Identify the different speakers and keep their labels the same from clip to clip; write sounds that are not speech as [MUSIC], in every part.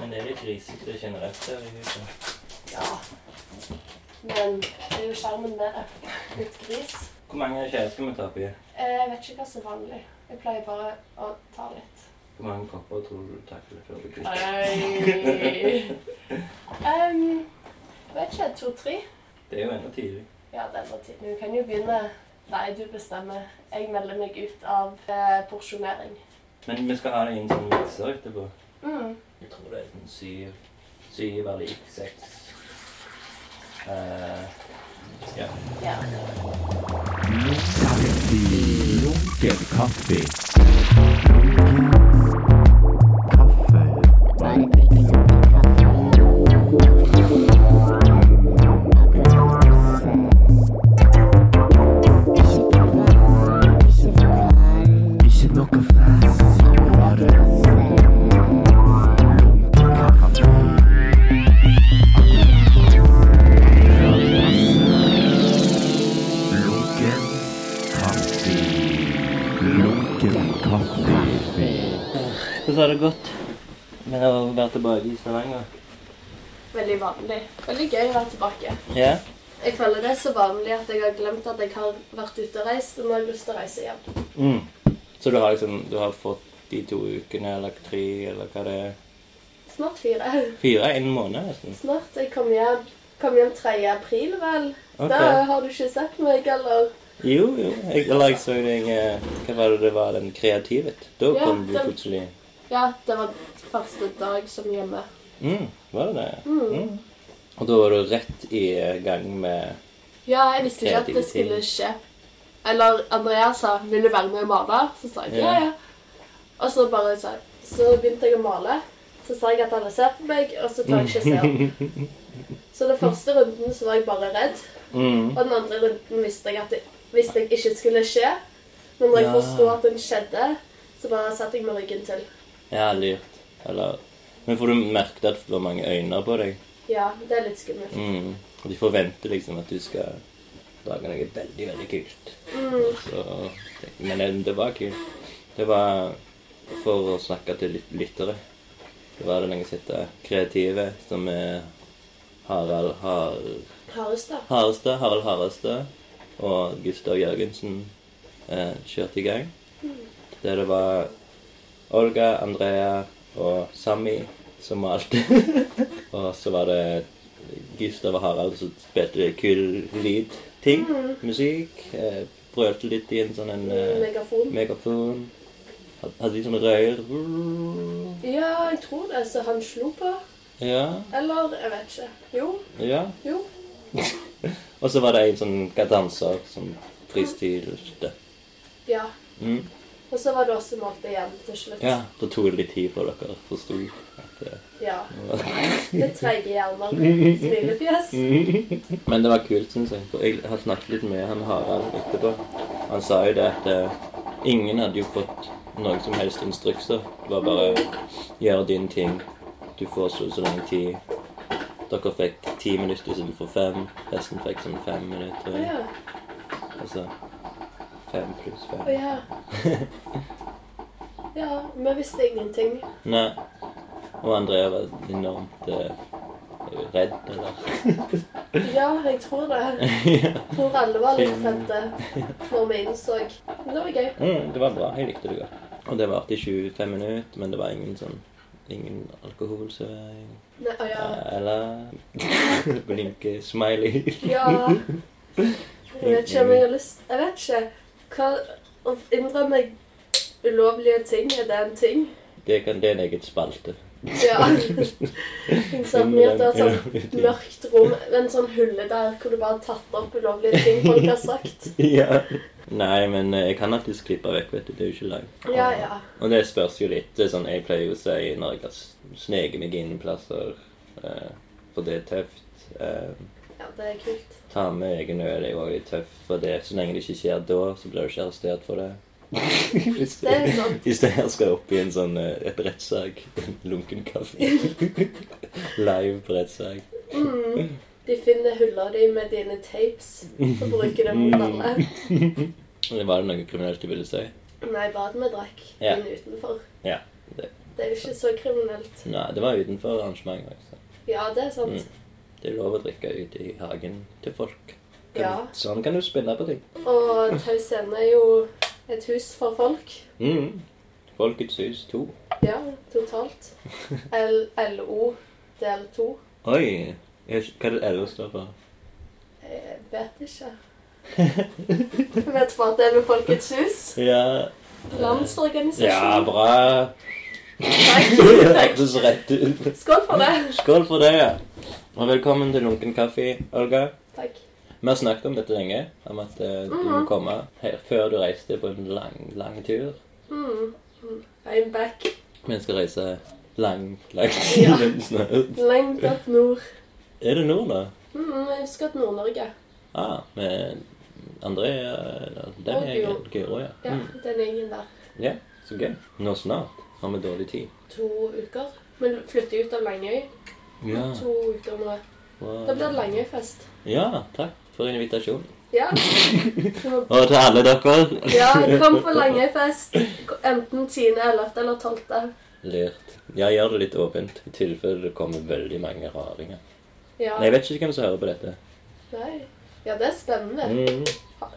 Speaker 1: Men det er litt risete generelt her i huset.
Speaker 2: Ja. Men det er jo sjarmen med det. Litt gris.
Speaker 1: Hvor mange skjeer skal vi ta oppi?
Speaker 2: Eh, Jeg vet ikke hva som er vanlig. Jeg pleier bare å ta litt.
Speaker 1: Hvor mange kopper tror du du takler før du
Speaker 2: [LAUGHS]
Speaker 1: kutter?
Speaker 2: Nei. Um, jeg vet ikke. To-tre?
Speaker 1: Det er jo ennå tidlig.
Speaker 2: Ja, det er bare tid. Du kan jo begynne. Nei, du bestemmer. Jeg melder meg ut av eh, porsjonering.
Speaker 1: Men vi skal ha det inn som mikser etterpå.
Speaker 2: Mm.
Speaker 1: Jeg tror det er sånn syv. Syv er lik seks. Eh, ja.
Speaker 2: Ja.
Speaker 3: Lunken kaffe. Ikke noe fast, bare lunken kaffe. Lunken kaffe. Lunken kaffe.
Speaker 1: Hvordan har det gått med å være tilbake i Stavanger?
Speaker 2: Veldig vanlig. Veldig gøy å være tilbake.
Speaker 1: Ja.
Speaker 2: Jeg føler det er så vanlig at jeg har glemt at jeg har vært ute og reist, og nå har jeg lyst til å reise hjem.
Speaker 1: Mm. Så du har liksom du har fått de to ukene, eller tre, eller hva det er?
Speaker 2: Snart fire.
Speaker 1: Fire? En måned, nesten?
Speaker 2: Snart. Jeg kom hjem, kom hjem 3. april, vel.
Speaker 1: Ok.
Speaker 2: Da har du ikke sett meg, eller?
Speaker 1: Jo, jo. Jeg, eller jeg så deg eh, Hva var det det var? Den kreativet? Da
Speaker 2: Ja,
Speaker 1: kom du
Speaker 2: den-
Speaker 1: plutselig
Speaker 2: Ja, det var første dag som hjemme.
Speaker 1: mm, Var det det? Mm. Og da var du rett i gang med
Speaker 2: Ja, jeg visste ikke at det skulle skje. Eller Andrea sa 'vil du være med og male?' Så sa jeg ja,
Speaker 1: Ja.
Speaker 2: ja. Og så bare sa Så begynte jeg å male. Så sa jeg at alle ser på meg, og så tar
Speaker 1: [LAUGHS]
Speaker 2: jeg ikke se opp. Så den første runden så var jeg bare redd,
Speaker 1: mm.
Speaker 2: og den andre runden visste jeg at det, visste jeg ikke skulle skje. Men når jeg
Speaker 1: Ja.
Speaker 2: forsto at den skjedde, så bare satte jeg meg ryggen til.
Speaker 1: Ja, lurt. Eller Men for du merket at det var mange øyne på deg.
Speaker 2: Ja, det er litt skummelt.
Speaker 1: Mm. Og de forventer liksom at du skal lage noe veldig, veldig kult. Så, men eh, det- det var kult. Det var for å snakke til lyt- lyttere. Det var det lenge siden. Kreative, som er Harald Har...
Speaker 2: Harestad.
Speaker 1: Harestad, Harald Harestad og Gustav Jørgensen eh, kjørte i gang. Der det var Olga, Andrea og Sami som malte. og så var det Gustav og Harald som spilte kul lyd, ting, musikk. Eh, brølte litt i en sånn en eh,
Speaker 2: Megafon.
Speaker 1: megafon. Had- Hadde litt sånn røyer.
Speaker 2: Ja, jeg tror det. Så han slo på.
Speaker 1: Ja,
Speaker 2: Eller jeg vet ikke. Jo.
Speaker 1: ja.
Speaker 2: Jo.
Speaker 1: Og så var det en sånn danser som fristilte.
Speaker 2: Ja.
Speaker 1: Mm.
Speaker 2: Og så var det også målt igjen til slutt.
Speaker 1: Ja, da tok det litt tid før dere forsto at eh,
Speaker 2: Ja.
Speaker 1: det var
Speaker 2: Litt treige hjerner. Smilefjes.
Speaker 1: Mm. Men det var kult, syns jeg. For jeg har snakket litt med han Harald etterpå. Han sa jo det at eh, ingen hadde jo fått noen som helst instrukser. Det var bare gjør din ting. Du får så og så lang tid. Dere fikk ti minutter istedenfor fem. Resten fikk sånn fem
Speaker 2: Å
Speaker 1: minutter.
Speaker 2: ja.
Speaker 1: Altså fem pluss fem.
Speaker 2: Å ja. Ja, vi visste ingenting.
Speaker 1: Nei. Og Andrea var enormt eh, redd, eller
Speaker 2: Ja, jeg tror det.
Speaker 1: [LAUGHS] Ja.
Speaker 2: Jeg tror alle var litt redde når vi innså. Men det var gøy.
Speaker 1: Mm, det var bra. Jeg likte det godt. Og det varte i 25 minutter, men det var ingen sånn Ingen alkoholsøring
Speaker 2: Nei, å ja.
Speaker 1: eller [LAUGHS] blinke smiley.
Speaker 2: Ja. Jeg vet ikke om jeg har lyst Jeg vet ikke. Hva Å innrømme ulovlige ting, er det en ting?
Speaker 1: Det, kan, det er en egen spalte. [LAUGHS]
Speaker 2: Ja. Liksom, vi hadde et sånt mørkt rom, en sånn hulle der hvor du bare har tatt opp ulovlige ting folk har sagt.
Speaker 1: ja. Nei, men eh, jeg kan alltids klippe vekk, vet du. Det er jo ikke langt.
Speaker 2: Ja, ja.
Speaker 1: Og det spørs jo litt. Det er sånn jeg pleier jo å si når jeg har s- sneket meg inn plasser, eh, for det er tøft. Eh,
Speaker 2: Ja, det er kult.
Speaker 1: ta med egen øl er jo også litt tøft, for det, så lenge det ikke skjer da, så blir du ikke arrestert for det. Hvis
Speaker 2: Det
Speaker 1: [LAUGHS]
Speaker 2: er sånn, sant.
Speaker 1: Hvis det her skal opp i en sånn eh, et rettssak Lunken [LAUGHS] kaffe. Live på rettssak.
Speaker 2: Mm. De finner huller de med dine tapes og bruker dem mot alle.
Speaker 1: Var det noe kriminelt du ville si?
Speaker 2: Nei, bare at vi drakk
Speaker 1: Ja.
Speaker 2: inn utenfor.
Speaker 1: Ja. Det,
Speaker 2: Det er jo ikke så kriminelt.
Speaker 1: Nei, det var utenfor arrangementet også.
Speaker 2: Ja, det er sant.
Speaker 1: Mm. Det er lov å drikke ute i hagen til folk. Kan,
Speaker 2: Ja.
Speaker 1: Sånn kan du spinne på ting.
Speaker 2: Og Tau Scene er jo et hus for folk.
Speaker 1: Mm. Folkets hus 2.
Speaker 2: Ja, totalt. L- LO del to.
Speaker 1: Oi! Jeg, hva er det LO står for?
Speaker 2: Jeg vet ikke. Jeg vet bare at det er ved Folkets hus.
Speaker 1: Ja, ja
Speaker 2: Landsorganisasjon.
Speaker 1: bra. [LAUGHS] Det
Speaker 2: Takk.
Speaker 1: hørtes rett ut.
Speaker 2: Takk. Skål for det.
Speaker 1: Skål for det, ja. Og velkommen til Lunken kaffe, Olga.
Speaker 2: Takk.
Speaker 1: Vi har snakket om dette lenge, om at eh, du må
Speaker 2: Mhm.
Speaker 1: komme her før du reiste på en lang, lang tur.
Speaker 2: Mm. Mm. I'm back.
Speaker 1: Vi skal reise lang,
Speaker 2: [LAUGHS]
Speaker 1: lang
Speaker 2: Ja.
Speaker 1: tur snart.
Speaker 2: Lengt opp nord.
Speaker 1: [LAUGHS] Er det nord, da?
Speaker 2: Mm, jeg husker at Nord-Norge.
Speaker 1: Ah, med André eller den
Speaker 2: Og
Speaker 1: gjengen. Gyro, ja.
Speaker 2: Ja,
Speaker 1: Mm.
Speaker 2: den gjengen der.
Speaker 1: ja. Så gøy. Nå snart har vi dårlig tid.
Speaker 2: To uker. Men flytter ut av Langøy.
Speaker 1: Ja.
Speaker 2: To uker nå.
Speaker 1: wow.
Speaker 2: Da blir det Langøyfest.
Speaker 1: Ja, takk for invitasjonen.
Speaker 2: Ja.
Speaker 1: Og til alle dere.
Speaker 2: ja,
Speaker 1: [LAUGHS]
Speaker 2: kom på Langøyfest. Enten 10., 11. eller 12.
Speaker 1: Lurt. Jeg gjør det litt åpent, i tilfelle det kommer veldig mange raringer.
Speaker 2: Ja.
Speaker 1: Nei, Jeg vet ikke hvem som hører på dette.
Speaker 2: Nei. Ja, det er spennende.
Speaker 1: Mm.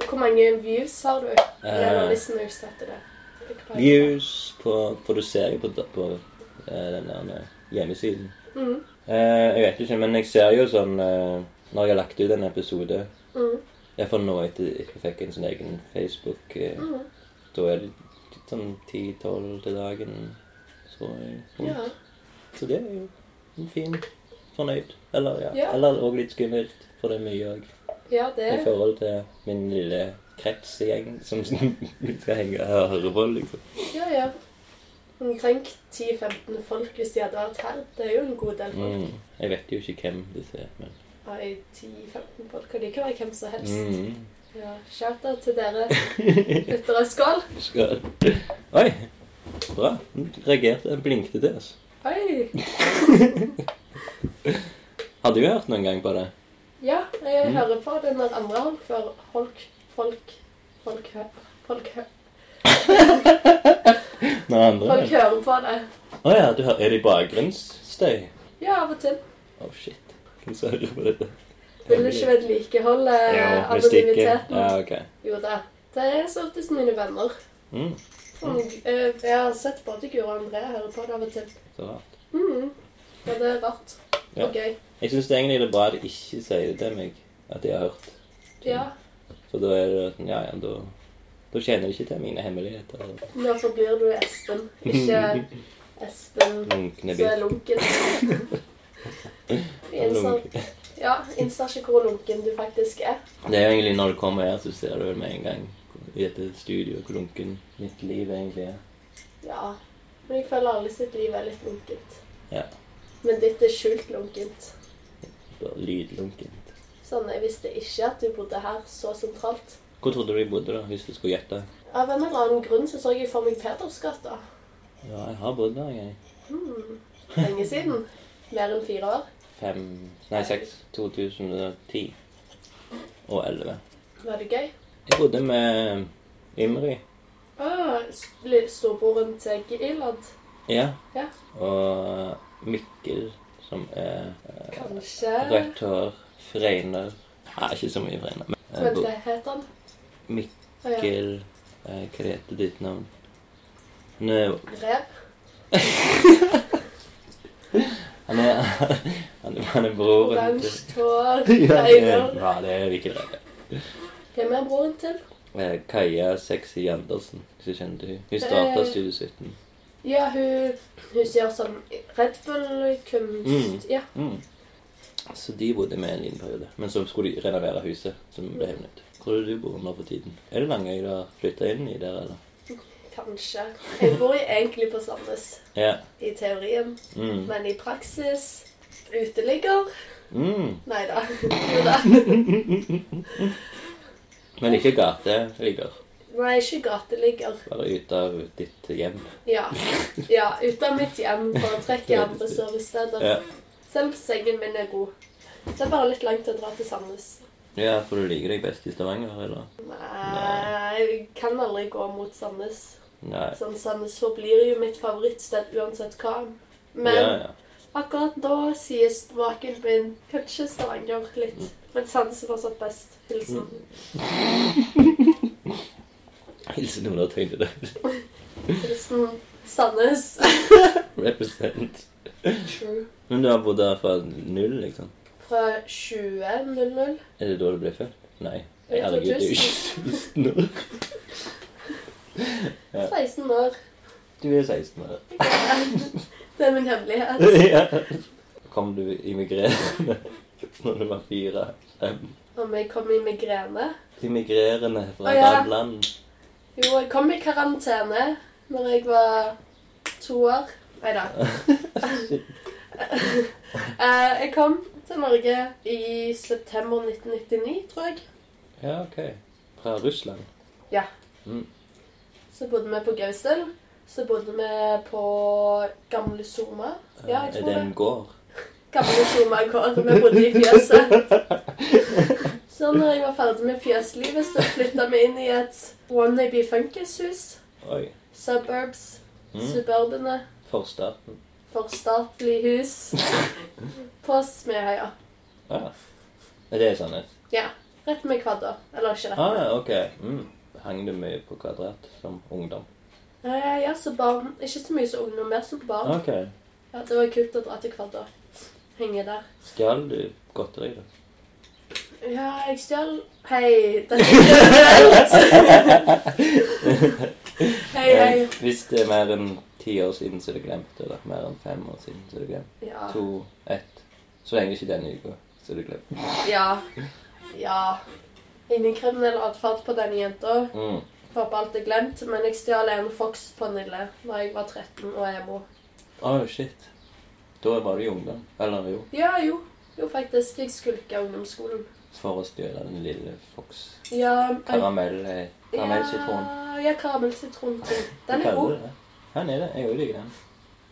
Speaker 2: Hvor mange views har du? Eller
Speaker 1: Eh.
Speaker 2: listeners heter det.
Speaker 1: Views på produsering på, på eh, den der eh, hjemmesiden.
Speaker 2: Mm,
Speaker 1: Eh, jeg vet ikke, men jeg ser jo sånn eh, Når jeg har lagt ut en episode
Speaker 2: mm,
Speaker 1: Jeg får nå etter jeg fikk en sånn egen Facebook eh,
Speaker 2: mm.
Speaker 1: Da er det litt sånn 10-12 til dagen, tror jeg.
Speaker 2: Ja.
Speaker 1: Så det er jo en fin fornøyd. Eller ja.
Speaker 2: Ja.
Speaker 1: Eller òg litt skummelt, for det er mye òg.
Speaker 2: ja, det
Speaker 1: I
Speaker 2: er
Speaker 1: forhold til min lille kretsgjeng som [LAUGHS] skal henge og høre på, liksom.
Speaker 2: Ja, ja. Men tenk 10-15 folk hvis de hadde vært her. Det er jo en god del folk.
Speaker 1: Mm. Jeg vet jo ikke hvem disse er, men
Speaker 2: Nei, 10-15 folk, og de kan være hvem som helst.
Speaker 1: mm. [LAUGHS]
Speaker 2: Ja, Shout-out til dere lyttere. Skål!
Speaker 1: Skal Oi! Bra. Den Reagerte. Den Blinkte til altså. oss.
Speaker 2: Oi!
Speaker 1: Har du hørt noen gang på det?
Speaker 2: Ja, jeg
Speaker 1: Mm.
Speaker 2: hører på det når andre folk hører Folk, folk, folk, hø- folk, hø-
Speaker 1: Noen andre?
Speaker 2: folk hører på det.
Speaker 1: Å ja, du hører, er det bakgrunnsstøy?
Speaker 2: Ja, av og til.
Speaker 1: Å, shit. Hvem som hører på dette?
Speaker 2: Vil du ikke vedlikeholde
Speaker 1: Ja, mystikken.
Speaker 2: anonymiteten?
Speaker 1: Ja, ok.
Speaker 2: Jo da. Det er så oftest mine venner.
Speaker 1: Mm,
Speaker 2: Og, eh, jeg har sett både Guro og André høre på det av og til.
Speaker 1: så rart.
Speaker 2: Mhm. Ja, det er rart.
Speaker 1: Ja.
Speaker 2: Og gøy.
Speaker 1: Jeg syns egentlig det er bra at de ikke sier det til meg, at de har hørt.
Speaker 2: Ja.
Speaker 1: For da er det sånn, ja ja, da, da kjenner de ikke til mine hemmeligheter.
Speaker 2: Nå forblir du Espen.
Speaker 1: [LAUGHS]
Speaker 2: Ikke Espen
Speaker 1: Lunkne
Speaker 2: som er sånn-
Speaker 1: bit. [LAUGHS]
Speaker 2: lunken. Vi innser,
Speaker 1: Lunk.
Speaker 2: ja, innser ikke hvor lunken du faktisk er.
Speaker 1: Det er jo egentlig når du kommer her, så ser du vel med en gang i dette studioet hvor lunken mitt liv egentlig er.
Speaker 2: Ja. Men jeg føler alle sitt liv er litt lunkent.
Speaker 1: Ja.
Speaker 2: Men ditt er skjult lunkent.
Speaker 1: Bare lydlunkent.
Speaker 2: Sånn, jeg visste ikke at du bodde her så sentralt.
Speaker 1: Hvor trodde du jeg bodde, da, hvis du skulle gjette?
Speaker 2: Av en eller annen grunn så så jeg for meg Pedersgata.
Speaker 1: Ja, jeg har bodd der, jeg.
Speaker 2: Hmm. Lenge siden. Mer enn fire år.
Speaker 1: Fem Nei, seks. 2010 og 11.
Speaker 2: Var det gøy?
Speaker 1: Jeg bodde med Imri.
Speaker 2: Ah, s- li- storebroren til Gilad.
Speaker 1: Ja.
Speaker 2: Ja.
Speaker 1: Og Mikkel, som er eh,
Speaker 2: Kanskje
Speaker 1: rødt hår, fregner Nei, ikke så mye fregner. Men, eh,
Speaker 2: Vent,
Speaker 1: bo-
Speaker 2: hva het han? Å, ja.
Speaker 1: Mikkel eh, Hva heter ditt navn? Nå,
Speaker 2: Rev?
Speaker 1: han er [LAUGHS] Han er, han er broren til
Speaker 2: Oransje hår?
Speaker 1: [LAUGHS] ja, det er,
Speaker 2: Øyne?
Speaker 1: ja, det er ikke det.
Speaker 2: Hvem er broren til?
Speaker 1: Eh, Kaja Sexy Andersen, hvis du kjenner til henne. Hun starta
Speaker 2: Eh.
Speaker 1: Studio 17.
Speaker 2: Ja, hun, hun som gjør sånn Red Bull-kunst. Ja.
Speaker 1: Mm. Så de bodde med en liten periode. Men så skulle de renovere huset, som ble hevnet. Hvor er det du bor nå for tiden? Er det Langøy du har flytta inn i der, eller?
Speaker 2: Kanskje. Jeg bor egentlig på Sandnes.
Speaker 1: Ja.
Speaker 2: I teorien.
Speaker 1: Mm.
Speaker 2: Men i praksis uteligger.
Speaker 1: Mm.
Speaker 2: Nei da. Jo da.
Speaker 1: Men ikke gate ligger.
Speaker 2: Nei, ikke gateligger.
Speaker 1: Bare ute av ditt hjem.
Speaker 2: Ja. ja. Ut av mitt hjem foretrekker jeg andre sovesteder.
Speaker 1: Ja.
Speaker 2: Selv om sengen min er god. Det er bare litt langt å dra til Sandnes.
Speaker 1: ja, for du liker deg best i Stavanger, eller?
Speaker 2: Nei, jeg kan aldri gå mot Sandnes.
Speaker 1: Nei.
Speaker 2: Sånn Sandnes forblir jo mitt favorittsted uansett hva. Men
Speaker 1: Ja, ja.
Speaker 2: akkurat da sier smaken min kanskje Stavanger litt. Men Sandnes er fortsatt best. Hilsen.
Speaker 1: Hilsen Ola Tøyne.
Speaker 2: Hilsen Sandnes.
Speaker 1: [LAUGHS] Represent.
Speaker 2: True.
Speaker 1: Men du har bodd der fra null, liksom?
Speaker 2: Fra 20.00
Speaker 1: Er det da du ble født? Nei.
Speaker 2: Er det
Speaker 1: Herregud, du er jo ikke 16 år.
Speaker 2: [LAUGHS] 16 år.
Speaker 1: Du er 16 år.
Speaker 2: Det er min hemmelighet.
Speaker 1: [LAUGHS] Ja. Kom du i migrene [LAUGHS] når du var fire? Fem?
Speaker 2: Om jeg kom i migrene.
Speaker 1: De migrerende fra
Speaker 2: Å,
Speaker 1: et
Speaker 2: ja.
Speaker 1: annet land.
Speaker 2: Jo, jeg kom i karantene når jeg var to år. Nei da. Eh, jeg kom til Norge i september 1999, tror jeg.
Speaker 1: Ja, ok. Fra Russland.
Speaker 2: Så bodde vi på Gausdal. Så bodde vi på Gamle Soma. Ja,
Speaker 1: Eh,
Speaker 2: jeg
Speaker 1: er
Speaker 2: tror
Speaker 1: det
Speaker 2: det.
Speaker 1: en gård?
Speaker 2: Gamle Soma gård. Vi bodde i
Speaker 1: [LAUGHS]
Speaker 2: fjøset. Så når jeg var ferdig med fjøslivet, så flytta vi inn i et wannabe funkishus.
Speaker 1: Oi.
Speaker 2: Suburbs.
Speaker 1: Mm.
Speaker 2: Suburbene.
Speaker 1: Forstaten.
Speaker 2: Forstatlig hus på Smedøya.
Speaker 1: Ah. Er det sannhet?
Speaker 2: Ja. Rett med kvadder. Eller ikke rett.
Speaker 1: Ah, ok. Mm. Hang du mye på kvadrat som ungdom? Ah.
Speaker 2: Eh, ja, så barn. Ikke så mye som ungdom, mer som barn.
Speaker 1: Ok.
Speaker 2: Ja, Det var kult å dra til kvadder. Henge der.
Speaker 1: Stjal du godteri,
Speaker 2: [LAUGHS]
Speaker 1: da?
Speaker 2: Ja, jeg stjal Hei, dette er
Speaker 1: [LAUGHS]
Speaker 2: kriminelt! hei, hei.
Speaker 1: Eh, Hvis det er mer enn ti år siden, så er det glemt. Eller mer enn fem år siden, så er det glemt.
Speaker 2: Ja.
Speaker 1: To, ett. Så lenge ikke denne uka, så er det glemt.
Speaker 2: Ja. ja. Ingen kriminell atferd på denne jenta.
Speaker 1: Mm.
Speaker 2: Håper alt er glemt, men jeg stjal en Fox på Nille da jeg var 13 og emo.
Speaker 1: Oh, shit. Da var du jo ungdom. Eller jo,
Speaker 2: Ja, jo. Jo, faktisk. Jeg skulka ungdomsskolen.
Speaker 1: for å stjele den lille Fox.
Speaker 2: Ja, jeg-
Speaker 1: Karamell, eh, karamellsitron.
Speaker 2: Ja, ja karamellsitronting. Den
Speaker 1: Hva
Speaker 2: er
Speaker 1: kaller du
Speaker 2: god.
Speaker 1: det? Han er det. Jeg òg liker den.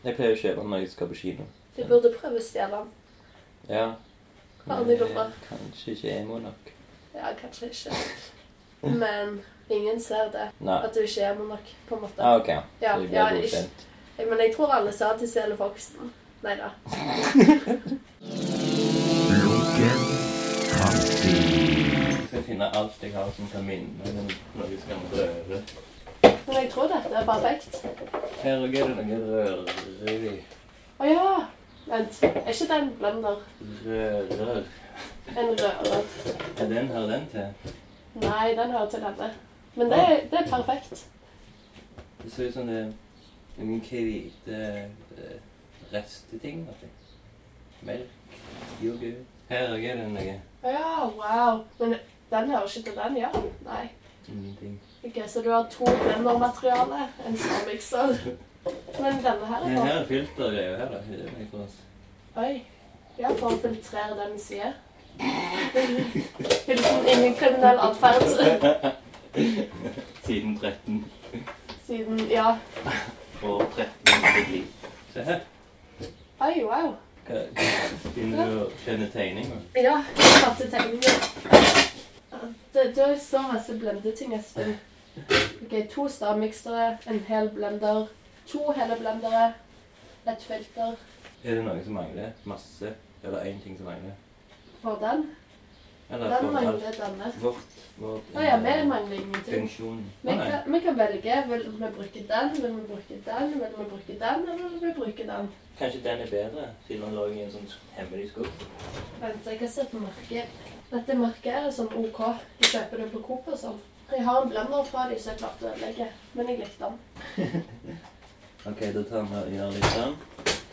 Speaker 1: Jeg pleier å kjøpe den når jeg skal på kino.
Speaker 2: Du burde prøve å stjele den.
Speaker 1: Ja.
Speaker 2: Har
Speaker 1: men
Speaker 2: den i lomma.
Speaker 1: jeg er Kanskje ikke emo nok.
Speaker 2: Ja, kanskje ikke. Men ingen ser det.
Speaker 1: Nei.
Speaker 2: At du ikke er med nok, på en
Speaker 1: Ah,
Speaker 2: måte.
Speaker 1: ok.
Speaker 2: Ja,
Speaker 1: så det blir
Speaker 2: ja,
Speaker 1: godkjent.
Speaker 2: Men jeg tror alle ser at de stjeler Foxen. Nei da.
Speaker 3: Lunken kaffe.
Speaker 1: Jeg skal finne alt jeg har som kan minne meg om noe som kan røre.
Speaker 2: Men jeg tror dette er perfekt.
Speaker 1: Her òg er det noe rører i.
Speaker 2: Å ja! Vent. Er ikke det en blender?
Speaker 1: Rører.
Speaker 2: En rører?
Speaker 1: Ja, den hører den til.
Speaker 2: Nei, den hører til denne. Men det, er- det er perfekt.
Speaker 1: Det ser ut som det er noen hvite eh, resteting. vet du. Melk, yoghurt Her òg er det noe.
Speaker 2: Å ja, wow. Men den hører ikke til den, ja? Nei.
Speaker 1: Ingenting.
Speaker 2: Ok, Så du har to blendermateriale, en stavmikser. Men denne her er
Speaker 1: Men
Speaker 2: for
Speaker 1: her er filtergreier her, da. Det er noe for oss.
Speaker 2: Oi. Ja, for å filtrere det vi sier. Hilsen ingen kriminell atferd.
Speaker 1: Siden 13
Speaker 2: Siden Ja.
Speaker 1: og 13 i mitt liv. Se her.
Speaker 2: Oi, wow.
Speaker 1: Hva- Begynner du å skjønne tegninga?
Speaker 2: Ja, jeg fatter tegningen. Det, det er så masse blendeting, Espen. Ok, To stavmiksere, en hel blender, to hele blendere, et filter
Speaker 1: Er det noe som mangler? Masse? Eller én ting som mangler?
Speaker 2: for den.
Speaker 1: Eller
Speaker 2: Den
Speaker 1: for alt?
Speaker 2: mangler denne.
Speaker 1: Vårt, vårt
Speaker 2: Å ja, vi mangler ingenting.
Speaker 1: funksjon. Å,
Speaker 2: Vi
Speaker 1: nei.
Speaker 2: kan, vi kan velge. Vil vi bruke den, vil vi bruke den, vil vi bruke den, eller vil vi bruke den?
Speaker 1: Kanskje den er bedre, siden han lå i en sånn hemmelig skuff.
Speaker 2: Vent, jeg kan se på merket. Dette merket er sånn OK. Du kjøper det på Coop og sånn. Jeg har en blender fra dem, så jeg klarte å ødelegge. Men jeg likte den.
Speaker 1: OK, da tar vi og gjør litt sånn.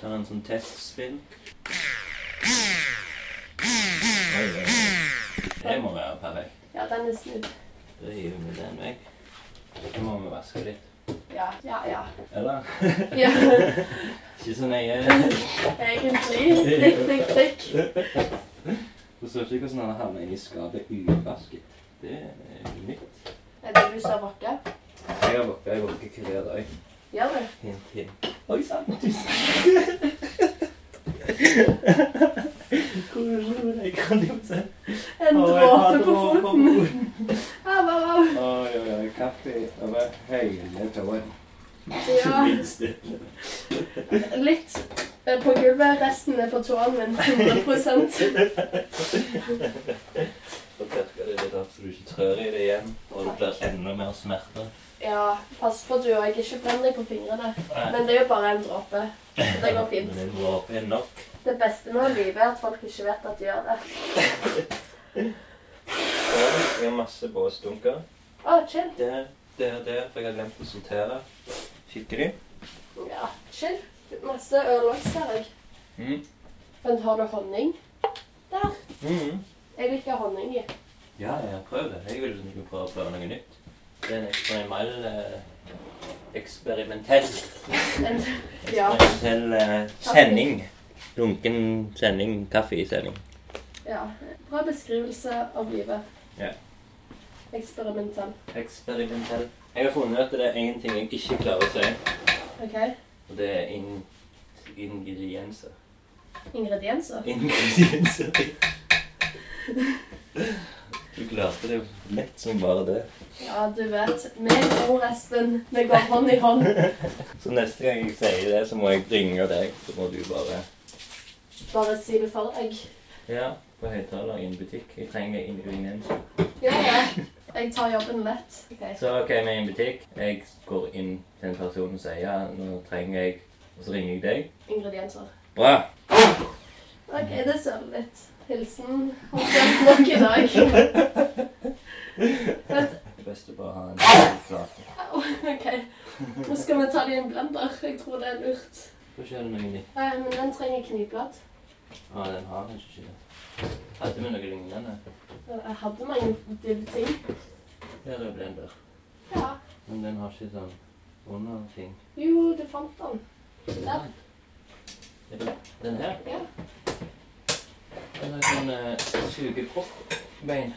Speaker 1: Tar en sånn testspinn. Oi, oi, oi. Det må være perfekt.
Speaker 2: Ja, den er snudd.
Speaker 1: Da hiver vi den vekk. Så må vi vaske litt.
Speaker 2: Ja, ja, ja.
Speaker 1: Eller?
Speaker 2: ja.
Speaker 1: Ikke så nøye. Jeg
Speaker 2: [LAUGHS] Egentlig. Prikk, prikk, prikk.
Speaker 1: forstår ikke hvordan han havner inn i skapet uvasket. Det er nytt.
Speaker 2: Er det du som vakker?
Speaker 1: Jeg har vokka i våke hver dag.
Speaker 2: Gjør du?
Speaker 1: Hint, hint. Oi sann! [LAUGHS] Tusen Hvordan jeg kan jo se
Speaker 2: En dråpe på foten. Au, au, au.
Speaker 1: Oi, oi, oi. Kaffe over hele tåen.
Speaker 2: eh, resten er på tåren min. 100
Speaker 1: Så tørker det litt opp så du ikke trør i det igjen, og det blir enda mer smerte.
Speaker 2: Ja, pass på at du òg ikke blander deg på fingrene.
Speaker 1: Nei,
Speaker 2: Men det er jo bare en dråpe. Så det går fint.
Speaker 1: Men en dråpe er nok.
Speaker 2: Det beste med livet er at folk ikke vet at de gjør det.
Speaker 1: Og jeg har masse båsdunker.
Speaker 2: Å, chill.
Speaker 1: Der, der, der, for jeg har glemt å sortere. Skikkelig.
Speaker 2: Ja, chill. Masse øl òg, ser jeg.
Speaker 1: Mm.
Speaker 2: Men har du honning? Der.
Speaker 1: Mhm.
Speaker 2: Jeg liker honning i.
Speaker 1: Ja, jeg har prøvd det. Jeg vil at du skal prøve å prøve noe nytt. Det er en eksperimentell eh, eksperimentell,
Speaker 2: Men, ja.
Speaker 1: eksperimentell eh, sending. Lunken sending, kaffesending.
Speaker 2: ja. Bra beskrivelse av livet.
Speaker 1: Ja.
Speaker 2: Eksperimentell.
Speaker 1: Eksperimentell. Jeg har funnet at det er én ting jeg ikke klarer å si,
Speaker 2: OK?
Speaker 1: og det er in ingredienser.
Speaker 2: Ingredienser.
Speaker 1: Ingredienser. [LAUGHS] Du klarte det jo lett som bare det.
Speaker 2: Ja, du vet. Vi er gode, Espen. Vi går hånd i hånd.
Speaker 1: Så neste gang jeg sier det, så må jeg ringe deg. Så må du bare
Speaker 2: Bare si det for deg.
Speaker 1: Ja, på høyttaler i en butikk. Jeg trenger ingredienser.
Speaker 2: Ja, ja. Jeg tar jobben lett. OK.
Speaker 1: Så OK, vi er i en butikk. Jeg går inn til en person og sier ja, nå trenger jeg Og så ringer jeg deg.
Speaker 2: Ingredienser.
Speaker 1: Bra.
Speaker 2: OK, det ser vi litt. Hilsen har sett nok i dag. Vent,
Speaker 1: Det beste på å ha en klart.
Speaker 2: au, OK. Nå skal vi ta det i en blender. Jeg tror det er lurt.
Speaker 1: Få se noe nytt.
Speaker 2: Nei, men den trenger knivblad.
Speaker 1: Ja, den har kanskje ikke det. Hadde vi noe lignende?
Speaker 2: Jeg hadde mange dibb-ting.
Speaker 1: Her er blender.
Speaker 2: Ja.
Speaker 1: Men den har ikke sånn underting.
Speaker 2: Jo, du fant den. Der.
Speaker 1: Den her?
Speaker 2: Ja.
Speaker 1: Den har sånn uh, sugeproppbein.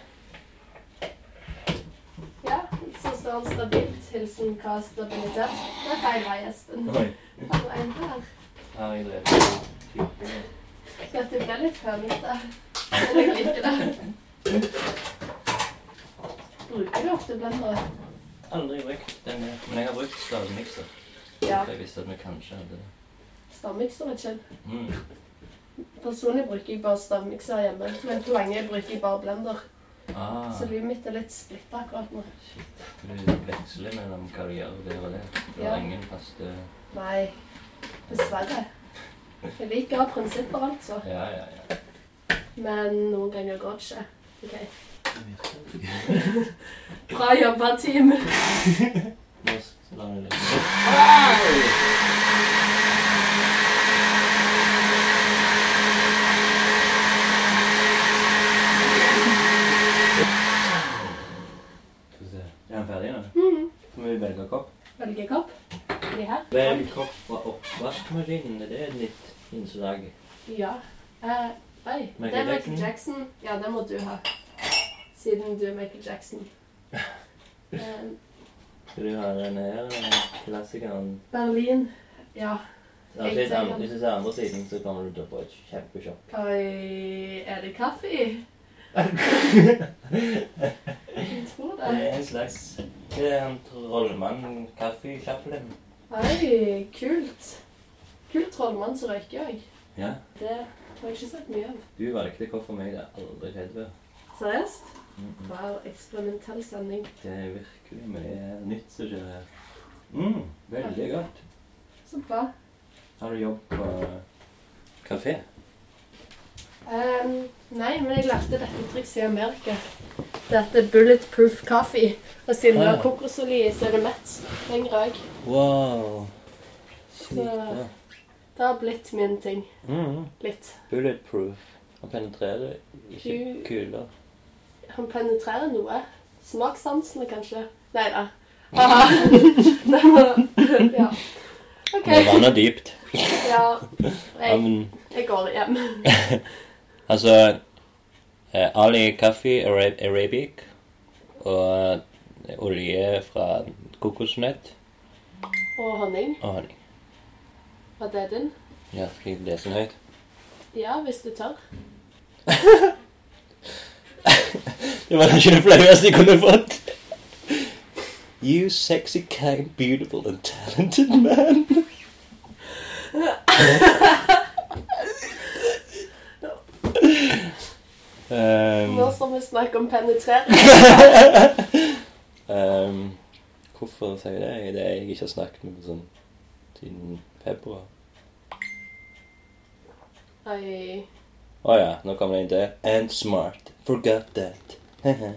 Speaker 2: Ja, så står den stabilt. Hilsen hva er stabilitet? Det er feil vei, Espen.
Speaker 1: Oi.
Speaker 2: Her er en her.
Speaker 1: Her er det.
Speaker 2: Ja, det ble litt hønete. Men jeg liker det. Bruker du ofte blendere?
Speaker 1: Aldri brukt den der. Men jeg har brukt stavmikser.
Speaker 2: Ja.
Speaker 1: For jeg visste at vi kanskje hadde det.
Speaker 2: Stavmikser er chill.
Speaker 1: Mm.
Speaker 2: Personlig bruker jeg bare stavmikser hjemme, men på lenge bruker jeg bare blender.
Speaker 1: Ah,
Speaker 2: Så livet mitt er litt splitta akkurat nå.
Speaker 1: shit. Du veksler mellom hva du gjør der og der. Du
Speaker 2: Ja.
Speaker 1: har ingen faste
Speaker 2: Nei, dessverre. Jeg liker å ha prinsipper, altså.
Speaker 1: Ja, ja, ja.
Speaker 2: Men noen ganger går det ikke. Ok.
Speaker 1: [LAUGHS]
Speaker 2: Bra jobba, team.
Speaker 1: Nå s- la det litt Skal vi se. Er den ferdig nå?
Speaker 2: Mhm.
Speaker 1: Må vi velge kopp?
Speaker 2: Velge kopp. De her.
Speaker 1: Velg kopp fra oppvaskmaskinen. Det er et nytt innslag.
Speaker 2: Ja. Eh, oi, det
Speaker 1: Michael
Speaker 2: er Michael
Speaker 1: Jackson.
Speaker 2: Jackson. Ja, det må du ha. Siden du er Michael
Speaker 1: [LAUGHS]
Speaker 2: Jackson. Eh,
Speaker 1: Skal du ha den her, eller klassikeren?
Speaker 2: Berlin. Ja.
Speaker 1: Altså,
Speaker 2: Jeg
Speaker 1: hvis
Speaker 2: tar den.
Speaker 1: andre- hvis du ser andre siden, så kommer du til å få et kjempesjokk.
Speaker 2: Oi, er det kaffe? Jeg tror
Speaker 1: Det
Speaker 2: det.
Speaker 1: er en slags Det er en trollmann kaffe i Chaplin.
Speaker 2: Oi, kult. Kult trollmann som røyker òg.
Speaker 1: Ja.
Speaker 2: Det har jeg ikke sett mye av.
Speaker 1: Du valgte kopp for meg. Det har aldri skjedd før.
Speaker 2: Seriøst?
Speaker 1: Mm, mm.
Speaker 2: Wow, eksperimentell sending.
Speaker 1: Det er virkelig mye nytt som skjer her. Mm, veldig godt.
Speaker 2: Så bra.
Speaker 1: Har du jobb på kafé?
Speaker 2: Ehm, nei, men jeg lærte dette trikset i Amerika. Det heter bulletproof coffee. Og siden det
Speaker 1: Ah.
Speaker 2: er kokosolje i, så er det mett lenger òg.
Speaker 1: Wow.
Speaker 2: Sykt bra. Det har blitt min ting.
Speaker 1: Mm.
Speaker 2: Litt.
Speaker 1: Bulletproof. Han penetrerer
Speaker 2: Du-
Speaker 1: ikke kuler.
Speaker 2: Han penetrerer noe. Smakssansene, kanskje. Nei da. Aha. [LAUGHS] Nei, men, [LAUGHS] ja. OK.
Speaker 1: Men vannet er dypt.
Speaker 2: Ja,
Speaker 1: Ja,
Speaker 2: jeg,
Speaker 1: men,
Speaker 2: jeg går
Speaker 1: [LAUGHS]
Speaker 2: hjem.
Speaker 1: altså eh, Ali kaffe Ara- arabic og eh, olje fra kokosnøtt
Speaker 2: Og honning.
Speaker 1: og honning.
Speaker 2: Var det din?
Speaker 1: Ja, skal jeg lese den høyt?
Speaker 2: Ja, hvis du tør.
Speaker 1: Det var kanskje det flaueste jeg kunne fått. You sexy, kind, beautiful and talented man. Um,
Speaker 2: nå skal vi snakke om
Speaker 1: [LAUGHS]
Speaker 2: penetrering.
Speaker 1: Ehm, hvorfor sier jeg det? Det er jeg ikke har snakket med sånn siden februar.
Speaker 2: Oi.
Speaker 1: Å ja, nå kommer det inn til And smart. Forgot that. [LAUGHS] jeg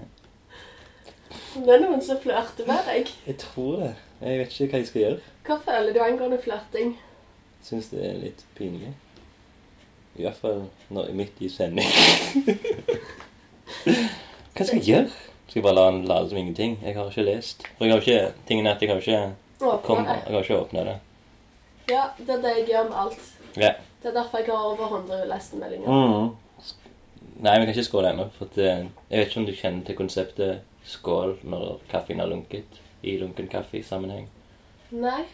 Speaker 2: Det er noen som flørter med deg.
Speaker 1: tror det. Jeg vet ikke hva jeg skal gjøre.
Speaker 2: Hva føler du angående flørting?
Speaker 1: Syns det er litt pinlig. I hvert fall når, midt i sending. [LAUGHS] hva skal jeg gjøre? Skal jeg bare la han late som ingenting? Jeg har ikke lest. Og jeg har ikke tingen er at jeg har ikke, kom,
Speaker 2: Åpne det.
Speaker 1: jeg har ikke åpna det.
Speaker 2: Ja, det er det jeg gjør med alt.
Speaker 1: Ja.
Speaker 2: Det er derfor jeg har over 100 lesemeldinger.
Speaker 1: Mm. Nei, vi kan ikke skåle ennå. For at, eh, jeg vet ikke om du kjenner til konseptet skål når kaffen er lunket. I lunken kaffe-sammenheng.
Speaker 2: Nei.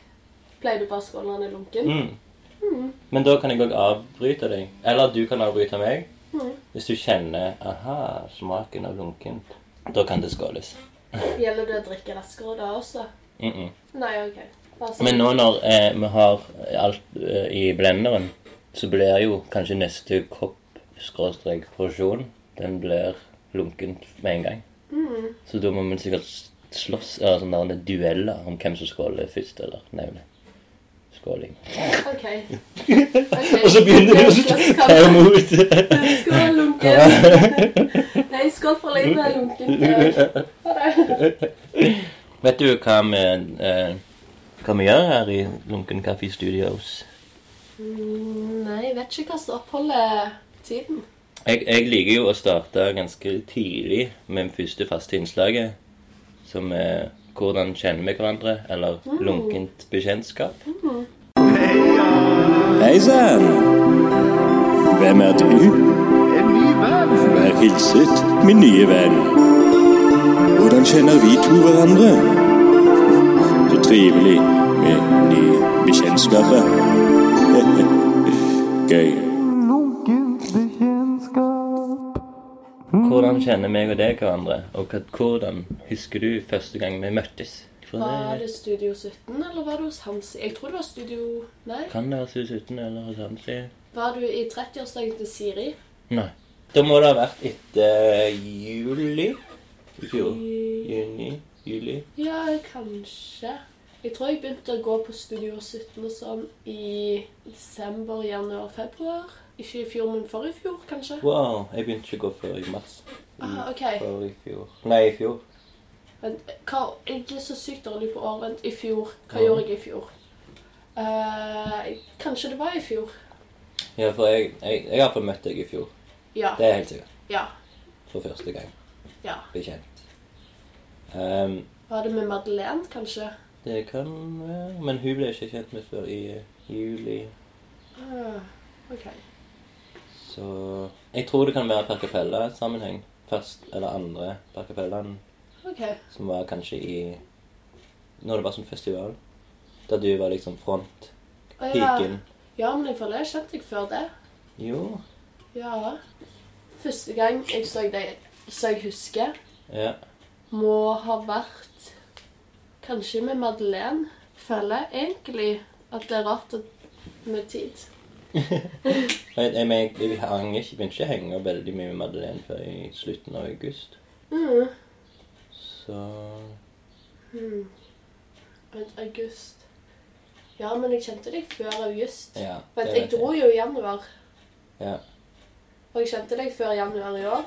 Speaker 2: Pleier du bare å skåle når den er lunken?
Speaker 1: Mm. Men da kan jeg òg avbryte deg. Eller du kan avbryte meg.
Speaker 2: Mm.
Speaker 1: Hvis du kjenner aha, smaken av lunkent. Da kan det skåles.
Speaker 2: Gjelder det å drikke raskere da også?
Speaker 1: Mm -mm.
Speaker 2: Nei, OK. Bare sånn.
Speaker 1: Men nå når eh, vi har alt eh, i blenderen, så blir jo kanskje neste kopp-porsjon Den blir lunkent med en gang.
Speaker 2: Mm.
Speaker 1: Så da må man sikkert s- slåss eller sånne der dueller om hvem som skåler først, eller nevne skåling. [LAUGHS]
Speaker 2: OK. Ok.
Speaker 1: Og så begynner
Speaker 2: Det
Speaker 1: du
Speaker 2: er
Speaker 1: å
Speaker 2: slåsskamp.
Speaker 1: ta imot.
Speaker 2: Skål, lunken. [LAUGHS] Nei, skål for livet,
Speaker 1: [LAUGHS]
Speaker 2: lunken. Ha det.
Speaker 1: Vet du hva vi, eh, hva vi gjør her i Lunken Kaffe Studios?
Speaker 2: Mm, Nei, jeg vet ikke hva som oppholder tiden.
Speaker 1: Jeg, jeg liker jo å starte ganske tidlig med det første faste innslaget, som er hvordan kjenner vi hverandre, eller lunkent bekjentskap.
Speaker 4: Hei sann! Hvem er du? En ny venn. Vær hilset, min nye venn. Hvordan kjenner vi to hverandre? Så trivelig med nye bekjentskaper. [LAUGHS] Gøy.
Speaker 1: Hvordan kjenner meg og deg hverandre, og hva- hvordan husker du første gang vi møttes? For
Speaker 2: Var
Speaker 1: det
Speaker 2: det Studio 17, eller var det hos Hansi? Jeg tror det var Studio Nei.
Speaker 1: kan det være Sus uten eller hos Hansi.
Speaker 2: Var du i 30-årsdagen til Siri?
Speaker 1: Nei. Da må det ha vært etter juli i fjor. Juni, juli.
Speaker 2: Ja, kanskje. Jeg tror jeg begynte å gå på Studio 17 og sånn i desember, januar, februar. Ikke i fjor, men forrige fjor, kanskje.
Speaker 1: Wow, jeg begynte ikke å gå før i mars.
Speaker 2: Ah, ok.
Speaker 1: Før i fjor. Nei, i fjor.
Speaker 2: Vent, hva, jeg er så sykt dårlig på år. Vent, i fjor. Hva
Speaker 1: Ja.
Speaker 2: gjorde jeg i fjor? Eh, kanskje det var i fjor.
Speaker 1: Ja, for jeg, jeg, jeg har fått møtt deg i fjor.
Speaker 2: Ja.
Speaker 1: Det er helt sikkert.
Speaker 2: Ja.
Speaker 1: For første gang.
Speaker 2: ja.
Speaker 1: Bekjent. Ehm,
Speaker 2: Var det med Madeleine, kanskje?
Speaker 1: det kan være Men hun ble ikke kjent med før i juli.
Speaker 2: Ah, ok.
Speaker 1: Så jeg tror det kan være Per Capella-sammenheng. Først eller andre Per Capellaen,
Speaker 2: Ok.
Speaker 1: som var kanskje i Når det var sånn festival. Der du var liksom frontpiken.
Speaker 2: Å, ja. ja, men jeg føler jeg har kjent deg før det.
Speaker 1: Jo.
Speaker 2: Ja. Første gang jeg så deg, så jeg husker,
Speaker 1: Ja.
Speaker 2: må ha vært kanskje med Madeleine. Føler jeg egentlig at det er rart at- med tid.
Speaker 1: Jeg, jeg, men jeg, jeg hang ikke, begynte ikke å henge veldig mye med Madeleine før i slutten av august.
Speaker 2: Mm.
Speaker 1: Så
Speaker 2: Mm. Vent, august. Ja, men jeg kjente deg før august.
Speaker 1: ja.
Speaker 2: Vent,
Speaker 1: det
Speaker 2: jeg
Speaker 1: vet
Speaker 2: dro jo i januar.
Speaker 1: Ja.
Speaker 2: Og jeg kjente deg før januar i år.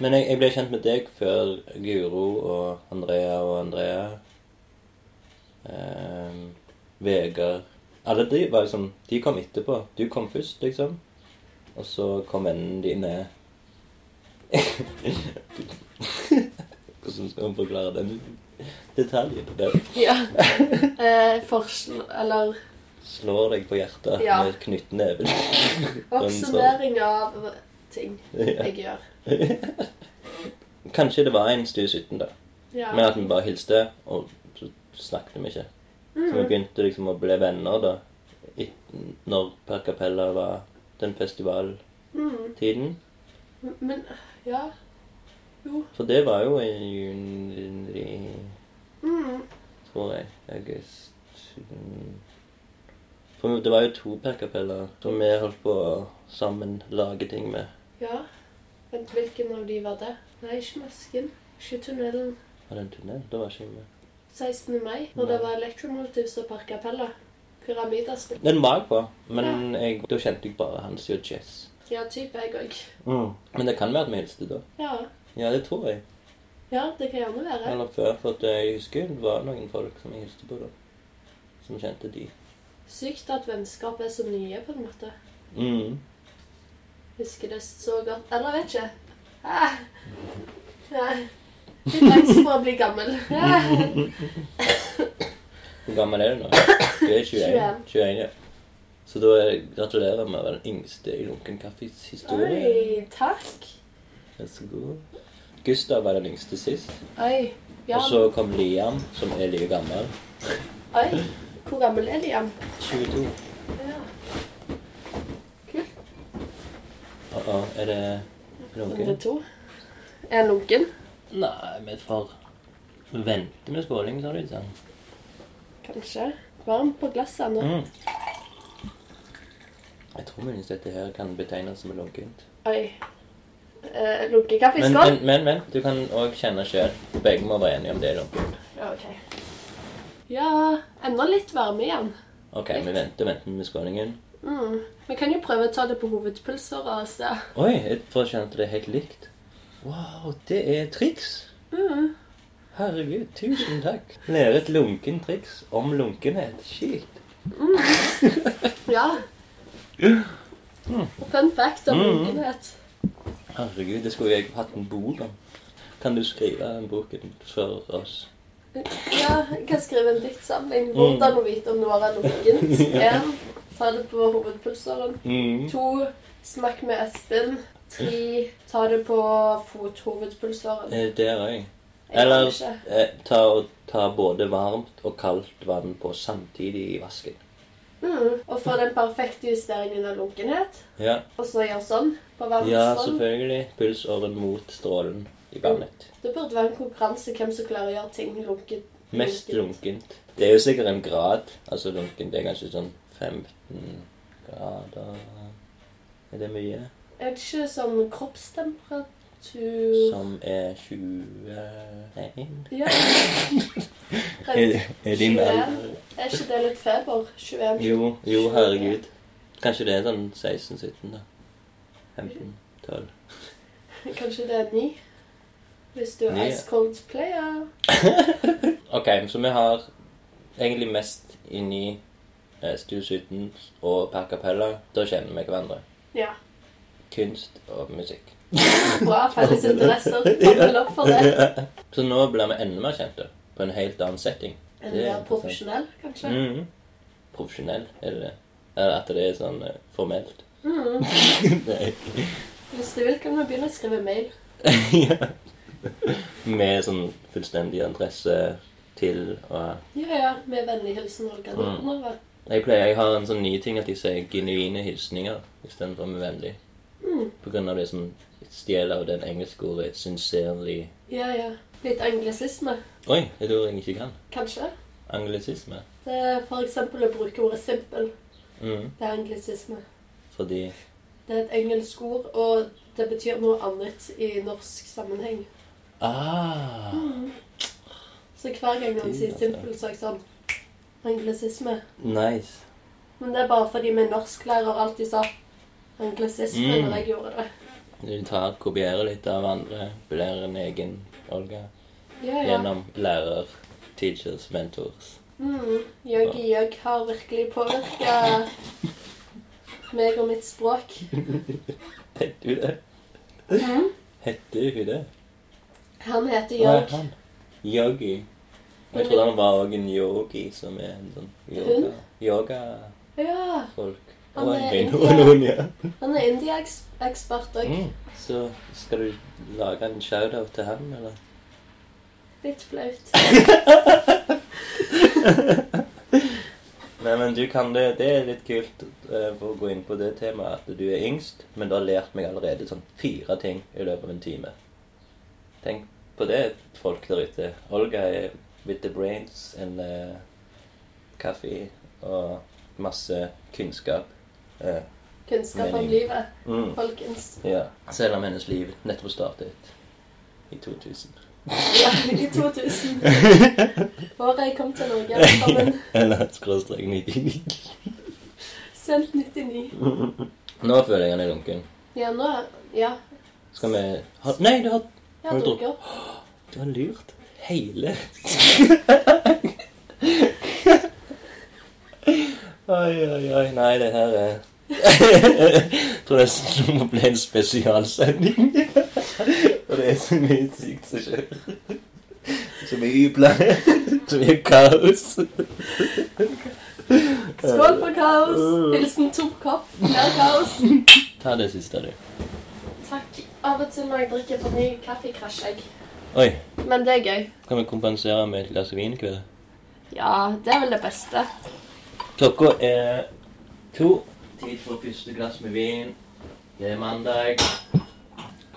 Speaker 1: Men jeg, jeg ble kjent med deg før Guro og Andrea og Andrea. Ehm, Vegard. Alle de var liksom De kom etterpå. Du kom først, liksom. Og så kom vennene dine [LAUGHS] Hvordan skal man forklare den detaljen? Det
Speaker 2: Ja. [LAUGHS] eh, forskjell, eller
Speaker 1: slår deg på hjertet
Speaker 2: Ja.
Speaker 1: med knyttneven.
Speaker 2: oppsummering av ting
Speaker 1: Ja.
Speaker 2: jeg gjør.
Speaker 1: Kanskje det var en stue 17, da.
Speaker 2: Ja.
Speaker 1: Men at vi bare hilste, og så snakket vi ikke. Så vi
Speaker 2: Mm.
Speaker 1: begynte liksom å bli venner da, i- når Per Capella var den festivaltiden.
Speaker 2: Mm. Men ja. Jo.
Speaker 1: For det var jo i juni,
Speaker 2: Mm.
Speaker 1: tror jeg, august. mm. For det var jo to Per Capella som vi holdt på å sammen lage ting med.
Speaker 2: Ja. Vent, hvilken av de var det? Nei, ikke Masken. Ikke Tunnelen.
Speaker 1: Var det en tunnel? Da var ikke jeg med.
Speaker 2: 16. mai, når det var Electromotives og Park Capella. Pyramidas.
Speaker 1: Det er en mag på, men jeg, da kjente jeg bare Hans og Jess.
Speaker 2: Ja, type jeg òg.
Speaker 1: Men det kan være at vi hilste da.
Speaker 2: Ja.
Speaker 1: Ja, det tror jeg.
Speaker 2: ja, det kan gjerne være.
Speaker 1: Eller før, for at jeg husker det var noen folk som jeg hilste på da. Som kjente de.
Speaker 2: Sykt at vennskap er så nye, på en måte.
Speaker 1: Mm.
Speaker 2: Husker det så godt. Eller vet ikke. Ah. Ja. Litt angst for å bli
Speaker 1: [LAUGHS]
Speaker 2: gammel. Ah.
Speaker 1: Hvor gammel er du nå? Du er 21.
Speaker 2: 21.
Speaker 1: 21 ja. Så da er- gratulerer med å være den yngste i Lunken Kaffes historie.
Speaker 2: Oi, takk.
Speaker 1: Vær så god. Gustav var den yngste sist.
Speaker 2: Oi.
Speaker 1: Og
Speaker 2: Ja.
Speaker 1: så kom Liam, som er like gammel.
Speaker 2: Oi. Hvor gammel er Liam?
Speaker 1: 22.
Speaker 2: Ja.
Speaker 1: Åh, åh, Uh-uh. er det
Speaker 2: Nummer
Speaker 1: noe?
Speaker 2: to. Er han lunken?
Speaker 1: Nei, vi får vente med skåling, sa du ikke sant?
Speaker 2: Kanskje. Varm på glasset nå.
Speaker 1: Mm. Jeg tror muligens dette her kan betegnes som lunkent.
Speaker 2: Oi. Eh, Lunkekaffe i
Speaker 1: Men,
Speaker 2: skål?
Speaker 1: men, men, men du kan òg kjenne sjøl. Begge må være enige om det er lunkent.
Speaker 2: Ja, OK. Ja Enda litt varme igjen.
Speaker 1: OK, vi venter venter med skålingen.
Speaker 2: Mm. Vi kan jo prøve å ta det på hovedpulser og se.
Speaker 1: Oi, jeg får kjenne at det er helt likt. Wow, det er et triks.
Speaker 2: Mm.
Speaker 1: Herregud, tusen takk. Lære et lunken triks om lunkenhet. Shit.
Speaker 2: Ja. Fun fact om
Speaker 1: Mm.
Speaker 2: lunkenhet.
Speaker 1: Herregud, det skulle jeg hatt en bok om. Kan du skrive den boken for oss?
Speaker 2: Ja, jeg kan skrive en diktsamling.
Speaker 1: Mm.
Speaker 2: Hvordan å vite om noe er
Speaker 1: [LAUGHS]
Speaker 2: lunkent. Én, ta det på hovedpulseren.
Speaker 1: Mm.
Speaker 2: To, snakk med Espen. Tre, ta det på fothovedpulseren.
Speaker 1: Eh, Der òg.
Speaker 2: Jeg kan
Speaker 1: Eller-
Speaker 2: ikke.
Speaker 1: Eh, ta, og- ta både varmt og kaldt vann på samtidig i vasken.
Speaker 2: Mm. Og få den perfekte justeringen av lunkenhet.
Speaker 1: Ja,
Speaker 2: Og så gjør sånn på varmt Mm.
Speaker 1: ja
Speaker 2: sånn.
Speaker 1: selvfølgelig. Pulsåren mot strålen i vannet.
Speaker 2: Det burde være en konkurranse hvem som klarer å gjøre ting lunket.
Speaker 1: Mest lunkent. Det er jo sikkert en grad. Altså lunkent er kanskje sånn 15 grader Er det mye?
Speaker 2: Er det ikke sånn kroppstemperatur
Speaker 1: Som er 21
Speaker 2: Ja.
Speaker 1: Er, er din
Speaker 2: 21?
Speaker 1: alder
Speaker 2: Er ikke det litt feber? 21?
Speaker 1: Jo, jo, herregud. Kanskje det er sånn 16-17, da. 15-12.
Speaker 2: Kanskje det er 9? Hvis du er
Speaker 1: Ni, ja.
Speaker 2: ice cold player.
Speaker 1: Ok, så vi har egentlig mest inni eh, Studio 17 og Per Capella. Da kjenner vi hverandre.
Speaker 2: Ja.
Speaker 1: Kunst og musikk.
Speaker 2: Bra
Speaker 1: [LAUGHS]
Speaker 2: felles interesser. Tommel opp for det.
Speaker 1: Så nå blir vi enda mer kjente på en helt annen setting.
Speaker 2: En
Speaker 1: Det er
Speaker 2: mer profesjonell, kanskje.
Speaker 1: Mhm. Profesjonell, er det det? Eller at det er sånn eh, formelt?
Speaker 2: Mm.
Speaker 1: Nei.
Speaker 2: Hvis du vil, kan du begynne å skrive mail.
Speaker 1: [LAUGHS] Ja. Med sånn fullstendig adresse til og
Speaker 2: Ja, ja. Med vennlig hilsen Olga
Speaker 1: Mm.
Speaker 2: Nikonova.
Speaker 1: Jeg pleier, jeg har en sånn ny ting at jeg sier genuine hilsninger istedenfor med vennlig.
Speaker 2: Mm.
Speaker 1: På grunn av det som stjeler av den engelske ordet 'sincerely'.
Speaker 2: Ja, ja. Litt anglisisme,
Speaker 1: Oi, et ord jeg ikke kan.
Speaker 2: kanskje?
Speaker 1: Anglisisme.
Speaker 2: Det er for eksempel å bruke ordet simple.
Speaker 1: Mm.
Speaker 2: Det er anglisisme.
Speaker 1: Fordi
Speaker 2: Det er et engelsk ord, og det betyr noe annet i norsk sammenheng.
Speaker 1: Ah!
Speaker 2: Så hver gang han sier
Speaker 1: Fy, altså.
Speaker 2: simple, så er jeg sånn Anglisisme.
Speaker 1: Nice.
Speaker 2: Men det er bare fordi min norsklærer alltid sa anglisisme
Speaker 1: Mm.
Speaker 2: når jeg gjorde det.
Speaker 1: Du tar, kopierer litt av andre, blir en egen Olga
Speaker 2: Ja, ja.
Speaker 1: gjennom lærer, teachers, mentors.
Speaker 2: Mm. Yogi Jøgg har virkelig påvirka
Speaker 1: [LAUGHS]
Speaker 2: meg og mitt språk.
Speaker 1: Heter hun det? Heter hun det?
Speaker 2: Han heter
Speaker 1: Hva er
Speaker 2: Jøgg.
Speaker 1: han? Yogi. Jeg trodde han var også en yogi, som er en sånn yoga.
Speaker 2: Hun?
Speaker 1: Yoga.
Speaker 2: Ja,
Speaker 1: folk.
Speaker 2: Han
Speaker 1: Og
Speaker 2: er
Speaker 1: en hund
Speaker 2: indier.
Speaker 1: og noen, ja.
Speaker 2: han er indie-ekspert òg.
Speaker 1: Mm. Så skal du lage en shoutout til han, eller?
Speaker 2: Litt flaut.
Speaker 1: Nei, men du kan det. Det er litt kult eh, for å gå inn på det temaet at du er yngst, men du har lært meg allerede sånn fire ting i løpet av en time. Tenk på det, folk der ute. Olga er with the brains and eh, kaffe og masse kunnskap. Eh,
Speaker 2: kunnskap om
Speaker 1: Mening.
Speaker 2: livet,
Speaker 1: Mm.
Speaker 2: folkens.
Speaker 1: Ja. Selv om hennes liv nettopp startet i 2000.
Speaker 2: Ja,
Speaker 1: [LAUGHS]
Speaker 2: I 2000. Året jeg kom til Norge sammen.
Speaker 1: Eller skråstrek 99.
Speaker 2: Sent 99.
Speaker 1: Nå føler jeg han er lunken.
Speaker 2: Ja, nå Ja.
Speaker 1: Skal vi ha Nei, du har, Har
Speaker 2: Jeg har
Speaker 1: du drukket?
Speaker 2: drukket opp.
Speaker 1: du har lurt hele Oi, oi, oi. Nei, det her er Jeg tror nesten det må bli en spesialsending. Og det er så mye sykt som skjer. Så mye planer. Så mye kaos.
Speaker 2: Skål for kaos! Hilsen tom kopp. Mer kaos.
Speaker 1: Ta det siste, du.
Speaker 2: Takk. Av og til når jeg drikker for mye kaffe, krasjer jeg.
Speaker 1: Oi.
Speaker 2: Men det er gøy.
Speaker 1: Kan vi kompensere med et glass vin hver?
Speaker 2: Ja, det er vel det beste.
Speaker 1: Klokka er to. Tid for første glass med vin. Det er mandag.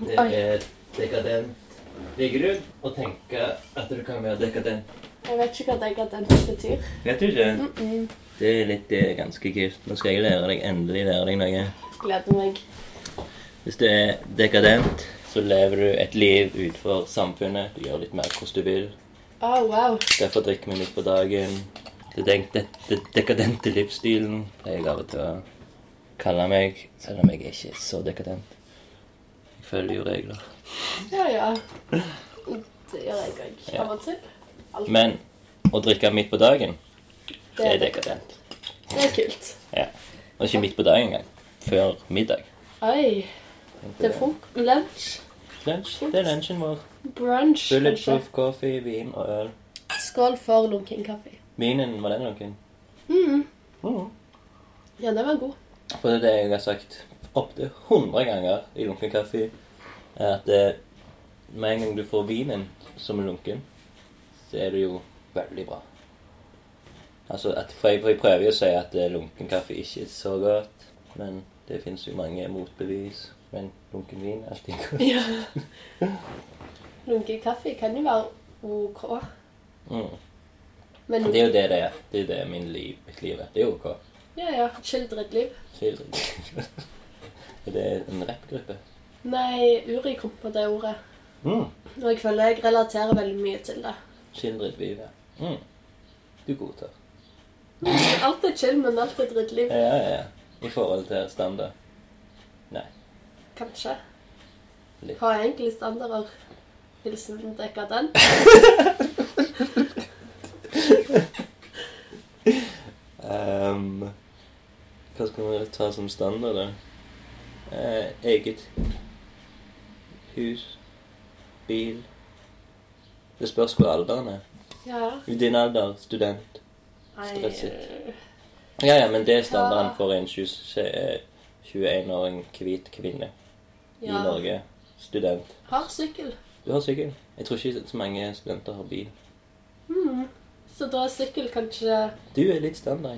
Speaker 1: Det
Speaker 2: Oi.
Speaker 1: er dekadent. Ligger du og tenker at du kan være dekadent?
Speaker 2: Jeg vet ikke hva dekadent betyr.
Speaker 1: Vet du ikke?
Speaker 2: Mm -mm.
Speaker 1: Det er litt eh, ganske kult. Nå skal jeg lære deg, endelig lære deg noe.
Speaker 2: Gleder meg.
Speaker 1: Hvis du er dekadent, så lever du et liv utenfor samfunnet. Du gjør litt mer hvordan du vil.
Speaker 2: Å, wow.
Speaker 1: Derfor drikker vi midt på dagen. Det denk- det- det dekadente livsstilen pleier jeg av og til å kalle meg, selv om jeg er ikke er så dekadent. Jeg følger jo regler.
Speaker 2: Ja, ja. Det gjør jeg òg. Av og til. Alt.
Speaker 1: Men å drikke midt på dagen, det er
Speaker 2: det,
Speaker 1: dekadent.
Speaker 2: det er kult.
Speaker 1: Ja. Og ikke midt på dagen engang. Før middag.
Speaker 2: Oi. Det er frok... Lunsj.
Speaker 1: Lunsj. Det er lunsjen vår.
Speaker 2: Brunch. kanskje.
Speaker 1: Bulletproof coffee, vin og øl.
Speaker 2: Skål for lunken kaffe.
Speaker 1: Vinen, var den noen?
Speaker 2: Mm.
Speaker 1: Mm.
Speaker 2: Ja, den var god.
Speaker 1: For det er det jeg har sagt opptil 100 ganger i lunken kaffe, er at eh, med en gang du får vinen som er lunken, så er det jo veldig bra. Altså, at, for, jeg, for jeg prøver jo å si at eh, lunken kaffe ikke er så godt, men det fins jo mange motbevis. Men lunken vin er alltid godt.
Speaker 2: Ja. Lunken kaffe kan jo være OK,
Speaker 1: Mm.
Speaker 2: men
Speaker 1: Det er jo det det er. Det er det min liv, mitt liv er. Det er jo ok.
Speaker 2: Ja, ja. Chill drittliv.
Speaker 1: Så jeg- Er [LAUGHS] det en rappgruppe?
Speaker 2: Nei, Uri kom på det ordet.
Speaker 1: Mm.
Speaker 2: Og jeg føler jeg relaterer veldig mye til det.
Speaker 1: Skildret vive. Mm. Du godtar.
Speaker 2: Alt er chill, men alt er drittliv.
Speaker 1: Ja, ja, ja. I forhold til standard.
Speaker 2: Kanskje.
Speaker 1: Litt.
Speaker 2: Hva er egentlig standarder? Hilsen dekadent.
Speaker 1: Ehm, hva skal vi ta som standard, da? Eh, eget hus, bil Det spørs hvor alderen er.
Speaker 2: Ja.
Speaker 1: I din alder, student.
Speaker 2: Nei, eh,
Speaker 1: Stresset. Ja, ja, men det er standarden for en 21-åring hvit kvinne i
Speaker 2: ja.
Speaker 1: Norge. Student.
Speaker 2: Har sykkel.
Speaker 1: Du har sykkel. Jeg tror ikke så mange studenter har bil.
Speaker 2: Mhm. Så da er sykkel kanskje [LAUGHS]
Speaker 1: Du er litt standard.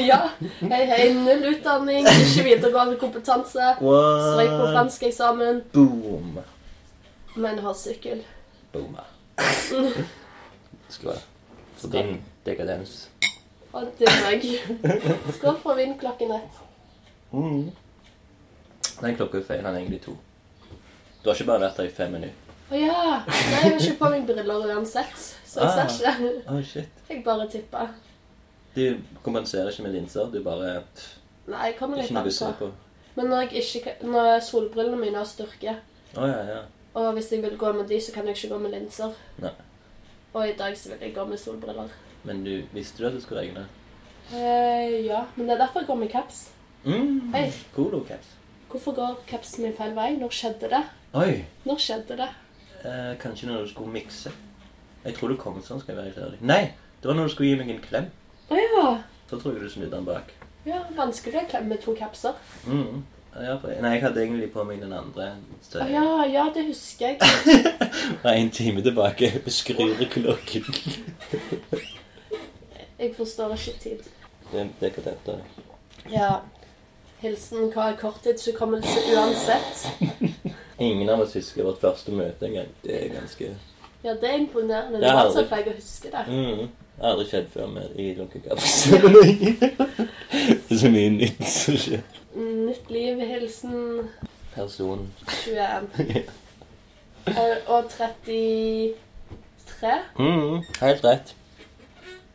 Speaker 2: Ja. Hei, hei. Null utdanning, ikke videregående kompetanse. Strøyk på franskeksamen,
Speaker 1: Boom.
Speaker 2: men har sykkel.
Speaker 1: [LAUGHS] Boomer. Skål. For din dekadens.
Speaker 2: Og det er meg. Skål for vin klokken ett.
Speaker 1: Den klokka er feil, han er egentlig to. Du har ikke bare vært der i fem minutter.
Speaker 2: Å ja! Nei, jeg har ikke på meg briller uansett, så jeg ser ikke.
Speaker 1: Oh, shit.
Speaker 2: Jeg bare tipper.
Speaker 1: Du kompenserer ikke med linser, du bare pff,
Speaker 2: Nei, jeg kommer litt
Speaker 1: Ikke noe
Speaker 2: an
Speaker 1: du ser
Speaker 2: på.
Speaker 1: på.
Speaker 2: Men når, jeg ikke, kan- når solbrillene mine har styrke,
Speaker 1: Å ja, ja.
Speaker 2: og hvis jeg vil gå med de, så kan jeg ikke gå med linser.
Speaker 1: Nei.
Speaker 2: Og i dag så vil jeg gå med solbriller.
Speaker 1: Men du visste du at det skulle regne?
Speaker 2: Eh, ja, men det er derfor jeg går med caps.
Speaker 1: Mm.
Speaker 2: Hei.
Speaker 1: Polo caps.
Speaker 2: Hvorfor går capsen min feil vei? Når skjedde det?
Speaker 1: Oi.
Speaker 2: Når skjedde det?
Speaker 1: Eh, kanskje når du skulle mikse. Jeg tror du kom sånn, skal jeg være helt ærlig. Nei! Det var når du skulle gi meg en klem.
Speaker 2: Å ja.
Speaker 1: Så tror jeg du snudde den bak.
Speaker 2: Ja, vanskelig å klemme to kapser.
Speaker 1: Mm. Ja, for- Nei, jeg hadde egentlig på meg den andre. Så
Speaker 2: Å ja, ja, det husker jeg.
Speaker 1: Fra en time tilbake beskriver klokken.
Speaker 2: Jeg forstår ikke tid.
Speaker 1: Det er dekadent, da.
Speaker 2: Ja. Hilsen hva er korttidshukommelse uansett?
Speaker 1: Ingen av oss husker vårt første møte engang. Det er ganske
Speaker 2: Ja, det er imponerende.
Speaker 1: Det
Speaker 2: Det
Speaker 1: er
Speaker 2: er bare
Speaker 1: aldri-
Speaker 2: så jeg pleier å huske det.
Speaker 1: mm. Det har aldri skjedd før med i Donkey Kong. Det er så mye nytt som skjer.
Speaker 2: Nytt liv, hilsen
Speaker 1: Person
Speaker 2: 21. Eh, Og 33.
Speaker 1: mm, Helt rett.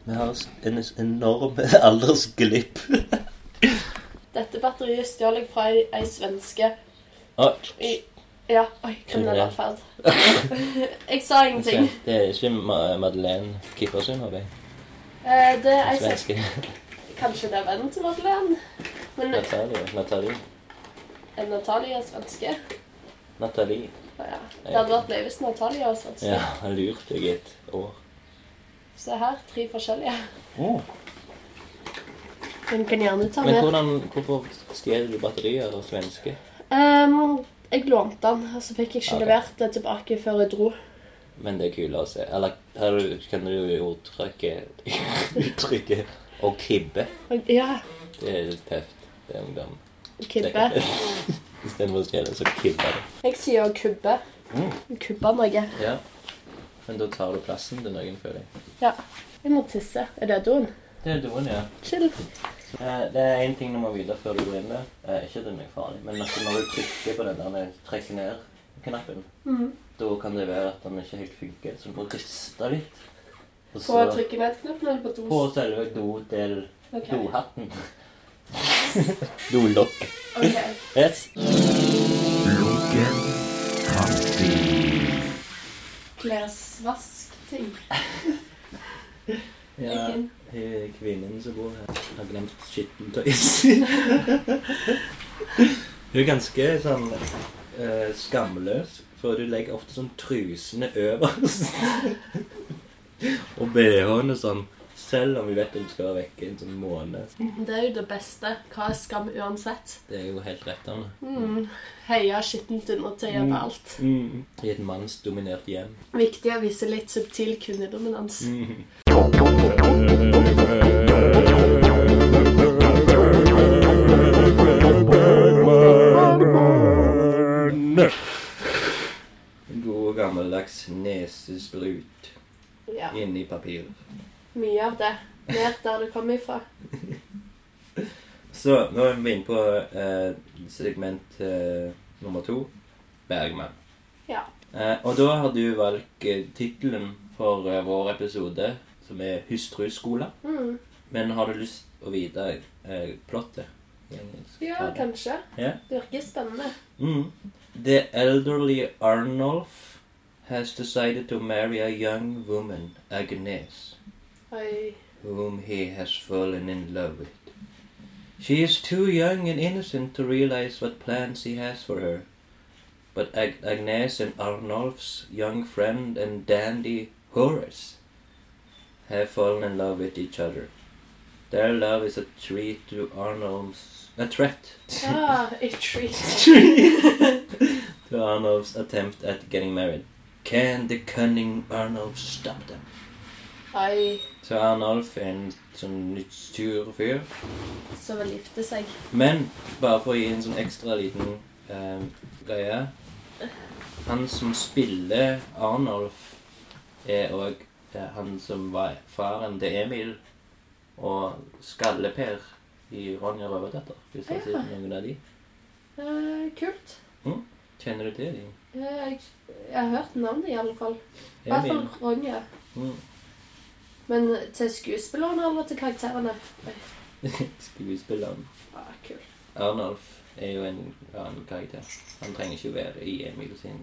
Speaker 1: Vi har s- en s- enorm aldersglipp.
Speaker 2: Dette batteriet stjal jeg fra ei, ei svenske
Speaker 1: Å,
Speaker 2: i Ja, oi, kriminell
Speaker 1: Kriminell. [LAUGHS]
Speaker 2: atferd. jeg sa ingenting.
Speaker 1: se, det er ikke Ma- Madeleine Kippersund, håper jeg.
Speaker 2: Eh, Det er ei svenske.
Speaker 1: Svenske.
Speaker 2: Kanskje det er vennen til Madeleine? Men
Speaker 1: Natalie. Natalie.
Speaker 2: eh, Natalia er svenske.
Speaker 1: Natalie.
Speaker 2: Å Ja. Det hadde vært løye hvis Natalia var svenske.
Speaker 1: Ja, han lurte deg i et år.
Speaker 2: Se her, tre forskjellige.
Speaker 1: Å.
Speaker 2: Hun kan gjerne ta
Speaker 1: Oh. Men
Speaker 2: med.
Speaker 1: hvordan, hvorfor stjeler du batterier av svenske?
Speaker 2: Ehm, jeg lånte den, og så fikk jeg ikke
Speaker 1: Ah, Ok.
Speaker 2: levert det tilbake før jeg dro.
Speaker 1: Men det er kulere å se. Eller har du, kan du jo uttrykke [LAUGHS] uttrykket å kibbe?
Speaker 2: Og, ja,
Speaker 1: Det er litt tøft. Det er ungdom. [LAUGHS]
Speaker 2: kubbe.
Speaker 1: Istedenfor å stjele, så kibber det.
Speaker 2: Jeg sier kubbe.
Speaker 1: Mm.
Speaker 2: Kubbe noe.
Speaker 1: Ja. Men da tar du plassen til noen, føler jeg.
Speaker 2: Ja. Jeg må tisse. Er det doen?
Speaker 1: Det er doen, ja.
Speaker 2: Chill.
Speaker 1: Eh, Det er én ting du må vite før du går inn der. Eh, Ikke at den er farlig, men at når du trykker på den der den trekker ned-knappen, da kan det være at den ikke helt funker, så du må riste litt. Og
Speaker 2: På å
Speaker 1: så
Speaker 2: trykke ned-knappen eller på dos?
Speaker 1: på selve dodel
Speaker 2: Ok.
Speaker 1: dohatten. [LAUGHS] Dolokk.
Speaker 2: Ok.
Speaker 1: Yes.
Speaker 3: Lunken kaffe.
Speaker 2: Klesvaskting.
Speaker 1: Ja,
Speaker 2: Egen.
Speaker 1: eh, kvinnen som bor her, har glemt skittentøyet [LAUGHS] sitt. Hun er ganske sånn eh, skamløs, for du legger ofte sånn trusene øverst. og BH-ene sånn, selv om vi vet at du skal være vekke en sånn måned.
Speaker 2: Det er jo det beste. Hva er skam uansett?
Speaker 1: Det er jo helt rett av henne.
Speaker 2: Mm. Heia skittent undertøy
Speaker 1: Mm.
Speaker 2: over alt.
Speaker 1: I et mannsdominert hjem.
Speaker 2: Viktig å vise litt subtil kvinnedominans.
Speaker 1: Mm. En god gammeldags nesesprut
Speaker 2: Ja.
Speaker 1: inni papiret.
Speaker 2: Mye av det. Ned der du kom ifra.
Speaker 1: Så nå er vi inne på eh, segment eh, nummer to, Bergman.
Speaker 2: Ja.
Speaker 1: Eh, og da har du valgt eh, tittelen for eh, vår episode, som er 'Hustruskole'.
Speaker 2: Mm.
Speaker 1: Men har du lyst å vite eh, plottet? i engelsk?
Speaker 2: Ja, kanskje.
Speaker 1: Ja.
Speaker 2: Det virker spennende.
Speaker 1: Mm. The elderly Arnulf has decided to marry a young woman, Agnes. [LAUGHS]
Speaker 2: Oi.
Speaker 1: whom he has fallen in love with. She is too young and innocent to realize what plans he has for her. But Ag- Agnes and Arnulf's young friend and dandy Horace have fallen in love with each other. Their love is a treat to Arnulf's a threat
Speaker 2: Ah, a treat.
Speaker 1: to Arnulf's attempt at getting married. Can the cunning Arnulf stop them?
Speaker 2: Oi.
Speaker 1: Så Arnulf er en sånn litt sur fyr.
Speaker 2: Som vil gifte seg.
Speaker 1: Men bare for å gi en sånn ekstra liten eh, greie Han som spiller Arnolf, er òg eh, han som var faren til Emil og Skalleper i Ronja Røverdatter. Hvis du har sett noen av de.
Speaker 2: Eh, kult.
Speaker 1: Kjenner du til de?
Speaker 2: Eh, jeg, jeg har hørt navnet, i alle fall. I hvert fall
Speaker 1: Emil.
Speaker 2: Ronja.
Speaker 1: Mm.
Speaker 2: Men til skuespillerne eller til karakterene?
Speaker 1: Mm. [LAUGHS] Skuespilleren
Speaker 2: Ah, kult.
Speaker 1: Arnolf er jo en annen karakter. Han trenger ikke være i Emil sin,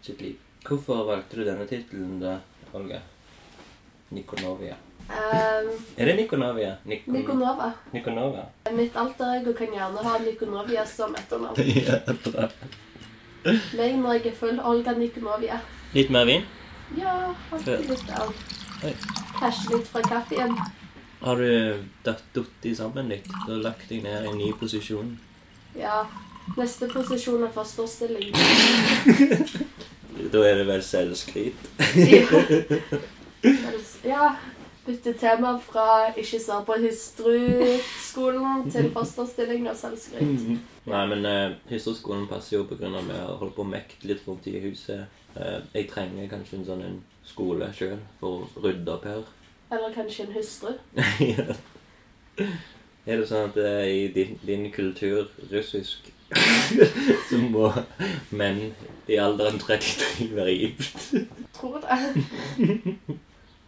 Speaker 1: sitt liv. Hvorfor valgte du denne tittelen, da, Olga? Nikonovia.
Speaker 2: Um,
Speaker 1: Er det Nikonovia? Nikon
Speaker 2: Nikonova.
Speaker 1: Nikonovia.
Speaker 2: Mitt alter ego kan gjerne ha Nikonovia som etternavn. Meg når jeg er full, Olga Nikonovia.
Speaker 1: Litt mer vin.
Speaker 2: Ja, alltid litt av.
Speaker 1: Oi.
Speaker 2: Cashe litt fra kaffen.
Speaker 1: Har du datt i sammen litt og lagt deg ned i en ny posisjon?
Speaker 2: Ja. Neste posisjon er fosterstilling.
Speaker 1: Da er det vel selvskryt.
Speaker 2: Ja. ja. Bytte tema fra ikke svar på hustru-skolen til fosterstilling og
Speaker 1: Mm.
Speaker 2: selvskryt.
Speaker 1: Nei, men uh, husterskolen passer jo pga. at vi har holdt på å mekte litt rundt i huset. Eh, jeg trenger kanskje en sånn en skole sjøl for å rydde opp her. [LAUGHS]
Speaker 2: Eller kanskje en hustru.
Speaker 1: Ja. Er det sånn at det er i din, din kultur russisk [LAUGHS] så må menn i alderen 33 være gift?
Speaker 2: Tror det.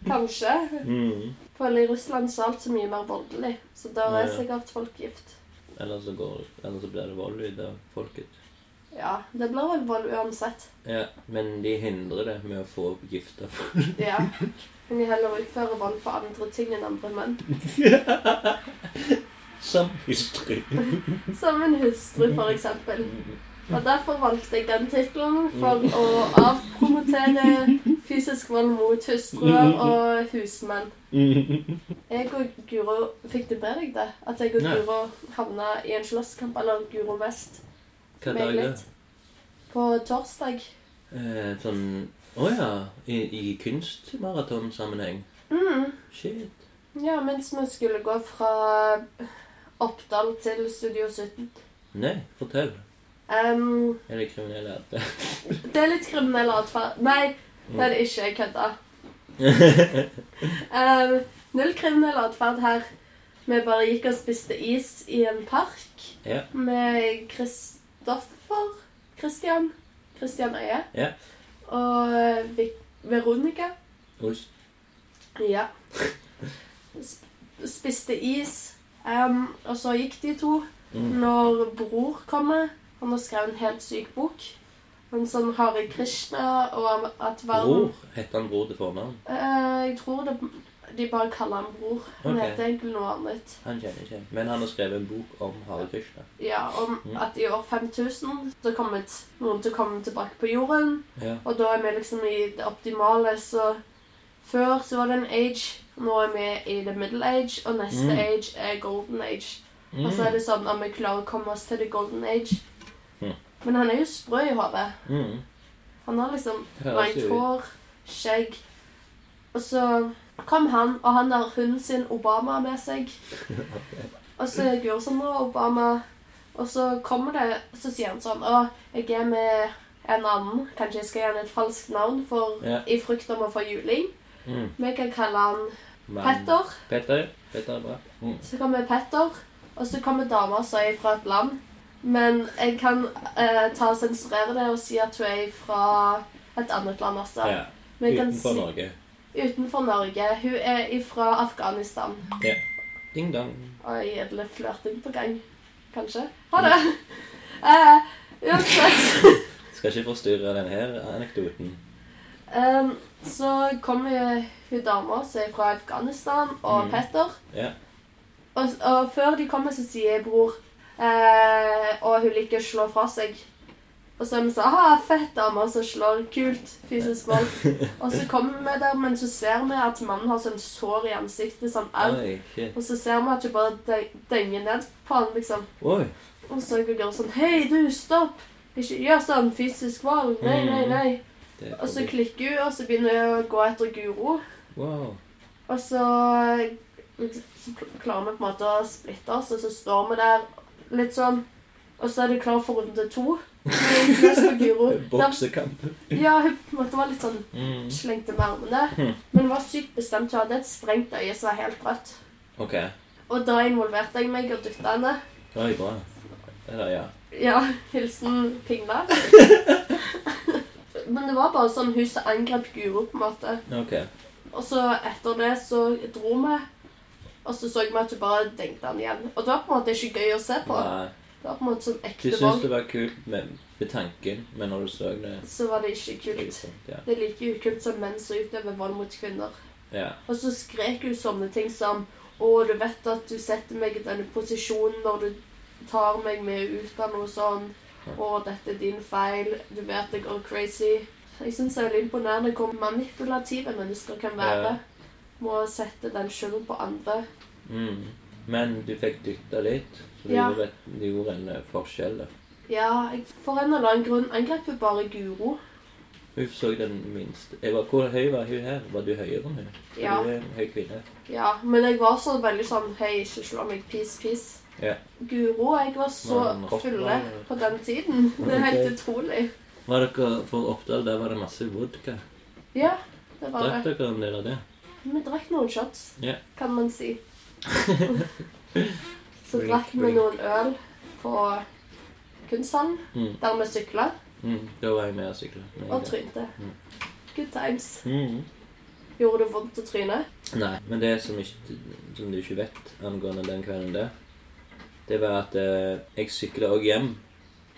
Speaker 2: Kanskje.
Speaker 1: Mm.
Speaker 2: For i Russland så er alt så mye mer voldelig, så da
Speaker 1: Ja,
Speaker 2: er
Speaker 1: ja.
Speaker 2: sikkert folk gift.
Speaker 1: Eller så, går, eller så blir det vold ut av folket.
Speaker 2: Ja, det blir vel vold uansett.
Speaker 1: Ja, Men de hindrer det med å få gifta folk.
Speaker 2: Ja. Men de heller utfører vold på andre ting enn andre menn.
Speaker 1: [LAUGHS] Som hysteri.
Speaker 2: Som en hustru, for eksempel. Og derfor valgte jeg den tittelen, for å avpromotere fysisk vold mot hustruer og husmenn. Jeg og Guro Fikk du med deg det? At jeg og
Speaker 1: Nei.
Speaker 2: Guro havna i en slåsskamp, eller Guro Vest,
Speaker 1: Hva
Speaker 2: meg
Speaker 1: dag er det?
Speaker 2: litt. På torsdag.
Speaker 1: Eh, sånn Å ja. I, i kunstmaratonsammenheng.
Speaker 2: Mm.
Speaker 1: Shit.
Speaker 2: Ja, mens vi skulle gå fra Oppdal til Studio 17.
Speaker 1: Nei, fortell.
Speaker 2: Em,
Speaker 1: Er det [LAUGHS] kriminell atferd?
Speaker 2: det er litt kriminell atferd. Nei, det er det ikke. Jeg kødda. Eh, null kriminell atferd her. Vi bare gikk og spiste is i en park
Speaker 1: Ja.
Speaker 2: med Kristoffer Christian. Christian Øye.
Speaker 1: Ja.
Speaker 2: Og Vi Veronica.
Speaker 1: Ost.
Speaker 2: Ja. Sp- Spiste is. em, og så gikk de to.
Speaker 1: Mm.
Speaker 2: Når Bror kommer Han har skrevet en helt syk bok. En sånn Hare Krishna og om at verden
Speaker 1: Bror. Heter han Bror til fornavn?
Speaker 2: Eh, jeg tror det, de bare kaller han bror. Han
Speaker 1: Ok.
Speaker 2: heter egentlig noe annet.
Speaker 1: Han kjenner ikke. Men han har skrevet en bok om Hare Krishna.
Speaker 2: Ja, om
Speaker 1: Mm.
Speaker 2: at i år 5000 så kommer t- noen til å komme tilbake på jorden,
Speaker 1: Ja.
Speaker 2: og da er vi liksom i det optimale, så før så var det en age, nå er vi i the middle age, og neste
Speaker 1: Mm.
Speaker 2: age er golden age.
Speaker 1: Mm.
Speaker 2: Og så er det sånn at vi klarer å komme oss til the golden age.
Speaker 1: Mm.
Speaker 2: Men han er jo sprø i hodet.
Speaker 1: mm.
Speaker 2: Han har liksom
Speaker 1: Høres
Speaker 2: langt
Speaker 1: jo ut.
Speaker 2: hår, skjegg. Og så kom han, og han har hunden sin Obama med
Speaker 1: [LAUGHS]
Speaker 2: seg. Og så er Guro sånn «Å, Obama. Og så kommer det, så sier han sånn Å, jeg er med en annen. Kanskje jeg skal gi han et falskt navn for,
Speaker 1: Ja.
Speaker 2: i frykt om å få juling.
Speaker 1: Mm.
Speaker 2: Vi kan kalle han
Speaker 1: Men-
Speaker 2: Petter.
Speaker 1: Petter. Petter er bra. Mm.
Speaker 2: Så kommer Petter, og så kommer dama som er fra et land. Men jeg kan eh, ta og sensurere det og si at hun er fra et annet land også.
Speaker 1: Ja.
Speaker 2: Men jeg kan
Speaker 1: Utenfor
Speaker 2: si-
Speaker 1: Norge.
Speaker 2: Utenfor Norge. Hun er ifra Afghanistan.
Speaker 1: Ding dong.
Speaker 2: Oi, er det litt flørting på gang? Kanskje? Ha det! Eh, uansett
Speaker 1: Skal ikke forstyrre denne her anekdoten.
Speaker 2: Em, Så kommer jo hun dama som er fra Afghanistan, og
Speaker 1: Mm.
Speaker 2: Petter.
Speaker 1: Ja.
Speaker 2: Og, og før de kommer, så sier bror eh, Og hun liker å slå fra seg. Og så er vi sånn Ha, fett dame som slår. Kult. Fysisk vold.
Speaker 1: [LAUGHS]
Speaker 2: Og så kommer vi der, men så ser vi at mannen har sånn sår i ansiktet. Sånn au.
Speaker 1: Oi, shit.
Speaker 2: Og så ser vi at hun bare dø- dønger ned på han, liksom.
Speaker 1: Oi.
Speaker 2: Og så går hun sånn Hei, du, stopp! Ikke gjør sånn fysisk vold! Nei, nei, nei.
Speaker 1: Det er
Speaker 2: Og så
Speaker 1: forbi.
Speaker 2: klikker hun, og så begynner hun å gå etter Guro.
Speaker 1: Wow.
Speaker 2: Og så, så klarer vi på en måte å splitte oss, og så står vi der litt sånn. Og så er det klar for runde to. Men nå står
Speaker 1: [LAUGHS]
Speaker 2: Guro. Der,
Speaker 1: Boksekamp.
Speaker 2: ja, hun på en måte var litt sånn
Speaker 1: Mm.
Speaker 2: slengte med armene.
Speaker 1: Mhm.
Speaker 2: Men hun var sykt bestemt. Hun hadde et sprengt øye som var helt rødt.
Speaker 1: OK.
Speaker 2: Og da involverte jeg meg og dytta henne.
Speaker 1: Oi, bra. Eller, ja.
Speaker 2: Ja, hilsen Pingla. Men det var bare sånn hun som angrep Guro, på en måte.
Speaker 1: OK.
Speaker 2: Og så etter det så dro vi, og så så vi at hun bare dengte han igjen. Og det var på en måte ikke gøy å se på.
Speaker 1: Nei.
Speaker 2: Det var på en måte sånn
Speaker 1: Du
Speaker 2: ekte
Speaker 1: syntes
Speaker 2: vold.
Speaker 1: det var kult med, med tanken, men når du så det
Speaker 2: Så var det ikke
Speaker 1: det er
Speaker 2: kult.
Speaker 1: sånn, ja.
Speaker 2: Det er like ukult som menn som utøver vold mot kvinner.
Speaker 1: ja.
Speaker 2: Og så skrek hun sånne ting som Å, du vet at du setter meg i denne posisjonen når du tar meg med ut av noe sånn. Å, dette er din feil. Du vet jeg går crazy. Jeg syns det er litt imponerende hvor manipulative mennesker kan være.
Speaker 1: Ja.
Speaker 2: Må sette den skylden på andre.
Speaker 1: Mm. Men du fikk dytta litt, så det
Speaker 2: Ja.
Speaker 1: gjorde, et- det gjorde en eh, forskjell. da.
Speaker 2: Ja, jeg- for en eller annen grunn angrep hun bare Guro.
Speaker 1: Hun så den minste jeg var, Hvor høy var hun her? Var du høyere enn hun? For
Speaker 2: Ja.
Speaker 1: Du er en høy kvinne.
Speaker 2: Ja, men jeg var så veldig sånn Hei, ikke slå meg. Peace, peace.
Speaker 1: Ja.
Speaker 2: Guro og jeg var så
Speaker 1: Men hopp,
Speaker 2: fulle
Speaker 1: nei.
Speaker 2: på den tiden. Det er helt
Speaker 1: Ok.
Speaker 2: utrolig.
Speaker 1: Var dere for Oppdal? Der var det masse vodka.
Speaker 2: Ja, det var det.
Speaker 1: Drakk dere en del av det?
Speaker 2: Vi drakk noen shots,
Speaker 1: Ja.
Speaker 2: kan man si. [LAUGHS] Så drakk vi noen øl på kunsthallen,
Speaker 1: Mm.
Speaker 2: der vi sykla
Speaker 1: Mm, da var jeg med og sykla. Med
Speaker 2: og
Speaker 1: en gang.
Speaker 2: trynte.
Speaker 1: Mm.
Speaker 2: Good times.
Speaker 1: Mm.
Speaker 2: Gjorde det vondt å tryne?
Speaker 1: Nei, men det som, ikke, som du ikke vet angående den kvelden der, det var at eh, jeg sykla òg hjem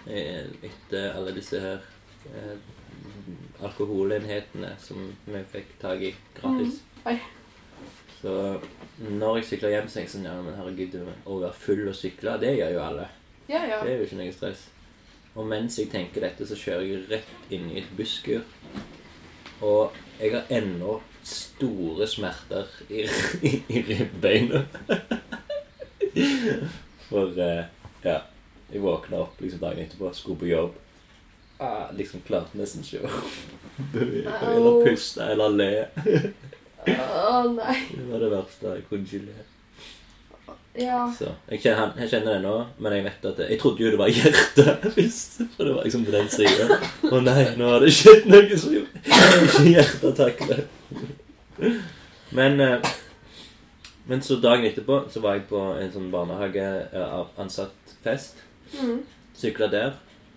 Speaker 1: eh, etter alle disse her eh, alkoholenhetene som vi fikk tak i gratis.
Speaker 2: Mm. Oi.
Speaker 1: Så når jeg sykla hjem, så tenker jeg sånn Ja, men herregud, å være full og sykle, det gjør jo alle.
Speaker 2: Ja, ja.
Speaker 1: Det er jo ikke noe stress. Og mens jeg tenker dette, så kjører jeg rett inn i et busskur. Og jeg har ennå store smerter i, i, i ribbeina. For eh, ja Jeg våkna opp liksom dagen etterpå, skulle på jobb. Ah, liksom klarte nesten ikke å [LAUGHS] bevege meg, eller
Speaker 2: Au.
Speaker 1: puste eller le.
Speaker 2: Å nei.
Speaker 1: Det var det verste. Jeg kunne ikke le.
Speaker 2: Ja.
Speaker 1: Så, jeg, kjenner, han- jeg kjenner det nå, men jeg vet at det, jeg trodde jo det var hjertet [LAUGHS] først. For det var liksom på den sida. Å nei, nå har det skjedd noe som jeg ikke hjertet takler. Men, eh, men så dagen etterpå så var jeg på en sånn barnehageansatt fest.
Speaker 2: Mm.
Speaker 1: Sykla der.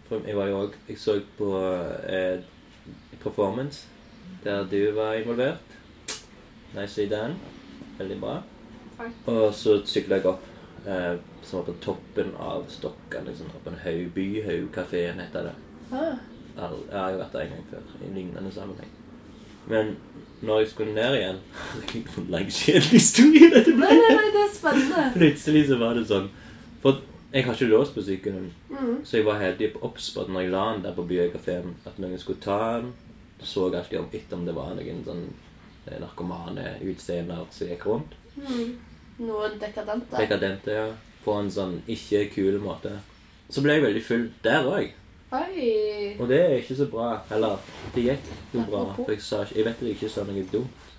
Speaker 1: For jeg var jo òg Jeg så på eh, Performance, der du var involvert. Nicely done. Veldig bra.
Speaker 2: Takk.
Speaker 1: Og så sykla jeg opp, eh, som var på toppen av Stokkan. Liksom, opp en haug byhaugkafeen, heter det.
Speaker 2: Ah.
Speaker 1: All, jeg har jo vært der en gang før, i en lignende sammenheng. Men når jeg skulle ned igjen [LAUGHS] Herregud, for en lang kjedehistorie dette
Speaker 2: Nei,
Speaker 1: ble!
Speaker 2: nei, nei, det er spennende.
Speaker 1: Plutselig så var det sånn. For jeg har ikke lås på sykkelen.
Speaker 2: Mm.
Speaker 1: Så jeg var heldig på obs på at når jeg la den der på Byøykafeen, at noen skulle ta den. Så jeg alltid om etter om det var noen sånn eh, narkomane utseender som gikk rundt.
Speaker 2: Mm. Noen dekadente.
Speaker 1: Dekadente, ja. På en sånn ikke kul måte. Så ble jeg veldig full der òg.
Speaker 2: Oi.
Speaker 1: Og det er ikke så bra. Eller, det gikk jo bra. For jeg, sa, ikke- jeg vet at jeg ikke sa noe dumt.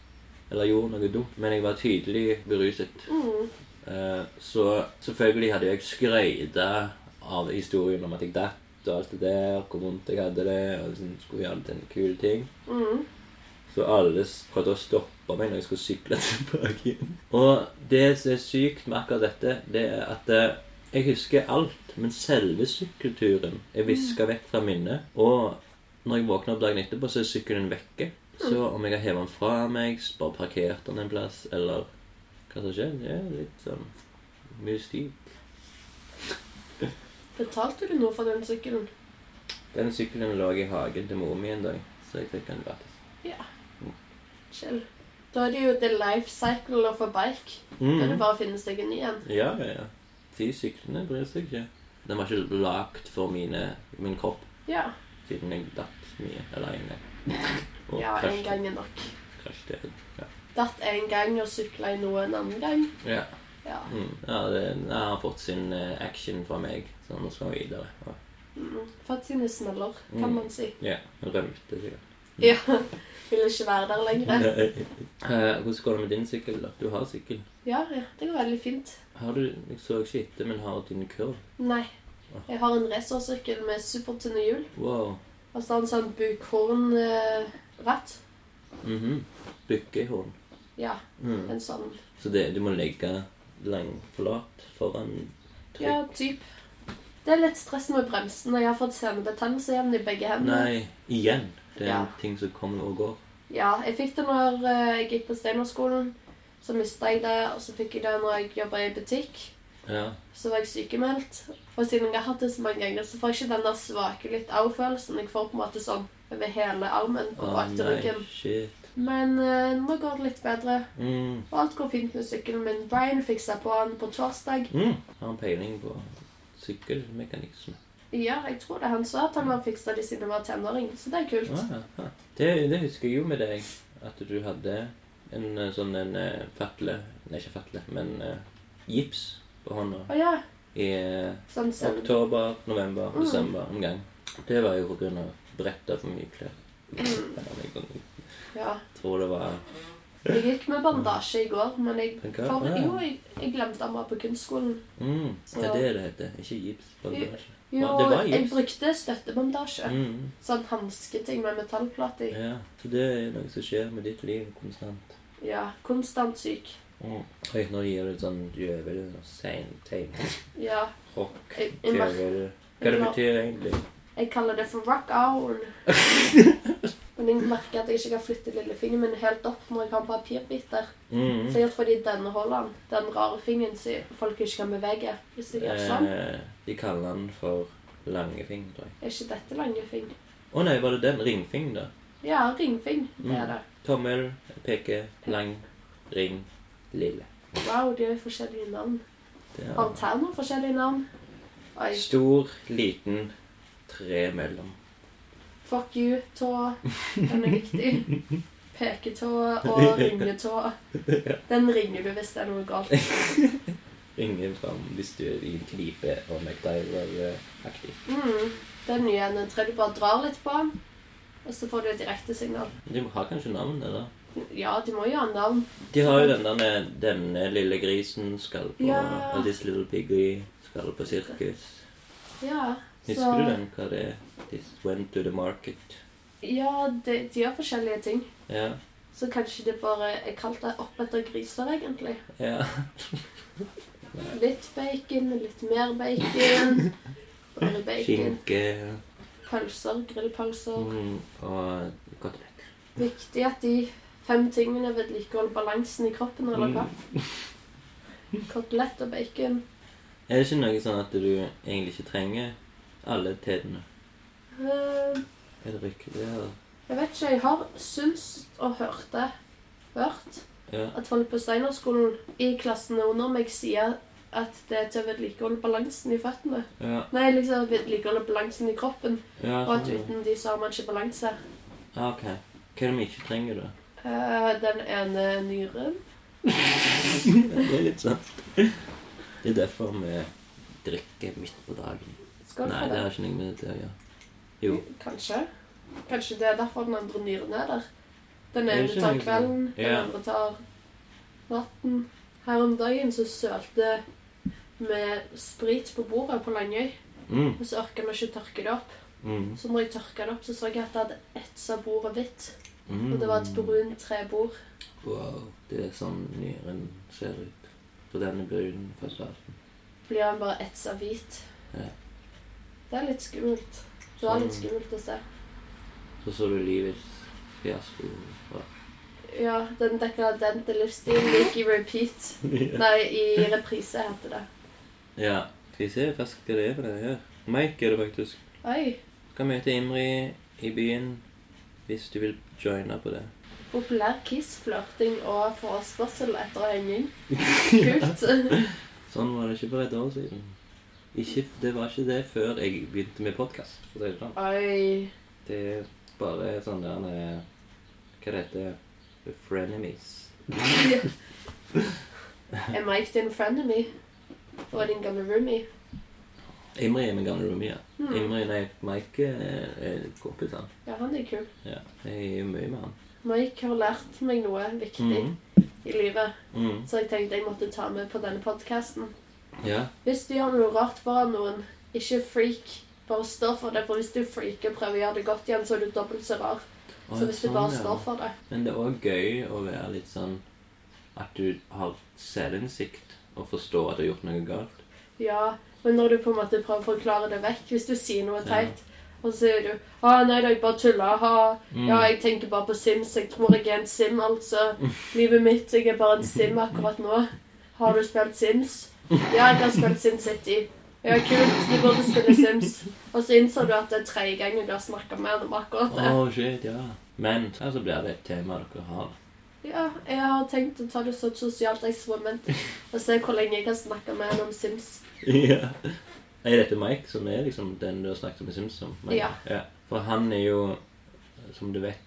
Speaker 1: Eller gjorde noe dumt. Men jeg var tydelig beruset.
Speaker 2: Mm.
Speaker 1: Eh, Så selvfølgelig hadde jeg skrøyta av historien om at jeg datt og alt det der, hvor vondt jeg hadde det, og liksom skulle gjøre det til en kul ting.
Speaker 2: Mm.
Speaker 1: Så alle s- prøvde å stoppe meg når jeg skulle sykle [LAUGHS] tilbake igjen. Og det som er sykt med akkurat dette, det er at eh, jeg husker alt, men selve sykkelturen er viska vekk fra minnet. Og når jeg våkner opp dagen etterpå, så er sykkelen vekke. Så om jeg har hevet den fra meg, bare parkert den en plass, eller hva som har skjedd, det er litt sånn mystikk.
Speaker 2: Betalte du noe for den sykkelen?
Speaker 1: Den sykkelen lå i hagen til mor mi en dag, så jeg fikk den gratis.
Speaker 2: Chill. Da er det jo the life cycle of a bike. Da er det bare å finne seg en ny en.
Speaker 1: Ja, ja, ja. De syklene bryr seg ikke. Den var ikke lagd for mine, min kropp,
Speaker 2: Ja.
Speaker 1: siden jeg datt mye. Eller
Speaker 2: [LAUGHS]
Speaker 1: en gang. Og
Speaker 2: ja, en
Speaker 1: krasjte-
Speaker 2: gang er nok.
Speaker 1: krasjte jeg. Ja.
Speaker 2: Datt en gang og sykla i noe en annen gang.
Speaker 1: Ja.
Speaker 2: Ja.
Speaker 1: Mm. ja, det jeg har fått sin eh, action fra meg, så nå skal vi videre. Ja.
Speaker 2: Mm. Fått sine smeller,
Speaker 1: Mm.
Speaker 2: kan man si.
Speaker 1: Ja, hun rømte sikkert.
Speaker 2: Ja. Vil ikke være der lenger.
Speaker 1: [LAUGHS] Eh, Hvordan går det med din sykkel? da? Du har sykkel.
Speaker 2: Ja, ja, det går veldig fint.
Speaker 1: Har du, jeg så ikke etter, men har din kurv?
Speaker 2: Nei. Jeg har en racersykkel med supertynne hjul.
Speaker 1: Wow.
Speaker 2: Og så har en sånn bukhornratt.
Speaker 1: Mm -hmm. Bykkehorn.
Speaker 2: Ja,
Speaker 1: Mm.
Speaker 2: en sånn
Speaker 1: Så det, du må legge langflat foran trykk?
Speaker 2: Ja, typ. Det er litt stress med bremsen, og jeg har fått senebetennelse igjen i begge hendene.
Speaker 1: Nei, igjen. Det er
Speaker 2: Ja.
Speaker 1: en ting som kommer og går.
Speaker 2: Ja, jeg fikk det når eh, jeg gikk på Steinerskolen. Så mista jeg det, og så fikk jeg det når jeg jobba i butikk.
Speaker 1: Ja.
Speaker 2: Så var jeg sykemeldt. Og siden jeg har hatt det så mange ganger, så får jeg ikke den der svake litt au-følelsen. Jeg får på en måte sånn over hele armen på
Speaker 1: Å,
Speaker 2: bak til ryggen.
Speaker 1: shit.
Speaker 2: Men eh, nå går det litt bedre.
Speaker 1: Mm.
Speaker 2: Og alt går fint med sykkelen min. Brian fiksa på han på torsdag.
Speaker 1: Mm. Har en peiling på sykkelmekanisme.
Speaker 2: Ja, jeg tror det. Han sa at han har fiksa de siden han var tenåring, så det er kult.
Speaker 1: Ah, ah. det, det husker jeg jo med deg, at du hadde en eh, sånn en eh, fatle Nei, ikke fatle, men eh, gips på hånda
Speaker 2: Å ja.
Speaker 1: i eh,
Speaker 2: Sånn sen-
Speaker 1: oktober, november,
Speaker 2: Mm.
Speaker 1: desember en gang. Det var jo på grunn av bretta for mye klær.
Speaker 2: Mm.
Speaker 1: Jeg
Speaker 2: Ja.
Speaker 1: tror det var
Speaker 2: Jeg gikk med bandasje i går, men jeg,
Speaker 1: Tenker jeg.
Speaker 2: for,
Speaker 1: Ja.
Speaker 2: jo, jeg, jeg glemte han var på kunstskolen.
Speaker 1: mm.
Speaker 2: Så-
Speaker 1: Ja, det er det heter. Ikke gips. bandasje.
Speaker 2: Jo,
Speaker 1: Ja, det var
Speaker 2: jeg
Speaker 1: gips.
Speaker 2: brukte støttebandasje.
Speaker 1: Mm.
Speaker 2: Sånn hansketing med metallplate i.
Speaker 1: Ja, så det er noe som skjer med ditt liv konstant.
Speaker 2: Ja, konstant syk.
Speaker 1: Oi, nå gir du sånn djøvel og seinteim.
Speaker 2: Ja.
Speaker 1: Rock,
Speaker 2: Jeg, jeg, mer-
Speaker 1: djøvel Hva det betyr egentlig?
Speaker 2: jeg kaller det for
Speaker 1: [LAUGHS]
Speaker 2: rock on. Men jeg merker at jeg ikke kan flytte lillefingeren min helt opp når jeg har papirbiter.
Speaker 1: Mm.
Speaker 2: Sikkert fordi denne holder den. Den rare fingeren som folk ikke kan bevege. Hvis jeg gjør sånn.
Speaker 1: Eh, de kaller den for langefing, tror jeg.
Speaker 2: Er ikke dette langefing?
Speaker 1: Å nei, var det den? Ringfing, da.
Speaker 2: Ja, ringfing.
Speaker 1: Mm.
Speaker 2: Det er det.
Speaker 1: Tommel, peke, lang, ring, lille.
Speaker 2: Wow, de har forskjellige navn.
Speaker 1: Det er
Speaker 2: Har Terner forskjellige navn? Oi.
Speaker 1: Stor, liten, tre mellom.
Speaker 2: Fuck you, tå. Den er
Speaker 1: [LAUGHS]
Speaker 2: viktig. Peketå og ringetå. Den ringer du hvis det er noe galt.
Speaker 1: Ringe fram hvis du er i en knipe og MacGyver-aktig.
Speaker 2: Mm, den nye enden tror jeg du bare drar litt på den, og så får du et direktesignal.
Speaker 1: De har kanskje navn, eller?
Speaker 2: Ja, de må jo ha navn.
Speaker 1: De har jo den derne 'Denne lille grisen skal på
Speaker 2: Ja.
Speaker 1: og 'This little piggy skal på sirkus'.
Speaker 2: Ja,
Speaker 1: Husker
Speaker 2: så-
Speaker 1: du den? Hva det er? 'This went to the market'.
Speaker 2: Ja, de, de gjør forskjellige ting.
Speaker 1: Ja.
Speaker 2: Så kanskje det bare er kalt det opp etter griser, egentlig.
Speaker 1: ja.
Speaker 2: Litt bacon, litt mer bacon.
Speaker 1: [LAUGHS]
Speaker 2: Bare bacon.
Speaker 1: Skinke
Speaker 2: Pølser, grillpølser.
Speaker 1: mm, og kotelett.
Speaker 2: Viktig at de fem tingene vedlikeholder balansen i kroppen, eller hva?
Speaker 1: Mm. [LAUGHS]
Speaker 2: Kotelett og bacon.
Speaker 1: Er det ikke noe sånn at du egentlig ikke trenger alle tedene?
Speaker 2: Eh,
Speaker 1: Er det riktig? Ja.
Speaker 2: Jeg vet ikke, jeg har syns og hørte hørt
Speaker 1: ja.
Speaker 2: at folk på Steinerskolen i klassene under meg sier at det er til å vedlikeholde balansen i føttene.
Speaker 1: Ja.
Speaker 2: Nei, liksom vedlikeholde balansen i kroppen,
Speaker 1: ja
Speaker 2: og at
Speaker 1: sånn, ja.
Speaker 2: uten de så har man ikke balanse.
Speaker 1: Ah, OK. Hva er det vi ikke trenger, da?
Speaker 2: Eh, den ene nyren.
Speaker 1: Det er litt sånn Det er derfor vi drikker midt på dagen.
Speaker 2: Skål
Speaker 1: Nei,
Speaker 2: for
Speaker 1: det
Speaker 2: det.
Speaker 1: har ikke noe med det å gjøre. Jo.
Speaker 2: Kanskje. Kanskje det er derfor den andre nyren er der. Den
Speaker 1: Det er
Speaker 2: ene
Speaker 1: ikke
Speaker 2: tar
Speaker 1: noe-
Speaker 2: kvelden, den
Speaker 1: Ja.
Speaker 2: andre tar natten. Her om dagen så sølte med sprit på bordet på Langøy.
Speaker 1: Mm.
Speaker 2: Og så orka vi ikke tørke det opp.
Speaker 1: Mm.
Speaker 2: Så når jeg tørka det opp, så så jeg at jeg hadde etsa bordet hvitt.
Speaker 1: Mm.
Speaker 2: Og det var et brunt trebord.
Speaker 1: Wow. Det er sånn nyren ser ut. På denne brune fasaden.
Speaker 2: Blir han bare etsa hvit.
Speaker 1: Ja.
Speaker 2: Det er litt skummelt. Det var litt
Speaker 1: Sånn.
Speaker 2: skummelt å se.
Speaker 1: Så så du livets fiasko. fra-
Speaker 2: Ja, den dekadente livsstilen gikk i repeat. Nei, i reprise heter det.
Speaker 1: Ja. Skal vi se hva skal det er på denne her. Mike er det faktisk.
Speaker 2: Oi,
Speaker 1: Skal møte Imri i byen hvis du vil joine på det.
Speaker 2: populær kiss, flørting og forespørsel etter henging. Kult.
Speaker 1: [LAUGHS] Sånn var det ikke for et år siden. Ikke, det var ikke det før jeg begynte med podkast. Det sånn. [LAUGHS]
Speaker 2: Oi.
Speaker 1: Det er bare sånn der eh, Hva det heter det? Frenemies.
Speaker 2: Er Mike din frenemy? Og din gamle roomie?
Speaker 1: Imri er min gamle roomie. ja.
Speaker 2: Hmm.
Speaker 1: Imri, nei, Mike er, er kompis, han.
Speaker 2: Ja, han er kul.
Speaker 1: Ja. Jeg er mye med han.
Speaker 2: Mike har lært meg noe viktig
Speaker 1: Mhm.
Speaker 2: i livet,
Speaker 1: Mhm.
Speaker 2: så jeg tenkte jeg måtte ta med på denne podkasten.
Speaker 1: Ja.
Speaker 2: Hvis du gjør noe rart foran noen, ikke freak. Bare stå for det, for hvis du freaker og prøver å gjøre det godt igjen, så er du dobbelt så rar.
Speaker 1: Å,
Speaker 2: Så hvis du
Speaker 1: sånn,
Speaker 2: bare
Speaker 1: ja.
Speaker 2: står for det.
Speaker 1: Men det er òg gøy å være litt sånn at du har selvinnsikt og forstår at du har gjort noe galt.
Speaker 2: Ja, men når du på en måte prøver å forklare det vekk, hvis du sier noe
Speaker 1: Ja.
Speaker 2: teit, og så sier du 'Å nei da, jeg bare tuller. Ha.
Speaker 1: Mm.
Speaker 2: Ja, jeg tenker bare på Sims. Jeg tror jeg er en Sim, altså. Livet mitt, jeg er bare en Sim akkurat nå. Har du spilt Sims? Ja, jeg har spilt Sims City. Ja, kult. Du burde spille Sims. Og så innser du at det er tredje gangen du har snakka med ham om akkurat det.
Speaker 1: Å, shit, ja. Men her så blir det et tema dere har.
Speaker 2: Ja, jeg har tenkt å ta det som et sosialt eksperiment og se hvor lenge jeg kan snakke med ham om Sims.
Speaker 1: ja. Er dette Mike som er liksom den du har snakket med Sims om? Mike?
Speaker 2: Ja.
Speaker 1: For han er jo, som du vet,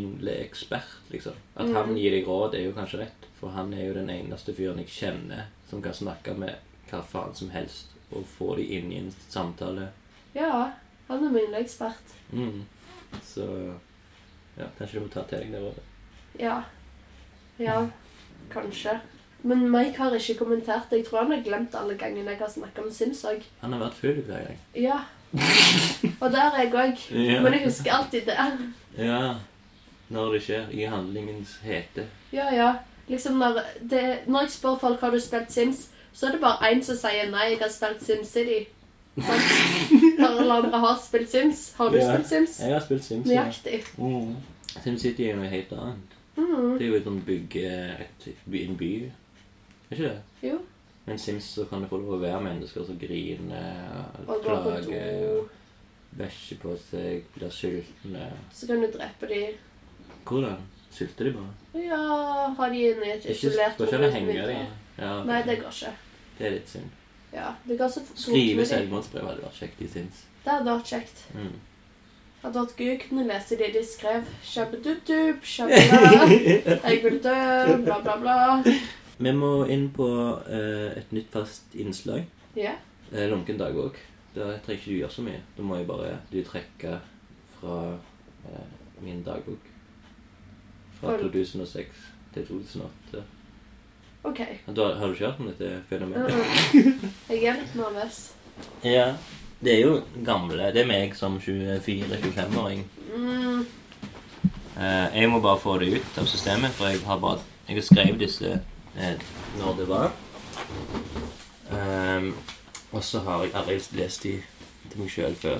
Speaker 1: mingleekspert, liksom. At
Speaker 2: Mm.
Speaker 1: han gir deg råd, er jo kanskje rett. For han er jo den eneste fyren jeg kjenner som kan snakke med hva faen som helst og få de inn i en samtale.
Speaker 2: Ja, han er min ekspert.
Speaker 1: Mm. Så ja, kanskje du må ta til deg det rådet.
Speaker 2: Ja. Ja, kanskje. Men Mike har ikke kommentert. Jeg tror han har glemt alle gangene jeg har snakka med Sims òg.
Speaker 1: Han har vært full hver gang.
Speaker 2: Ja. Og der er jeg òg.
Speaker 1: Ja.
Speaker 2: Men jeg husker alltid det.
Speaker 1: Ja. når det skjer, i handlingens hete.
Speaker 2: Ja, ja. Liksom når, det, når jeg spør folk har du spilt Sims, så er det bare én som sier nei, jeg har spilt Sims City. Sant? Når alle andre har spilt Sims. Har du
Speaker 1: Ja.
Speaker 2: spilt Sims?
Speaker 1: Jeg har spilt Sims. ja.
Speaker 2: Nøyaktig.
Speaker 1: Mm. SimCity er noe helt annet.
Speaker 2: Mhm.
Speaker 1: Det er jo et sånt bygge et, by- en by. Er ikke det?
Speaker 2: Jo.
Speaker 1: Men Sims så kan du få lov å være mennesker som griner,
Speaker 2: Og gå på
Speaker 1: klage,
Speaker 2: do.
Speaker 1: bæsjer på seg, blir sultne.
Speaker 2: Så kan du drepe dem.
Speaker 1: Hvordan? Sulter de bare?
Speaker 2: Ja, har de en et
Speaker 1: Ikke,
Speaker 2: isolert
Speaker 1: går ikke an å henge de? Ja, ok.
Speaker 2: Nei, det går ikke.
Speaker 1: det er litt synd.
Speaker 2: Ja, det går så fort
Speaker 1: Skrive
Speaker 2: med de.
Speaker 1: selvmordsbrev hadde vært kjekt i Sims.
Speaker 2: Det hadde vært kjekt.
Speaker 1: Mm.
Speaker 2: Hadde vært gøy å kunne lese det de skrev.
Speaker 1: [LAUGHS]
Speaker 2: Shabadubdub, shabala, jeg vil dø, bla, bla, bla.
Speaker 1: Vi må inn på eh, et nytt fast innslag.
Speaker 2: Ja.
Speaker 1: Eh, lunken dag òg. Da trenger ikke du gjøre så mye. Da må jeg bare du trekke fra eh, min dagbok. Fra
Speaker 2: Har du-
Speaker 1: 2006 til 2008.
Speaker 2: OK.
Speaker 1: Du har, har du ikke hørt om dette fenomenet?
Speaker 2: Mm. Jeg er litt nervøs.
Speaker 1: Ja. Det er jo gamle. Det er meg som 24-25-åring.
Speaker 2: Mm.
Speaker 1: Eh, jeg må bare få det ut av systemet, for jeg har bare Jeg skrev disse eh, når det var. Ehm, og så har jeg aldri lest de til meg sjøl før.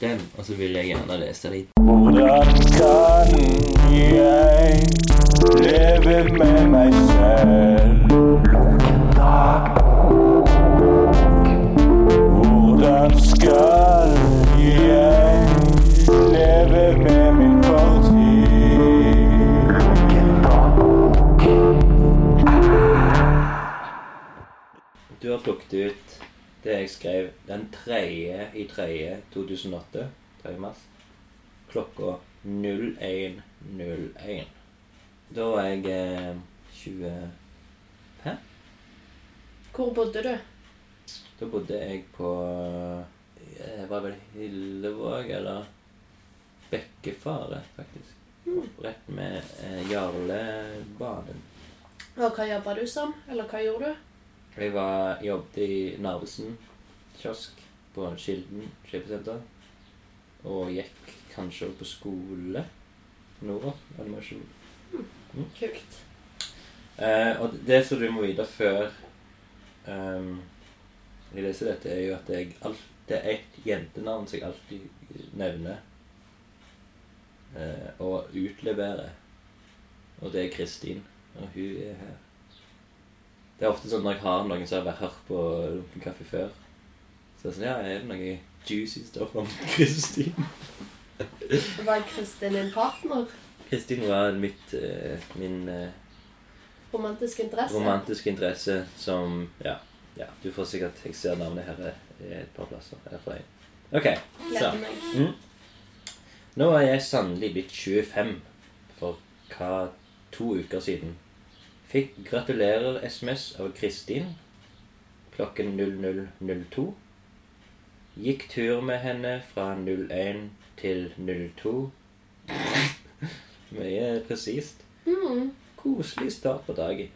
Speaker 1: Den, og så vil jeg gjerne lese de
Speaker 5: Hvordan kan jeg leve med meg selv? Hvordan skal jeg leve med min fortid?
Speaker 1: Du har plukket ut det jeg skrev den 3. i 3. 2008, 3. mars, klokka 01.01. Da var jeg eh, 20
Speaker 2: Hvor bodde du?
Speaker 1: Da bodde jeg på Det var vel Hillevåg, eller Bekkefaret, faktisk. Rett med eh, Jarlebanen.
Speaker 2: Og hva jobba du som? Eller hva gjorde du?
Speaker 1: Jeg var, jobbet i Narvesen kiosk på Kilden kjøpesenter. Og gikk kanskje også på skole nordover. Animasjon.
Speaker 2: Kult.
Speaker 1: Eh, og det som du må vite før ehm, jeg leser dette, er jo at jeg alt, det er et jentenavn som jeg alltid nevner eh, og utleverer. Og det er Kristin. Og hun er her. Det er ofte sånn når jeg har noen som har vært hørt på Lunken kaffe før. Så er det sånn, ja, er det noe juicy stoff om [LAUGHS] Kristin?
Speaker 2: Var Kristin din partner?
Speaker 1: Kristin var mitt, eh, min eh,
Speaker 2: Romantisk interesse?
Speaker 1: romantisk interesse som Ja, ja du får sikkert Jeg ser navnet her eh, et par plasser. Her fra en. OK. Så.
Speaker 2: Gleder meg.
Speaker 1: Mm. Nå er jeg sannelig blitt 25 for hva to uker siden. Fikk gratulerer SMS av Kristin klokken 00.02. Gikk tur med henne fra 01 til 02. [LAUGHS] Mye presist.
Speaker 2: Mm.
Speaker 1: Koselig start på dagen.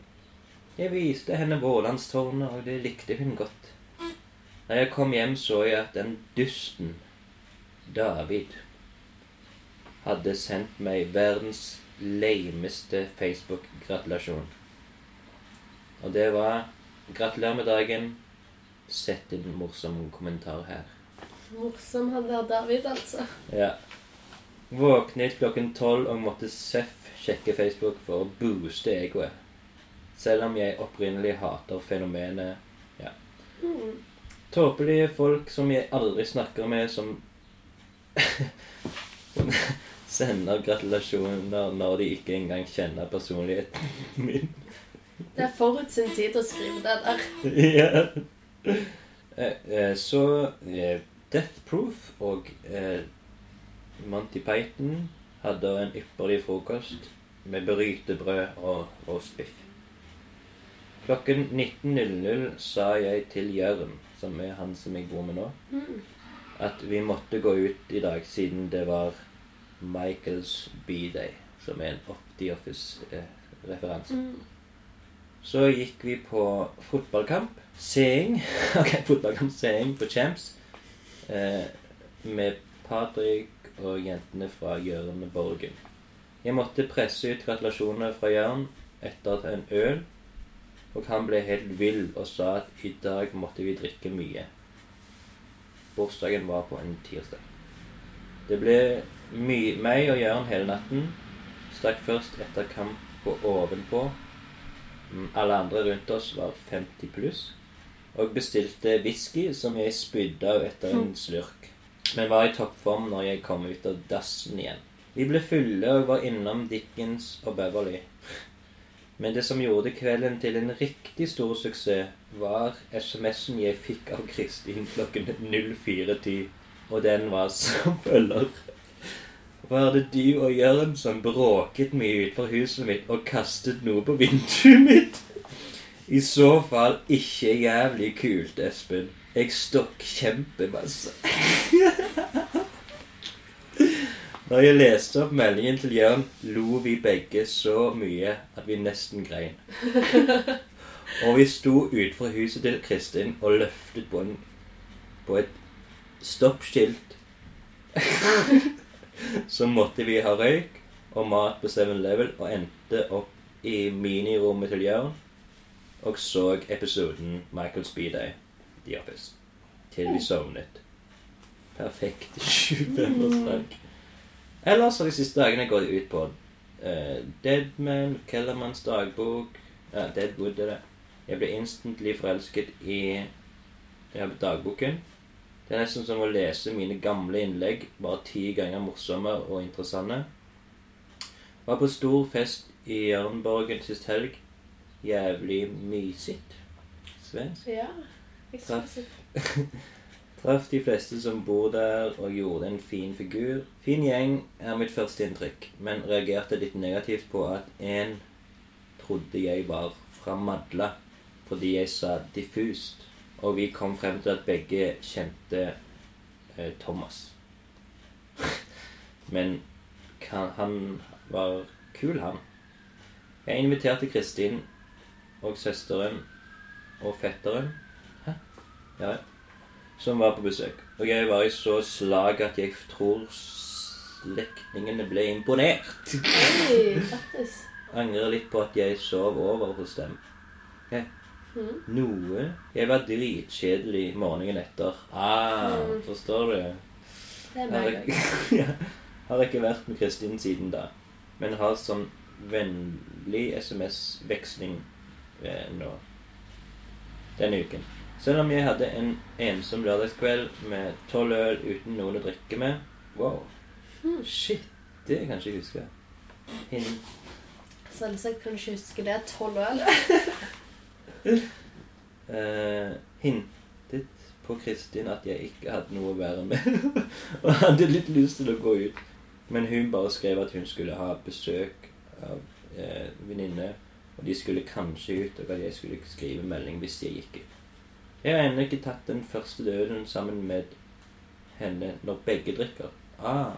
Speaker 1: Jeg viste henne Vårlandstårnet, og det likte hun godt. Når jeg kom hjem, så jeg at den dusten, David, hadde sendt meg verdens leimeste Facebook-gratulasjon. Og det var 'Gratulerer med dagen'. Sett en morsom kommentar her.
Speaker 2: Morsom han der David, altså.
Speaker 1: Ja. Våknet klokken tolv og måtte seff sjekke Facebook for å booste egoet. Selv om jeg opprinnelig hater fenomenet ja.
Speaker 2: Mm.
Speaker 1: Tåpelige folk som jeg aldri snakker med, som [LAUGHS] som sender gratulasjoner når de ikke engang kjenner personligheten min.
Speaker 2: Det er forut sin tid å skrive det der.
Speaker 1: ja. Eh, eh, Så eh, Death Proof og eh, Monty Python hadde en ypperlig frokost med brytebrød og roastbiff. Klokken 19.00 sa jeg til Jørn, som er han som jeg bor med nå,
Speaker 2: Mm.
Speaker 1: at vi måtte gå ut i dag siden det var Michaels B-day, som er en eh, Off The Office-referanse.
Speaker 2: Mm.
Speaker 1: Så gikk vi på fotballkamp. Seing. [LAUGHS] ok, fotballkamp Seing på Champs. Eh, med Patrick og jentene fra Jørne Borgen. Jeg måtte presse ut gratulasjoner fra Jørn etter en øl, og han ble helt vill og sa at i dag måtte vi drikke mye. Bursdagen var på en tirsdag. Det ble my meg og Jørn hele natten. Stakk først etter kamp på ovenpå. Mm, Alle andre rundt oss var 50 pluss. Og bestilte whisky som jeg spydde av etter en slurk. Men var i toppform når jeg kom ut av dassen igjen. Vi ble fulle og var innom Dickens og Beverly. Men det som gjorde kvelden til en riktig stor suksess, var SMS-en jeg fikk av Kristin klokken 04.10. Og den var som følger. Var det du og Jørn som bråket mye utenfor huset mitt og kastet noe på vinduet mitt? I så fall ikke jævlig kult, Espen. Jeg stokk kjempemasse. Når jeg leste opp meldingen til Jørn, lo vi begge så mye at vi nesten grein. Og vi sto utenfor huset til Kristin og løftet på, en, på et stoppskilt. Så måtte vi ha røyk og mat på 7-Level og endte opp i minirommet til Jørn og så episoden Michael Speeday, The Office, til vi sovnet. Perfekt 25-årsdag. Ellers har de siste dagene gått ut på eh, Deadman, Kellermans dagbok ja, Deadwood er det. Jeg ble instantly forelsket i ja, dagboken. Det er nesten som å lese mine gamle innlegg, bare ti ganger morsomme og interessante. Var på stor fest i Jørnborgen sist helg. Jævlig mysigt. Svensk.
Speaker 2: Ja. Jeg synes det.
Speaker 1: Traff de fleste som bor der, og gjorde en fin figur. Fin gjeng er mitt første inntrykk, men reagerte litt negativt på at en trodde jeg var fra Madla, fordi jeg sa diffust. Og vi kom frem til at begge kjente eh, Thomas. [LAUGHS] Men kan, han var kul, han. Jeg inviterte Kristin og søsteren og fetteren Hæ? Ja, ja. som var på besøk. Og jeg var i så slag at jeg tror slektningene ble imponert.
Speaker 2: Hei, grattis.
Speaker 1: Angrer litt på at jeg sov over hos dem. Ok. Noe Jeg var dritkjedelig morgenen etter. Ah,
Speaker 2: Mm.
Speaker 1: forstår du?
Speaker 2: Det
Speaker 1: Har
Speaker 2: er meg
Speaker 1: ikke, [LAUGHS] ja, har ikke vært med Kristin siden da, men har sånn vennlig SMS-veksling eh, nå. Denne uken. Selv om jeg hadde en ensom lørdagskveld med tolv øl uten noen å drikke med Wow.
Speaker 2: Mm.
Speaker 1: Shit. Det kan jeg ikke huske. Hin-
Speaker 2: Selvsagt kan du ikke huske det. Tolv øl.
Speaker 1: eh, hintet på Kristin at jeg ikke hadde noe å være med, [LAUGHS] og hadde litt lyst til å gå ut. Men hun bare skrev at hun skulle ha besøk av eh, venninne, og de skulle kanskje ut, og at jeg skulle skrive melding hvis jeg gikk ut. Jeg har ennå ikke tatt den første døden sammen med henne når begge drikker. Ah.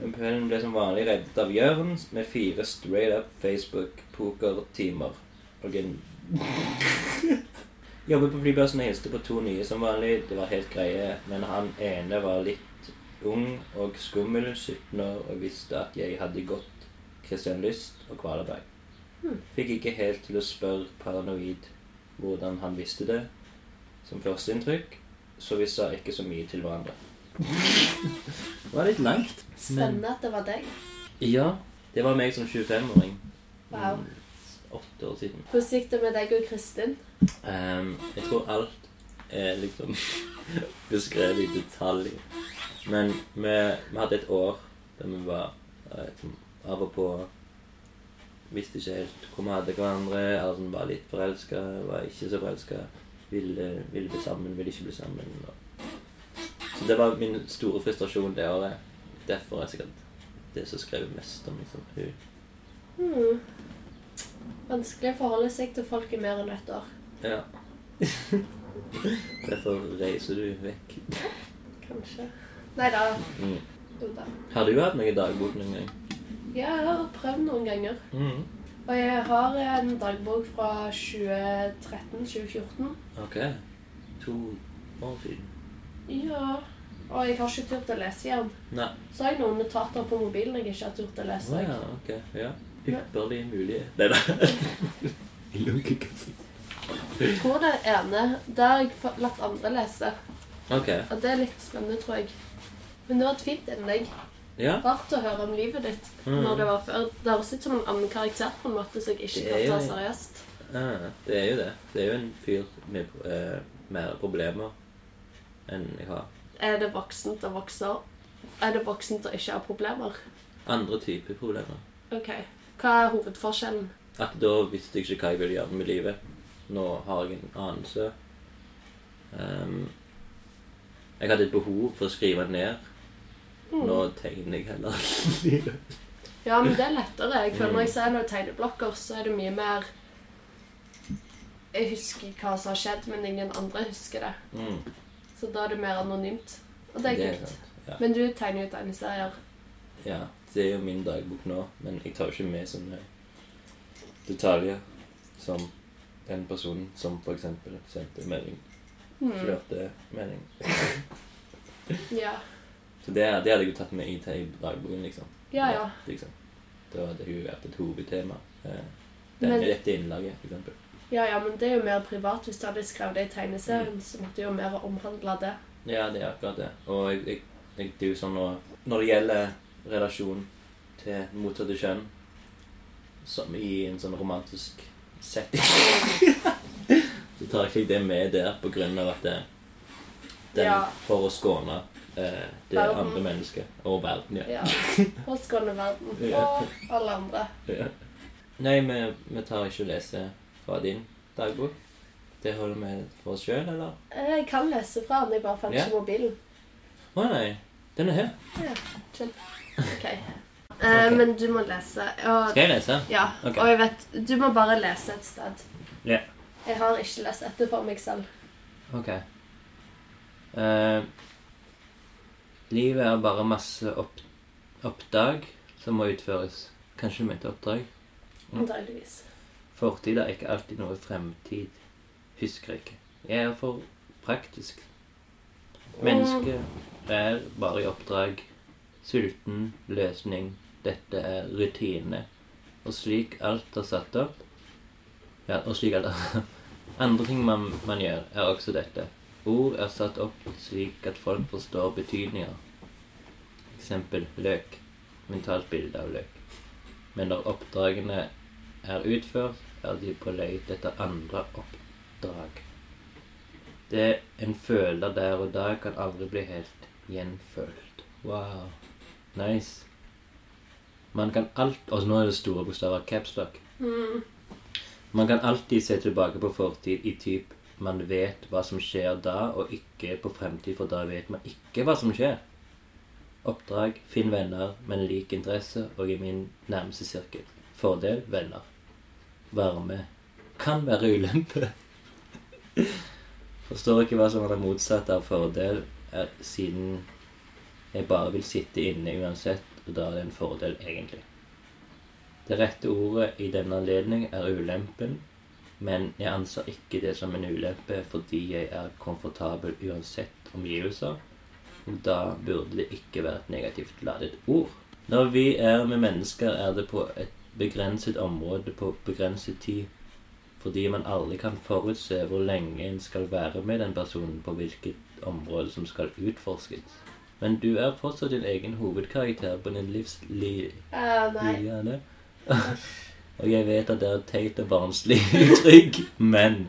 Speaker 1: Men Kvelden ble som vanlig reddet av Jørn med fire straight up Facebook-pokertimer og en Jobbet på flyplassen og hilste på to nye som vanlig. Det var helt greie, men han ene var litt ung og skummel, 17 år, og visste at jeg hadde gått Kristianlyst og Kvalerberg. Fikk ikke helt til å spørre paranoid hvordan han visste det som førsteinntrykk, så vi sa ikke så mye til hverandre. det [LAUGHS] var litt langt.
Speaker 2: Spennende at det var deg.
Speaker 1: Ja. Det var meg som 25-åring.
Speaker 2: Wow.
Speaker 1: Mm, Åtte år siden.
Speaker 2: Hvordan gikk det med deg og Kristin?
Speaker 1: Ehm, jeg tror alt er liksom [LAUGHS] beskrevet i detalj. Men vi, vi hadde et år der vi var eh, som av og på Visste ikke helt hvor vi hadde hverandre. Erlend var litt forelska, var ikke så forelska. Ville, ville bli sammen, ville ikke bli sammen. Og... Så det var min store frustrasjon det året. Derfor er sikkert det som skrev mest om liksom, hun.
Speaker 2: Hmm. Vanskelig å forholde seg til folk i mer enn ett år.
Speaker 1: Ja. [LAUGHS] Derfor reiser du vekk.
Speaker 2: Kanskje. Nei da.
Speaker 1: Mm.
Speaker 2: Jo da.
Speaker 1: Har du hatt noe i dagbok noen gang?
Speaker 2: Jeg har prøvd noen ganger.
Speaker 1: Mm.
Speaker 2: Og jeg har en dagbok fra 2013-2014.
Speaker 1: Ok. To år siden.
Speaker 2: Ja. Og jeg har ikke turt å lese igjen.
Speaker 1: Nei.
Speaker 2: Så har jeg noen notater på mobilen jeg ikke har turt å lese.
Speaker 1: Å ja, ok. Ja. Ypperlig mulig. Nei da. [LAUGHS] Jeg lukker kassen.
Speaker 2: Jeg tror det ene Det har jeg fa- latt andre lese.
Speaker 1: Ok.
Speaker 2: Og det er litt spennende, tror jeg. Men det var et fint innlegg.
Speaker 1: Ja.
Speaker 2: Rart å høre om livet ditt
Speaker 1: Mm.
Speaker 2: når det var før. Det høres ut som en annen karakter på en måte som jeg ikke
Speaker 1: Det er
Speaker 2: kan
Speaker 1: jo
Speaker 2: ta
Speaker 1: det.
Speaker 2: seriøst.
Speaker 1: Ah, det er jo det. Det er jo en fyr med eh, mer problemer enn jeg har.
Speaker 2: Er det voksent å vokse opp? Er det voksent å ikke ha problemer?
Speaker 1: Andre typer problemer.
Speaker 2: Ok. Hva er hovedforskjellen?
Speaker 1: At da visste jeg ikke hva jeg ville gjøre med livet. Nå har jeg en anelse. Ehm, jeg hadde et behov for å skrive ned. Nå tegner jeg heller. [LAUGHS]
Speaker 2: Ja, men det er lettere. Jeg føler Når jeg ser noen tegneblokker, så er det mye mer Jeg husker hva som har skjedd, men ingen andre husker det.
Speaker 1: Mm,
Speaker 2: Så da er det mer anonymt. Og det er kult.
Speaker 1: sant. Ja.
Speaker 2: Men du tegner jo tegneserier.
Speaker 1: ja. Det er jo min dagbok nå, men jeg tar jo ikke med sånne detaljer som den personen som for eksempel sendte melding.
Speaker 2: Hmm.
Speaker 1: Flørtemelding.
Speaker 2: Ja.
Speaker 1: Så det, det hadde jeg jo tatt med i til dagboken, liksom.
Speaker 2: ja, ja.
Speaker 1: liksom. Da hadde det jo vært et hovedtema. Eh,
Speaker 2: Men-
Speaker 1: denne, dette innlaget, for eksempel.
Speaker 2: Ja, ja, men det er jo mer privat. Hvis du hadde skrevet det i tegneserien, så måtte det jo mer omhandle det.
Speaker 1: Ja, det er akkurat det. Og jeg, jeg, jeg, det er jo sånn nå Når det gjelder relasjon til motsatte kjønn, som i en sånn romantisk setting Så tar ikke jeg det med der på grunn av at det, den,
Speaker 2: Ja.
Speaker 1: For å skåne eh, det
Speaker 2: Verden.
Speaker 1: andre mennesket og verden, ja.
Speaker 2: Ja. Og skåne verden.
Speaker 1: Ja.
Speaker 2: Og alle andre.
Speaker 1: Ja. Nei, vi, vi tar ikke å lese fra din dagbok. Det holder vi for oss sjøl, eller?
Speaker 2: Eh, Jeg kan lese fra den, jeg bare fant
Speaker 1: Ja.
Speaker 2: ikke mobilen.
Speaker 1: Å nei. Den er her.
Speaker 2: Chill. Ok. Eh,
Speaker 1: Ok.
Speaker 2: Men du må lese. Og,
Speaker 1: Skal jeg lese?
Speaker 2: ja,
Speaker 1: Ok.
Speaker 2: og jeg vet Du må bare lese et sted.
Speaker 1: Ja.
Speaker 2: Jeg har ikke lest dette for meg selv.
Speaker 1: Ok. Eh, livet er bare masse opp, oppdrag som må utføres. Kanskje du mente oppdrag? Mm.
Speaker 2: Antageligvis.
Speaker 1: Fortid er ikke alltid noe fremtid. Husker ikke. Jeg er for praktisk. Mennesket er bare i oppdrag. Sulten løsning. Dette er rutine. Og slik alt er satt opp Ja, og slik alt [LAUGHS] er Andre ting man, man gjør, er også dette. Ord er satt opp slik at folk forstår betydninger. Eksempel løk. Mentalt bilde av løk. Men når oppdragene er utført, er de på leit etter andre oppdrag. Det en føler der og da, kan aldri bli helt gjenfølt. Wow. Nice. Man kan alt Og nå er det store bokstaver. Capstock.
Speaker 2: Mm.
Speaker 1: Man kan alltid se tilbake på fortid i typ man vet hva som skjer da, og ikke på fremtid, for da vet man ikke hva som skjer. Oppdrag finn venner med lik interesse og i min nærmeste sirkel. Fordel venner. Varme kan være ulempe. [LAUGHS] Forstår ikke hva som er det motsatte av fordel, er, siden jeg bare vil sitte inne uansett, og da er det en fordel, egentlig. Det rette ordet i denne anledning er ulempen, men jeg anser ikke det som en ulempe fordi jeg er komfortabel uansett omgivelser, og da burde det ikke være et negativt ladet ord. Når vi er med mennesker, er det på et begrenset område på begrenset tid, fordi man aldri kan forutse hvor lenge en skal være med den personen, på hvilket område som skal utforskes. Men du er fortsatt din egen hovedkarakter på din livs li
Speaker 2: Eh, nei.
Speaker 1: Gjerne. [LAUGHS] Og jeg vet at det er et teit og barnslig [LAUGHS] uttrykk, men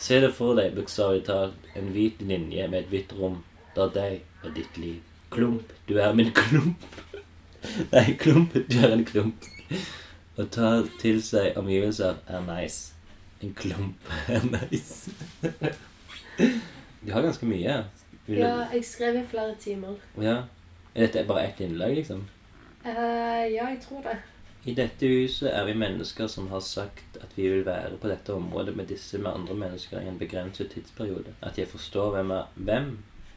Speaker 1: se det for deg, bokstavelig talt, en hvit linje med et hvitt rom. Det er deg og ditt liv. Klump, du er min klump. [LAUGHS] Nei, klump, du er en klump. Å ta til seg omgivelser er nice. En klump [LAUGHS] er nice. [LAUGHS] De har ganske mye. Vil du-
Speaker 2: Ja, jeg skrev i flere timer.
Speaker 1: ja. Er Dette er bare ett innlag, liksom.
Speaker 2: Eh, ja, jeg tror det.
Speaker 1: I dette huset er vi mennesker som har sagt at vi vil være på dette området med disse med andre mennesker i en begrenset tidsperiode. At jeg forstår hvem er hvem,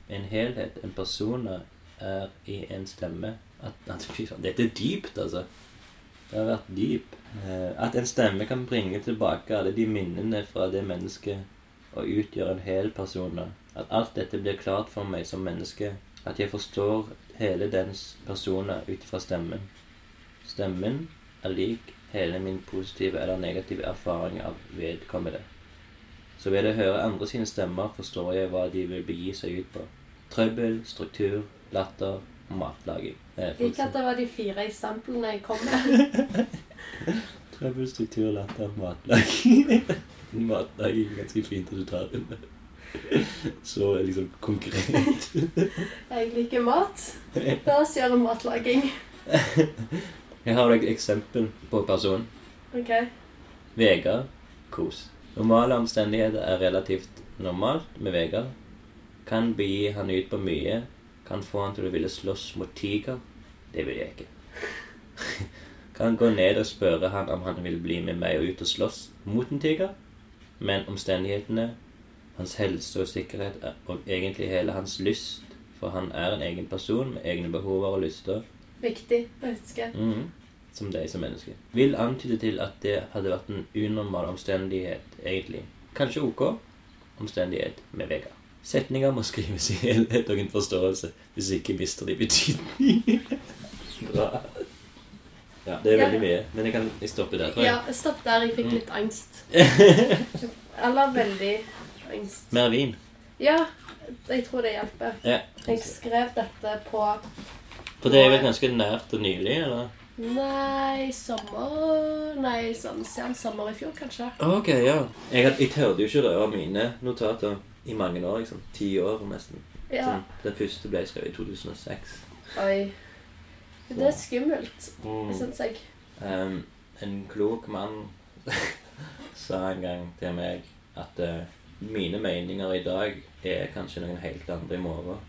Speaker 1: en helhet, en person er i en stemme. At, at fy faen, dette er dypt, altså. Det har vært dyp. Eh, At en stemme kan bringe tilbake alle de minnene fra det mennesket og utgjøre en hel person. At alt dette blir klart for meg som menneske At jeg forstår hele dens persona ut fra stemmen. Stemmen er lik hele min positive eller negative erfaring av vedkommende. Så ved å høre andre sine stemmer forstår jeg hva de vil begi seg ut på. Trøbbel, struktur, latter og matlaging. Eh, for
Speaker 2: Ikke at
Speaker 1: eksempel.
Speaker 2: det var de fire eksemplene jeg kom med. [LAUGHS]
Speaker 1: Trøbbel, struktur, latter, matlaging. [LAUGHS] matlaging er ganske fint at du tar den. Så liksom konkret.
Speaker 2: Jeg liker mat. La oss gjøre matlaging.
Speaker 1: Jeg har et eksempel på personen.
Speaker 2: Ok.
Speaker 1: Vegard Kos. Normale omstendigheter er relativt normalt med Vegard. Kan begi han ut på mye. Kan få han til å ville slåss mot tiger. Det vil jeg ikke. [LAUGHS] kan gå ned og spørre han om han vil bli med meg ut og slåss mot en tiger. Men omstendighetene, hans helse og sikkerhet er- og egentlig hele hans lyst For han er en egen person med egne behover og lyster.
Speaker 2: Viktig å huske.
Speaker 1: Mhm. Som deg som menneske. Vil antyde til at det hadde vært en unormal omstendighet, egentlig. Kanskje ok omstendighet med Vegard. Setninger må skrives i helhet og en forståelse, hvis ikke mister de betydning. [LAUGHS] Bra. Ja, det er
Speaker 2: Ja.
Speaker 1: veldig mye, men jeg kan jeg stopper der, tror jeg. Mm.
Speaker 2: Ja, stopp der. Jeg fikk litt angst.
Speaker 1: [LAUGHS]
Speaker 2: Eller veldig angst.
Speaker 1: Mer vin.
Speaker 2: Ja, jeg tror det hjelper.
Speaker 1: Ja.
Speaker 2: Jeg skrev dette på
Speaker 1: For det er vel ganske nært og nylig, eller?
Speaker 2: Nei, sommer Nei, sånn sen sommer i fjor, kanskje.
Speaker 1: Ok, ja. Jeg, had- jeg tørde jo ikke å røre mine notater i mange år, liksom. Ti år nesten.
Speaker 2: Ja.
Speaker 1: Sånn, Den første ble skrevet i 2006.
Speaker 2: Oi. Men Det er skummelt, syns jeg.
Speaker 1: Ehm, Mm. en klok mann [LAUGHS] sa en gang til meg at eh, mine meninger i dag er kanskje noen helt andre i morgen.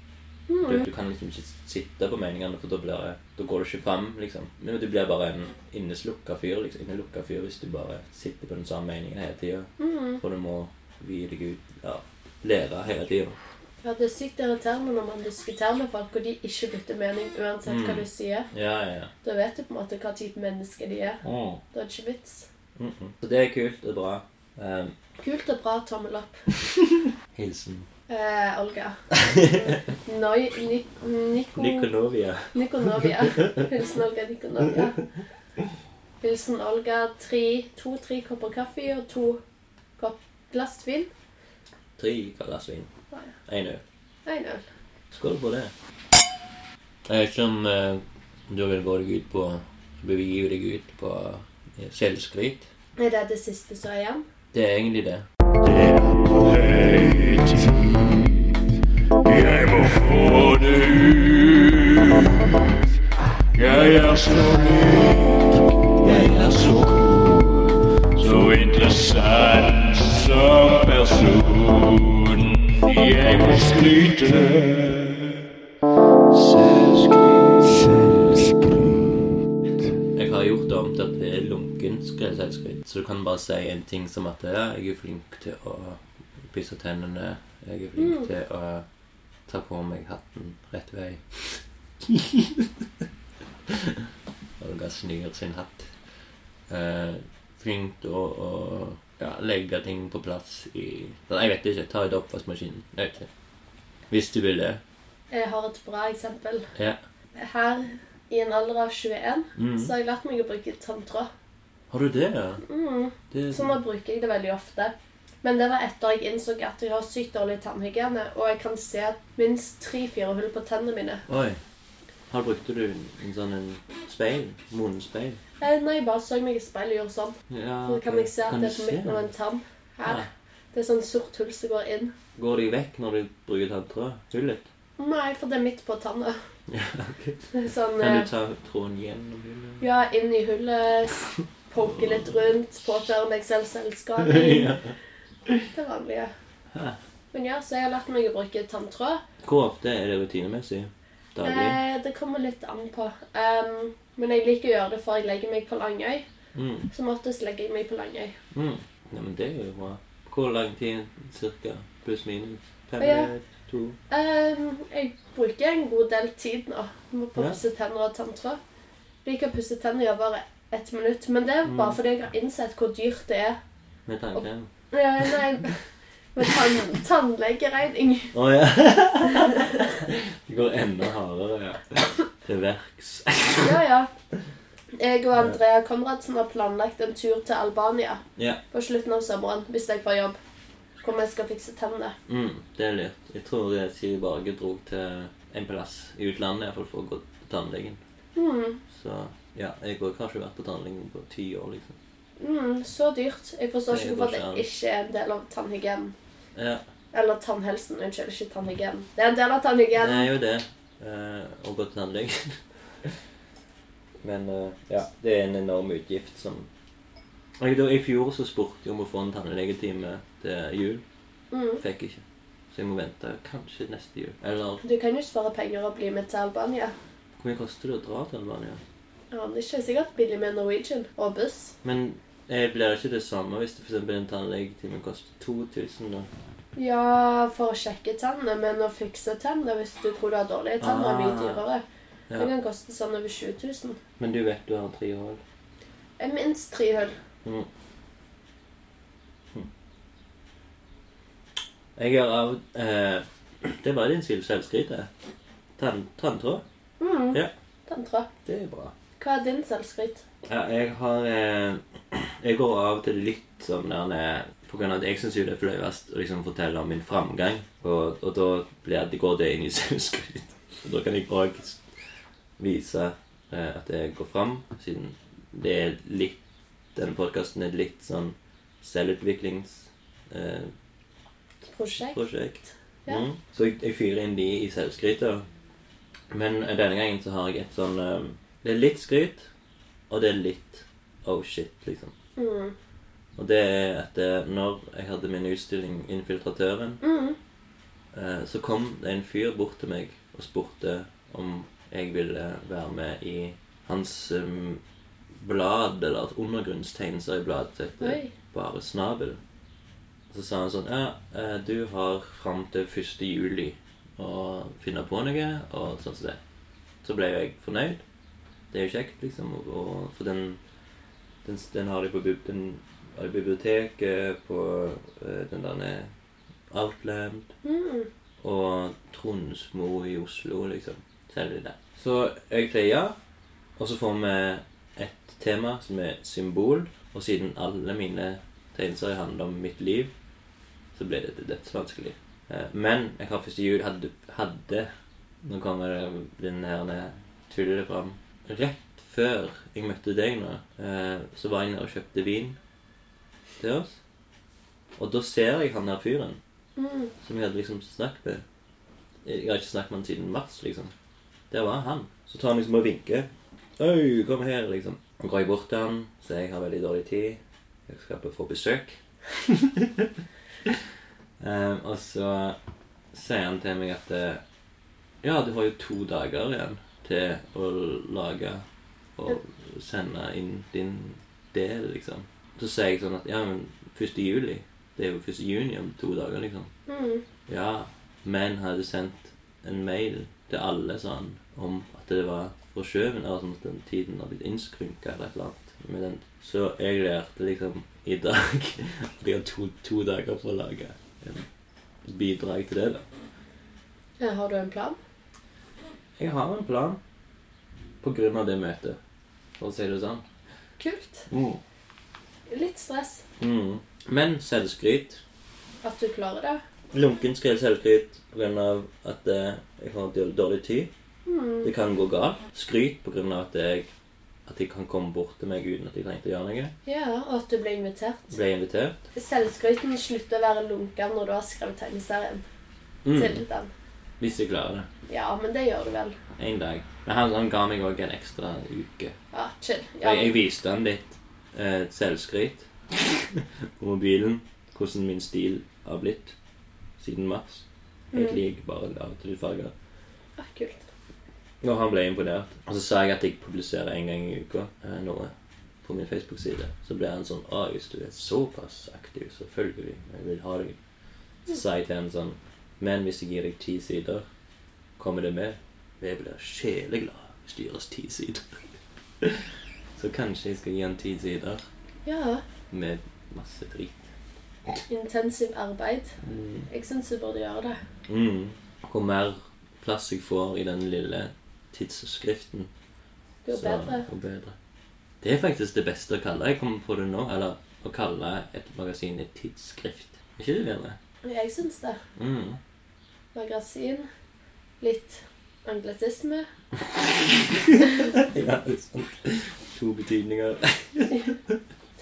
Speaker 1: Du, du kan liksom ikke sitte på meningene, for da, blir, det- da går du ikke fram. Liksom. Men Du blir bare en inneslukka fyr liksom. Innelukka fyr hvis du bare sitter på den samme meningen hele tida. For du må vie deg ut ja, lære hele tida.
Speaker 2: Ja, det er sykt irriterende når man diskuterer med folk, og de ikke bytter mening uansett hva
Speaker 1: Mm.
Speaker 2: du sier.
Speaker 1: Ja, ja, ja.
Speaker 2: Da vet du på en måte hva type menneske de er.
Speaker 1: Mm.
Speaker 2: Da er det ikke vits.
Speaker 1: Mhm. Så det er kult og bra. Ehm,
Speaker 2: Kult og bra. Tommel opp.
Speaker 1: hilsen
Speaker 2: Eh, Olga.
Speaker 1: [LAUGHS]
Speaker 2: Noi, ni, Niko,
Speaker 1: Nikonovia. [LAUGHS]
Speaker 2: Nikonovia. Hilsen Olga Nikonovia. Hilsen Olga tre, to-tre kopper kaffe og to kopp glass vin.
Speaker 1: Tre glass vin. Én øl.
Speaker 2: Én øl.
Speaker 1: Skål på det. Jeg vet ikke om eh, du vil gå deg ut på begive deg ut på eh, selvskryt.
Speaker 2: Er det det siste som er igjen?
Speaker 1: Det er egentlig det.
Speaker 5: Jeg må få det ut. Jeg er så rik, jeg er så god, så interessant som person. Jeg må skryte.
Speaker 1: Jeg har gjort det om til at det er lunken selvskryt. Så du kan bare si en ting som at ja, jeg er flink til å pusse tennene. Jeg er flink
Speaker 2: Mm.
Speaker 1: til å ta på meg hatten rett
Speaker 2: [LAUGHS]
Speaker 1: vei. Olga snur sin hatt. Eh, flink til å, å ja, legge ting på plass i Nei, jeg vet ikke. Ta ut oppvaskmaskinen. Jeg vet ikke. Hvis du vil det.
Speaker 2: Jeg har et bra eksempel.
Speaker 1: Ja.
Speaker 2: Her, i en alder av 21,
Speaker 1: Mm.
Speaker 2: så har jeg lært meg å bruke tanntråd.
Speaker 1: Har du det, ja? Det,
Speaker 2: Mm. Så nå bruker jeg det veldig ofte. Men det var etter jeg innså at jeg har sykt dårlig tannhygiene, og jeg kan se minst tre-fire hull på tennene mine.
Speaker 1: Oi. Her brukte du en sånn en speil. Månespeil.
Speaker 2: Eh, Når jeg bare så meg i speilet og gjorde sånn,
Speaker 1: Ja,
Speaker 2: så kan
Speaker 1: Ah, ok.
Speaker 2: jeg se at
Speaker 1: Kan
Speaker 2: det
Speaker 1: du
Speaker 2: er på
Speaker 1: se
Speaker 2: midten av
Speaker 1: det? Ah.
Speaker 2: en tann her.
Speaker 1: Ja.
Speaker 2: Det er sånn sort hull som går inn.
Speaker 1: Går de vekk når du bruker tanntråd? Hullet? [LAUGHS]
Speaker 2: Nei, for det er midt på tanna. [LAUGHS]
Speaker 1: Ja, ok.
Speaker 2: Sånn
Speaker 1: Kan du
Speaker 2: eh,
Speaker 1: ta tråden gjennom hullet?
Speaker 2: Ja, inn i hullet, s- poke litt rundt, påføre meg selv selvskading.
Speaker 1: [LAUGHS] Ja.
Speaker 2: Det vanlige.
Speaker 1: Hæ.
Speaker 2: Men ja, så jeg har lært meg å bruke tanntråd.
Speaker 1: Hvor ofte er det rutinemessig? Daglig?
Speaker 2: Eh, det kommer litt an på. Ehm, men jeg liker å gjøre det før jeg legger meg på Langøy.
Speaker 1: Mm.
Speaker 2: Som oftest legger jeg meg på Langøy.
Speaker 1: Mm. Ja, men det er jo bra. Hvor lang tid cirka? Pluss minus? Fem
Speaker 2: Ja.
Speaker 1: minutter? To?
Speaker 2: Ehm, jeg bruker en god del tid nå på å
Speaker 1: Ja.
Speaker 2: pusse tenner og tanntråd. Liker å pusse tenner i over ett
Speaker 1: Mm.
Speaker 2: minutt, men det er bare fordi jeg har innsett hvor dyrt det er.
Speaker 1: Med tannkrem?
Speaker 2: Eh, nei, Med tann tannlegeregning.
Speaker 1: Å ja. [LAUGHS] Det går enda hardere ja. til verks.
Speaker 2: Ja, ja. Jeg og Andrea Konradsen har planlagt en tur til Albania
Speaker 1: Ja.
Speaker 2: på slutten av sommeren, hvis jeg får jobb. Hvor vi skal fikse tennene.
Speaker 1: Mm, det er lurt. Jeg tror eh, Siri Barge dro til en plass i utlandet i hvert fall for å gå til tannlegen.
Speaker 2: Mm,
Speaker 1: Så ja, jeg har kanskje vært på tannlegen på ti år, liksom.
Speaker 2: mm, så dyrt. Jeg forstår
Speaker 1: Det
Speaker 2: ikke
Speaker 1: går
Speaker 2: hvorfor
Speaker 1: ikke an.
Speaker 2: det ikke er en del av tannhygienen.
Speaker 1: Ja,
Speaker 2: Eller tannhelsen. Unnskyld, ikke tannhygienen. Det er en del av tannhygienen.
Speaker 1: det er jo det. eh, å gå til tannlegen. [LAUGHS] Men eh, ja, det er en enorm utgift som jeg, da, I fjor så spurte jeg om å få en tannlegetime til jul.
Speaker 2: Mm.
Speaker 1: Fikk ikke. Så jeg må vente kanskje neste jul. Eller
Speaker 2: Du kan jo spare penger og bli med til Albania.
Speaker 1: hvor mye koster det å dra til Albania?
Speaker 2: Ja, det er ikke sikkert billig med Norwegian og buss.
Speaker 1: Men eh, blir det ikke det samme hvis det for eksempel en tannlegetime koster 2000? da?
Speaker 2: Ja, for å sjekke tennene, men å fikse tennene hvis du tror du har dårlige tenner, er mye
Speaker 1: Ah.
Speaker 2: dyrere. Det
Speaker 1: Ja.
Speaker 2: kan koste sånn over 20 000.
Speaker 1: Men du vet du har tre hull.
Speaker 2: Eh, Minst tre hull.
Speaker 1: Jeg har av eh, [CLEARS THROAT] Det var din skyld selvskryt, det. Tann, tanntråd.
Speaker 2: Mm.
Speaker 1: Ja.
Speaker 2: Tantra.
Speaker 1: Det er bra.
Speaker 2: Hva er din selvskryt?
Speaker 1: Ja, jeg har eh, Jeg går av og til litt sånn der ned på grunn av at jeg syns det er flauest å liksom fortelle om min framgang, og, og da blir det, går det inn i [LAUGHS] selvskryt. Og da kan jeg òg vise eh, at jeg går fram, siden det er litt Denne podkasten er litt sånn selvutviklingsprosjekt. Eh,
Speaker 2: Prosjekt?
Speaker 1: prosjekt.
Speaker 2: Ja.
Speaker 1: Mm. Så jeg, jeg fyrer inn de i selvskrytet. Men eh, denne gangen så har jeg et sånn eh, Det er litt skryt, og det er litt oh shit, liksom.
Speaker 2: Mm.
Speaker 1: Og det er at eh, når jeg hadde min utstilling Infiltratøren,
Speaker 2: Mm.
Speaker 1: eh, så kom det en fyr bort til meg og spurte om jeg ville være med i hans eh, blad, eller et undergrunnstegnserieblad som heter
Speaker 2: Oi.
Speaker 1: Bare Snabel. Så sa han sånn Ja, eh, du har fram til 1. juli å finne på noe, og sånn som det. Så ble jo jeg fornøyd. Det er jo kjekt, liksom, og, og, for den, den, den har de på bib- den, har de på biblioteket, på eh, den der Outland
Speaker 2: Mm.
Speaker 1: og Tronsmo i Oslo, liksom. Selger de det. Så jeg sier ja, og så får vi et tema som er symbol, og siden alle mine tegneserier handler om mitt liv, så ble det dødsvanskelig. Eh, Men jeg har første jul hadde, hadde Nå kommer det- den her tullet fram. Rett før jeg møtte deg nå, eh, så var jeg nede og kjøpte vin til oss. Og da ser jeg han der fyren
Speaker 2: Mm.
Speaker 1: som jeg hadde liksom snakket med. Jeg har ikke snakket med han siden mars, liksom. Der var han. Så tar han liksom og vinker. Oi, kom her, liksom. Så går jeg bort til han, så jeg har veldig dårlig tid. Jeg skal på få besøk. Ehm, og så sier han til meg at eh, Ja, du har jo to dager igjen til å lage og sende inn din del, liksom. Så sier jeg sånn at ja, men 1. juli. Det er jo 1. juni om to dager, liksom.
Speaker 2: Mm.
Speaker 1: Ja, men hadde sendt en mail til alle sånn om at det var forskjøvet, eller sånn at den tiden har blitt innskrynka eller et eller annet. Med den. Så jeg lærte liksom i dag [LAUGHS] at jeg har to, to dager for å lage et bidrag til det. da.
Speaker 2: Ja, Har du en plan?
Speaker 1: Jeg har en plan på grunn av det møtet, for å si det sånn.
Speaker 2: Kult.
Speaker 1: Mm.
Speaker 2: Litt stress
Speaker 1: Mm. Men selvskryt
Speaker 2: at du klarer det.
Speaker 1: Lunken skrev selvskryt pga. at eh, jeg har dårlig- dårlig tid.
Speaker 2: Mm.
Speaker 1: Det kan gå galt. Skryt pga. at jeg at de kan komme bort til meg uten at jeg trengte å gjøre noe.
Speaker 2: Ja, og at du ble invitert.
Speaker 1: Ble invitert.
Speaker 2: Selvskryten slutter å være lunken når du har skrevet tegneserien til
Speaker 1: Mm,
Speaker 2: den.
Speaker 1: hvis jeg klarer det.
Speaker 2: Ja, men det gjør du vel.
Speaker 1: En dag. Men han, han ga meg òg en ekstra uke.
Speaker 2: Ja, chill. Ja,
Speaker 1: Jeg, jeg viste han litt eh, selvskryt
Speaker 2: [LAUGHS]
Speaker 1: på mobilen. Hvordan min stil har blitt siden mars. Helt
Speaker 2: Mm.
Speaker 1: lik, bare av og til farger.
Speaker 2: ja, Ah, kult.
Speaker 1: Og han ble imponert. Og så sa jeg at jeg publiserer en gang i uka eh, noe på min Facebook-side. Så ble han sånn Å, hvis du er såpass aktiv, så følger vi. Jeg vil ha deg. Så sa jeg til han sånn Men hvis jeg gir deg ti sider, kommer det med? Vi blir sjeleglade hvis du gir oss ti sider. [LAUGHS] så kanskje jeg skal gi han ti sider
Speaker 2: Ja,
Speaker 1: med masse drit.
Speaker 2: intensiv arbeid. Jeg syns du burde gjøre det.
Speaker 1: Mm. Hvor mer plass jeg får i den lille tidsskriften,
Speaker 2: Jo
Speaker 1: så-
Speaker 2: bedre.
Speaker 1: jo bedre. Det er faktisk det beste å kalle Jeg kommer på det nå. Eller å kalle et magasin et tidsskrift. Er ikke det bedre?
Speaker 2: Jeg syns det.
Speaker 1: Mm.
Speaker 2: Magasin. Litt angletisme.
Speaker 1: [LAUGHS] Ja, det er sant. To betydninger.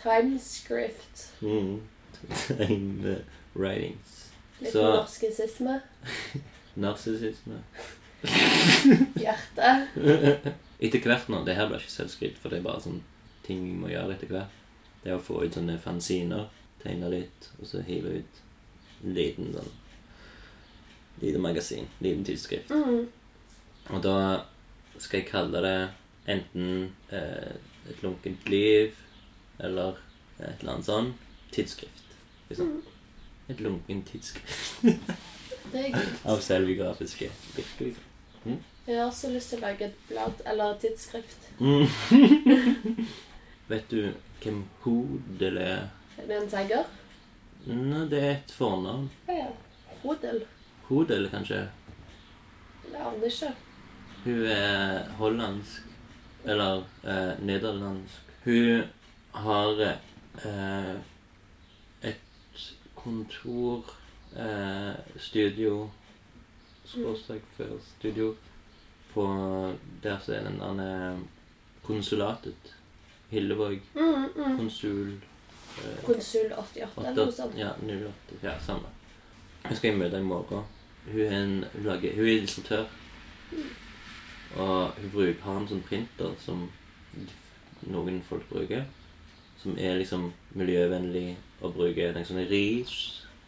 Speaker 2: Timescript.
Speaker 1: Mm. eh, Time writings.
Speaker 2: Litt
Speaker 1: Så-
Speaker 2: norskisisme.
Speaker 1: Narsissisme. [LAUGHS]
Speaker 2: Hjerte.
Speaker 1: Etter hvert nå, det her blir ikke selvskryt, for det er bare sånn ting vi må gjøre etter hvert. Det er å få ut sånne fanziner, tegne litt, og så hive ut en liten sånn lite magasin, liten tidsskrift.
Speaker 2: Mm.
Speaker 1: Og da skal jeg kalle det enten eh, Et lunkent liv eller et eller annet sånn tidsskrift. Liksom. Et lunkent tidsskrift
Speaker 2: Det er
Speaker 1: av
Speaker 2: good.
Speaker 1: selvbiografiske virker, liksom.
Speaker 2: Jeg har også lyst til å lage et blad eller tidsskrift.
Speaker 1: Mm. Vet du hvem Hodel er?
Speaker 2: Er det en tagger?
Speaker 1: Nei, det er et fornavn.
Speaker 2: Å ja. Hodel?
Speaker 1: Hodel, kanskje.
Speaker 2: Jeg aner ikke.
Speaker 1: Hun er hollandsk. Eller eh, nederlandsk. Hun har eh, et kontor eh, Studio Skråstrek før studio på der som er den der konsulatet. Hilleborg
Speaker 2: Mm, mm.
Speaker 1: konsul eh,
Speaker 2: Konsul 88 eller noe sånt.
Speaker 1: Ja, 08. Ja, samme. Jeg skal møte henne i morgen. Hun er, en, hun lager, hun er illustratør. Og hun bruker, har en sånn printer som noen folk bruker. Som er liksom miljøvennlig å bruke. Den sånn ris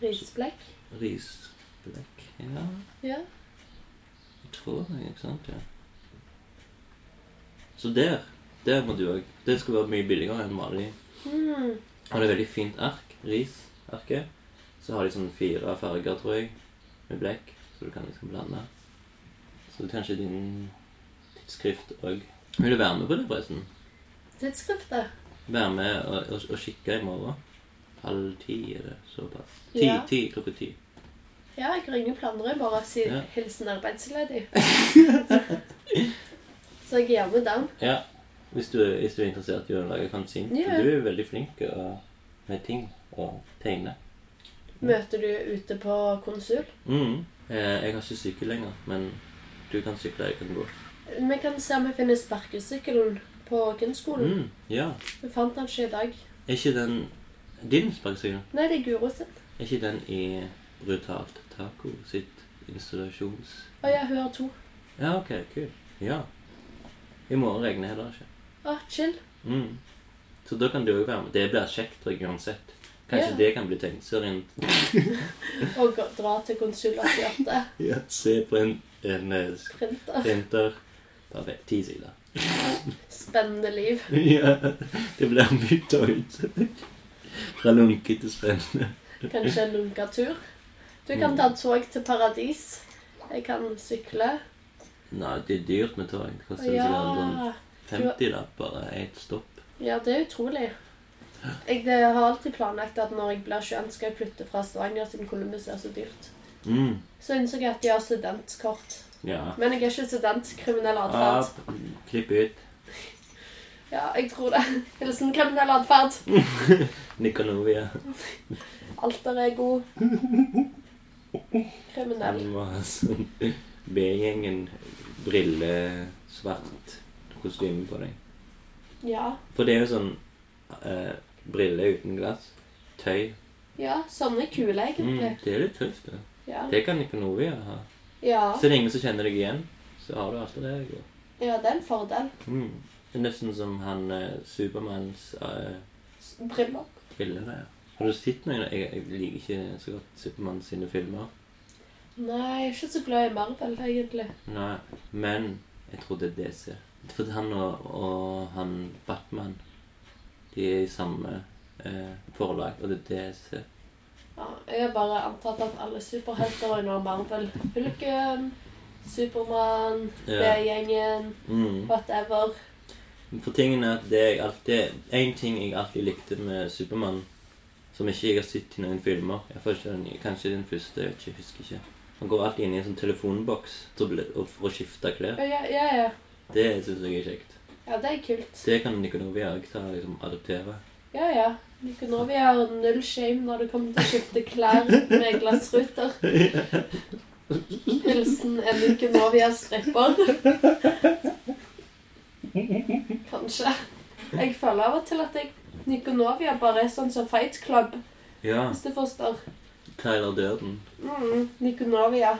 Speaker 2: Risblekk.
Speaker 1: Risblekk Ja,
Speaker 2: Ja.
Speaker 1: jeg tror det. Ikke sant? Ja. Så der. Der må du òg. Det skal være mye billigere enn vanlig
Speaker 2: Mm.
Speaker 1: Og det er veldig fint ark. Risarket. Så har de sånn fire farger, tror jeg, med blekk, så du kan liksom blande. Så kanskje din tidsskrift òg Vil du være med på det, forresten?
Speaker 2: Tidsskriftet.
Speaker 1: Være med og, og, og kikke i morgen? Halv ti er det såpass. Ti,
Speaker 2: Ja.
Speaker 1: ti, klokka ti.
Speaker 2: Ja, jeg ringer planer i morgen og sier
Speaker 1: Ja.
Speaker 2: hilsen arbeidsledig. Så jeg gjør med den.
Speaker 1: Ja. Hvis du, hvis du er interessert i å lage kansin.
Speaker 2: Ja.
Speaker 1: For du er veldig flink og, med ting og tegne.
Speaker 2: Møter du ute på konsul?
Speaker 1: Mm. Eh, jeg har ikke sykkel lenger, men du kan sykle, jeg kan gå.
Speaker 2: Vi kan se om vi finner sparkesykkelen på kunstskolen.
Speaker 1: Mm. Ja.
Speaker 2: Vi fant den ikke i dag.
Speaker 1: Er ikke den din sparkesykkel?
Speaker 2: Nei, det er Guro sin.
Speaker 1: Er ikke den i Brutalt Taco sitt installasjons...
Speaker 2: Å ja, hun har to.
Speaker 1: Ja, ok, kul. Ja. I morgen regner det heller ikke.
Speaker 2: Å, chill.
Speaker 1: Mm. Så da kan du òg være med. Det blir kjekt tror jeg, uansett. Kanskje
Speaker 2: Ja.
Speaker 1: det kan bli tegneserien.
Speaker 2: Og gå- dra til konsul 88.
Speaker 1: Ja, se på en, en eh,
Speaker 2: Printer.
Speaker 1: printer. Perfekt. Ti sider.
Speaker 2: Spennende liv.
Speaker 1: [LAUGHS] ja. Det blir bytta ut. Fra lunket til spennende.
Speaker 2: Kanskje en lunketur. Du kan
Speaker 1: Mm.
Speaker 2: ta tog til paradis. Jeg kan sykle.
Speaker 1: Nei, det er dyrt med tog. Det koster ja. sånn
Speaker 2: Ja.
Speaker 1: 50 da, bare ett stopp.
Speaker 2: ja, det er utrolig. Jeg det har alltid planlagt at når jeg blir 21, skal jeg flytte fra Stavanger siden Columbus er så dyrt.
Speaker 1: Mm.
Speaker 2: Så innså jeg at de har studentkort.
Speaker 1: Ja.
Speaker 2: Men jeg er ikke student. Kriminell atferd.
Speaker 1: Opp, klipp ut.
Speaker 2: Ja, jeg tror det. Hilsen kriminell atferd.
Speaker 1: Nikonovia.
Speaker 2: Alter er god. Kriminell.
Speaker 1: Han var sånn B-gjengen. Brille, svart kostyme på deg.
Speaker 2: Ja.
Speaker 1: For det er jo sånn eh, brille uten glass. Tøy.
Speaker 2: Ja, sånn er kul,
Speaker 1: Mm,
Speaker 2: egentlig.
Speaker 1: det er litt trist, det.
Speaker 2: Ja.
Speaker 1: Det kan Nikonovia ha.
Speaker 2: Ja.
Speaker 1: Så lenge som kjenner deg igjen, så har du alt det der.
Speaker 2: ja, det er en fordel.
Speaker 1: Mm. Det er nesten som han eh, Supermanns eh,
Speaker 2: S- Briller.
Speaker 1: brille der. Har du sett noen? Jeg, jeg liker ikke så godt Supermann sine filmer.
Speaker 2: Nei, jeg er ikke så glad i Marvel, egentlig.
Speaker 1: Nei, men jeg tror det er DC. For han og, og han Batman, de er i samme eh, forlag, og det er DC.
Speaker 2: Ja, jeg har bare antatt at alle superhelter er under Marvel. Hulken, Supermann,
Speaker 1: Ja.
Speaker 2: B-gjengen,
Speaker 1: Mm.
Speaker 2: whatever.
Speaker 1: For tingen er at det jeg alltid En ting jeg alltid likte med Supermann, Som ikke jeg har sett i noen filmer. Jeg får ikke den nye. Kanskje den første. Jeg vet ikke, jeg husker ikke. Han går alltid inn i en sånn telefonboks til å bli- og for å skifte klær.
Speaker 2: Ja, ja, ja, ja.
Speaker 1: Det syns jeg er kjekt.
Speaker 2: ja det er kult.
Speaker 1: Det kan Nikonovia òg ta liksom adoptere.
Speaker 2: Ja, ja. Nikonovi har null shame når det kommer til å skifte klær med glassruter. Hilsen en Nikonovia-stripper. Kanskje. Jeg føler av og til at jeg Nikonovia bare er sånn som Fight Club,
Speaker 1: Ja.
Speaker 2: hvis du forstår.
Speaker 1: Tyler Durden.
Speaker 2: Mm, Nikonovia.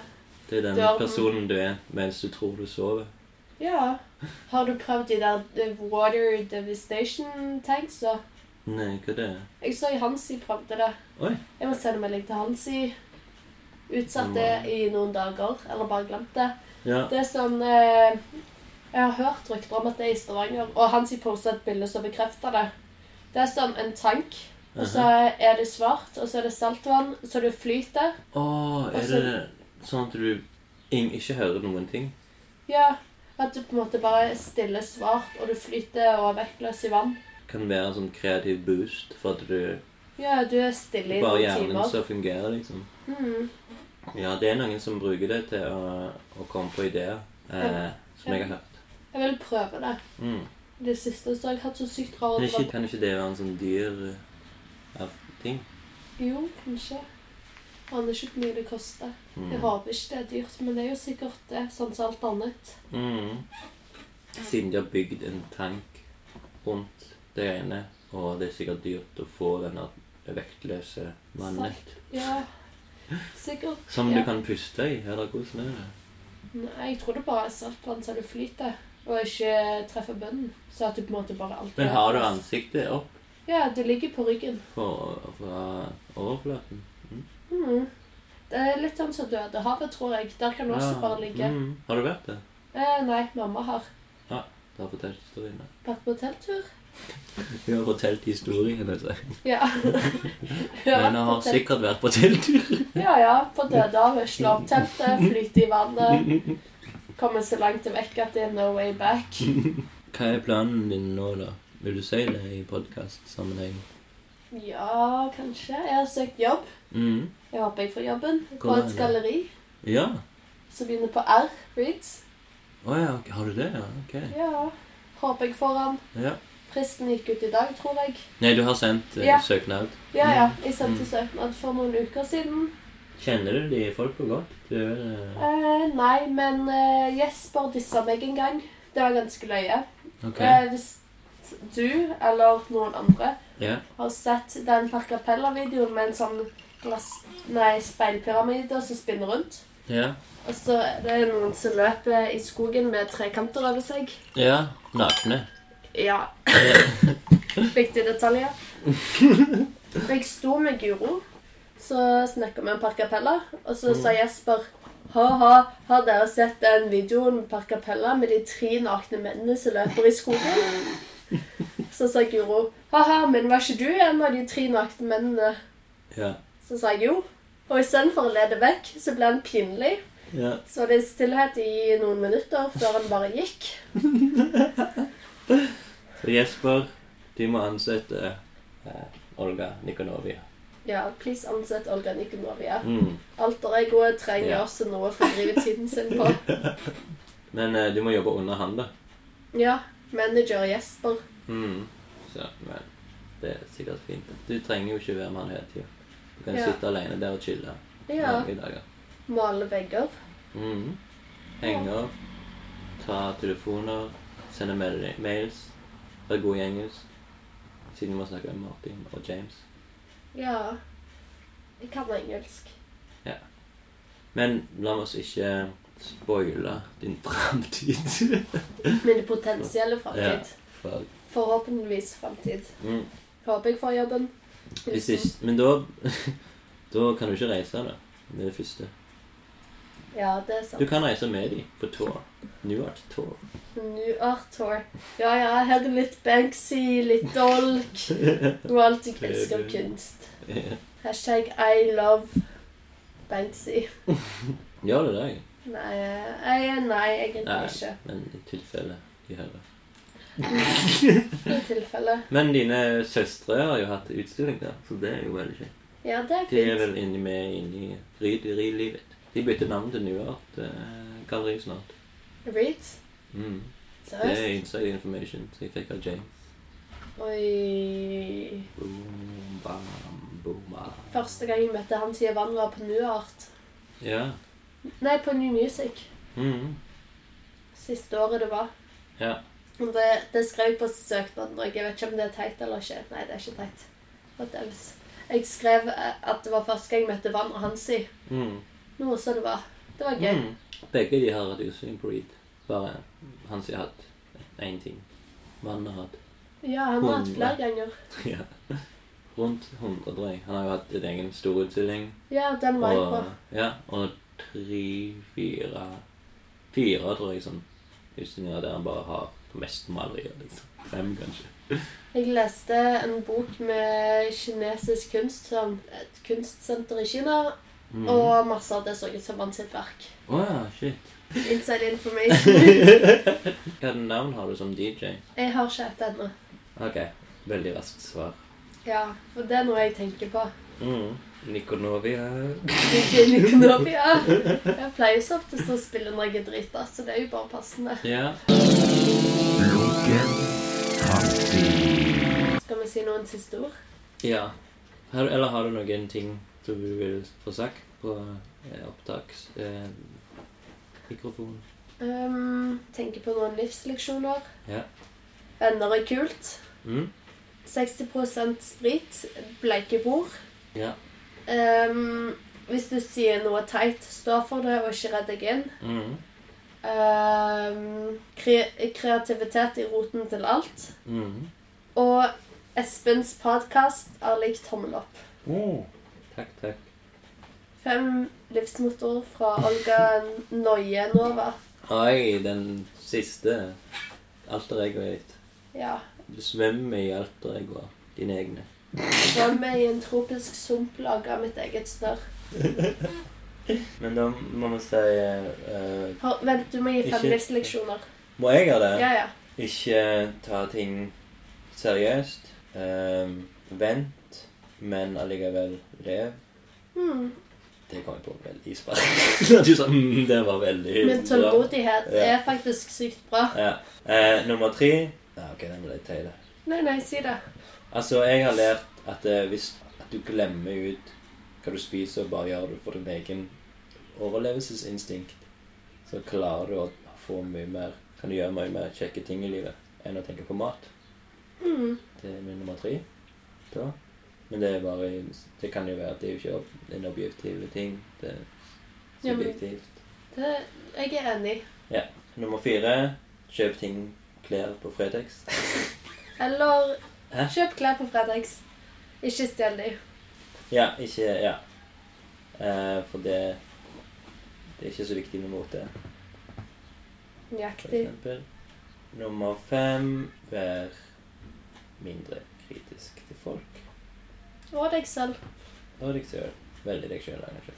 Speaker 1: Det er den
Speaker 2: Durden.
Speaker 1: personen du er mens du tror du sover.
Speaker 2: Ja. Har du prøvd de der eh, Water Devastation tanksa?
Speaker 1: Nei, hva det er
Speaker 2: Jeg så i Hansi prøvde det.
Speaker 1: Oi.
Speaker 2: Jeg må sende melding til Hansi. Utsatt det i noen dager, eller bare glemt det.
Speaker 1: Ja.
Speaker 2: Det er sånn eh, Jeg har hørt rykter om at det er i Stavanger, og Hansi posta et bilde som bekrefter det. Det er som en tank, og så er det svart, og så er det saltvann, så det flyter.
Speaker 1: Å, er
Speaker 2: Altså-
Speaker 1: det sånn at du ing- ikke hører noen ting?
Speaker 2: Ja. At du på en måte bare er stille svart, og du flyter og er vektløs i vann.
Speaker 1: Kan være en sånn kreativ boost for at du
Speaker 2: Ja, du er stille i
Speaker 1: Bare
Speaker 2: noen
Speaker 1: hjernen
Speaker 2: timer.
Speaker 1: som fungerer, liksom.
Speaker 2: Mm.
Speaker 1: Ja, det er noen som bruker det til å, å komme på ideer, eh, som jeg har hørt.
Speaker 2: Jeg vil prøve det.
Speaker 1: Mm.
Speaker 2: Det siste så har jeg hatt så sykt rar
Speaker 1: Men ikke,
Speaker 2: drøm.
Speaker 1: kan ikke det være en sånn dyr eh, av ting?
Speaker 2: Jo, kanskje. Aner ikke hvor mye det koster. Jeg
Speaker 1: Mm.
Speaker 2: håper ikke det er dyrt, men det er jo sikkert det, sånn som alt annet.
Speaker 1: Mm. Siden de har bygd en tank rundt det ene, og det er sikkert dyrt å få denne vektløse mannen
Speaker 2: Ja, sikkert.
Speaker 1: Som
Speaker 2: ja.
Speaker 1: du kan puste i. Eller hvordan er det?
Speaker 2: Nei, jeg tror det bare er saltvann så det flyter, og ikke treffer bunnen. Så at du på en måte bare alltid
Speaker 1: Men har du ansiktet opp
Speaker 2: Ja, du ligger på ryggen.
Speaker 1: for, fra overflaten?
Speaker 2: Mhm. Det er litt sånn som Dødehavet, tror jeg. Der kan du også
Speaker 1: Ja,
Speaker 2: bare ligge.
Speaker 1: mm. Har du vært det?
Speaker 2: Eh, nei, mamma har
Speaker 1: Du har fortalt historien. da.
Speaker 2: vært på telttur.
Speaker 1: Hun har fortalt historien. Altså. [LAUGHS]
Speaker 2: Ja.
Speaker 1: Men hun har sikkert vært på telttur.
Speaker 2: Ja, ja. På Dødehavet. Slå opp teltet, flyte i vannet. Komme så langt vekk at det er no way back.
Speaker 1: [LAUGHS] Hva er planen din nå, da? Vil du si det i podkast-sammenheng?
Speaker 2: Ja, kanskje. Jeg har søkt jobb.
Speaker 1: Mm.
Speaker 2: Jeg håper jeg får jobben. På
Speaker 1: Hvor er
Speaker 2: et
Speaker 1: det?
Speaker 2: galleri
Speaker 1: Ja.
Speaker 2: som begynner på R. Reeds.
Speaker 1: Å ja, ok. har du det? Ja, ok.
Speaker 2: Ja. Håper jeg får han.
Speaker 1: Ja.
Speaker 2: Fristen gikk ut i dag, tror jeg.
Speaker 1: Nei, du har sendt eh,
Speaker 2: Ja.
Speaker 1: søknad.
Speaker 2: Ja, ja. Jeg
Speaker 1: Mm.
Speaker 2: sendte søknad for noen uker siden.
Speaker 1: Kjenner du de folka godt? Du er eh,
Speaker 2: Eh, nei, men eh, Jesper dissa meg en gang. Det var ganske løye.
Speaker 1: OK.
Speaker 2: Eh, hvis du eller noen andre
Speaker 1: Ja.
Speaker 2: har sett den Per Capella-videoen med en sånn glass, nei, speilpyramide som spinner rundt.
Speaker 1: Ja.
Speaker 2: Og så er det noen som løper i skogen med trekanter over seg.
Speaker 1: ja. Nakne.
Speaker 2: Ja. Viktige detaljer. Jeg sto med Guro, så snakka vi om Per Capella, og så sa Jesper Ha-ha, har dere sett den videoen med Per Capella med de tre nakne mennene som løper i skogen? Så sa Guro Ha-ha, men var ikke du en av de tre nakne mennene?
Speaker 1: Ja.
Speaker 2: Så sa jeg jo. Og istedenfor å lede vekk, så ble han pinlig.
Speaker 1: ja.
Speaker 2: Så var det stillhet i noen minutter før han bare gikk.
Speaker 1: Så Jesper, de må ansette eh, Olga Nikonovia.
Speaker 2: Ja, please ansett Olga Nikonovia.
Speaker 1: Mm.
Speaker 2: Alter ego trenger
Speaker 1: Ja.
Speaker 2: også noe for å drive tiden sin
Speaker 1: [LAUGHS]
Speaker 2: på.
Speaker 1: Men eh, du må jobbe under han, da.
Speaker 2: Ja, manager Jesper.
Speaker 1: Mm. Så, men det er sikkert fint. Du trenger jo ikke være med han hele tida. Du kan
Speaker 2: Ja.
Speaker 1: sitte alene der og chille
Speaker 2: Ja.
Speaker 1: mange dager.
Speaker 2: Male vegger.
Speaker 1: Mm. Henge opp, ta telefoner, sende mel- mails, være god i engelsk. Siden vi må snakke om Martin og James.
Speaker 2: Ja. Jeg kan
Speaker 1: [LAUGHS]
Speaker 2: engelsk.
Speaker 1: Men la oss ikke spoile din [LAUGHS] framtid.
Speaker 2: Min potensielle framtid.
Speaker 1: For-
Speaker 2: Forhåpentligvis framtid.
Speaker 1: mm.
Speaker 2: Håper jeg får jobben.
Speaker 1: Hvis ikke, men da [LAUGHS] Da kan du ikke reise, da. Det er det første.
Speaker 2: Ja, det er sant.
Speaker 1: Du kan reise med dem på tour. New Art Tour. [LAUGHS]
Speaker 2: New Art Tour. Ja, ja, her er litt Banksy, litt
Speaker 1: [LAUGHS]
Speaker 2: Dolk. Royalty elsker kunst. Hashtag I love Banksy. eh,
Speaker 1: Gjør det det?
Speaker 2: Nei, jeg, nei, egentlig
Speaker 1: Nei.
Speaker 2: ikke.
Speaker 1: Men i tilfelle de hører.
Speaker 2: I tilfelle.
Speaker 1: Men dine søstre har jo hatt utstilling der, så det er jo veldig kjekt.
Speaker 2: Ja, det er
Speaker 1: De er
Speaker 2: fint.
Speaker 1: vel inne med inne i rydderilivet. De bytter navn til New Art eh, Galleri snart.
Speaker 2: Reeds.
Speaker 1: Mm. Det er
Speaker 2: Seriøst?
Speaker 1: inside information som jeg fikk av James.
Speaker 2: Oi.
Speaker 1: Boom, bam, boom, bam.
Speaker 2: Første gang jeg møtte han siden vann var på Nuart.
Speaker 1: Ja.
Speaker 2: Nei, på New Music.
Speaker 1: Mm.
Speaker 2: Siste året det var.
Speaker 1: Ja.
Speaker 2: Og Det, det skrev jeg på søknaden, og jeg vet ikke om det er teit eller ikke. Nei, det er ikke teit. Whatevs. Jeg skrev eh, at det var første gang jeg møtte Vann og Hansi.
Speaker 1: Mm.
Speaker 2: Noe så det var. Det var gøy.
Speaker 1: Mm. Begge de har hatt usynlig breed. Bare han som har hatt én ting. Mannen har hatt
Speaker 2: Ja, han har hatt
Speaker 1: Hundre.
Speaker 2: flere ganger.
Speaker 1: ja. rundt 100, tror jeg. Han har jo hatt en egen storutstilling.
Speaker 2: Ja, den var jeg på.
Speaker 1: Og, ja, og tre, fire Fire, tror jeg, sånn utstillinger der han bare har mest malerier. Liksom. Fem, kanskje.
Speaker 2: Jeg leste en bok med kinesisk kunst, som et kunstsenter i Kina,
Speaker 1: Mm. Å
Speaker 2: og masse av det så ut som Vann sitt verk.
Speaker 1: ja, shit.
Speaker 2: Inside
Speaker 1: [LAUGHS]
Speaker 2: information.
Speaker 1: Hva navn har du som DJ?
Speaker 2: Jeg har ikke et ennå.
Speaker 1: OK. Veldig raskt svar.
Speaker 2: Ja, for det er noe jeg tenker på.
Speaker 1: Mm. Nikonovia
Speaker 2: Gynekologia. Jeg pleier så oftest å spille når jeg er drita, så det er jo bare passende.
Speaker 1: [LAUGHS] Ja.
Speaker 3: Lunken kaffe.
Speaker 2: Skal vi si noen siste ord?
Speaker 1: Ja. Har, du- eller har du noen ting du vil få sagt på eh, opptaks... Eh, mikrofon?
Speaker 2: Um, tenker på noen livsleksjoner.
Speaker 1: Ja.
Speaker 2: Venner er kult.
Speaker 1: Mm?
Speaker 2: 60 sprit. Bleike bord.
Speaker 1: Ja.
Speaker 2: Um, hvis du sier noe teit, stå for det og ikke redd deg inn.
Speaker 1: Mm.
Speaker 2: Um, kre kreativitet i roten til alt.
Speaker 1: Mm.
Speaker 2: Og Espens podkast er lik tommel opp.
Speaker 1: Takk, takk.
Speaker 2: Fem livsmotor fra Olga Nojenova.
Speaker 1: Oi, den siste alter egoet ditt.
Speaker 2: Ja.
Speaker 1: Du svømmer i alter egoer. Dine egne.
Speaker 2: Var med i en tropisk sump laga av mitt eget snørr.
Speaker 1: Men da må vi si eh,
Speaker 2: Har- Vent, du må gi fem
Speaker 1: Ikke-
Speaker 2: livsleksjoner.
Speaker 1: Må jeg gjøre det?
Speaker 2: Ja, ja.
Speaker 1: Ikke ta ting seriøst. Eh, vent, men allikevel lev.
Speaker 2: Hmm.
Speaker 1: Det kom jeg på veldig [LAUGHS] spark. du sa mm, det var veldig
Speaker 2: Men tålmodighet
Speaker 1: Ja.
Speaker 2: er faktisk sykt bra.
Speaker 1: Ja. Eh, nummer tre ja, OK, den må jeg teile.
Speaker 2: Nei, nei, si det.
Speaker 1: Altså, jeg har lært at eh, hvis at du glemmer ut hva du spiser, og bare gjør det for din egen overlevelsesinstinkt, så klarer du å få mye mer Kan du gjøre mye mer kjekke ting i livet enn å tenke på mat.
Speaker 2: Hmm.
Speaker 1: Det er min nummer tre. Da. Men det er bare Det kan jo være at det er jo ikke ob- en objektiv ting. Det er
Speaker 2: Ja, men-
Speaker 1: subjektivt.
Speaker 2: Det, jeg er enig.
Speaker 1: Nummer fire kjøp ting, klær på Fretex.
Speaker 2: Eller
Speaker 1: Hæ?
Speaker 2: kjøp klær på Fredex. Ikke stjel dem.
Speaker 1: ja, ikke Ja. Eh, for det Det er ikke så viktig med mote, for
Speaker 2: Nøyaktig.
Speaker 1: eksempel. Nummer fem vær mindre kritisk til folk.
Speaker 2: Og deg selv.
Speaker 1: Og deg sjøl. Veldig deg sjøl, kanskje.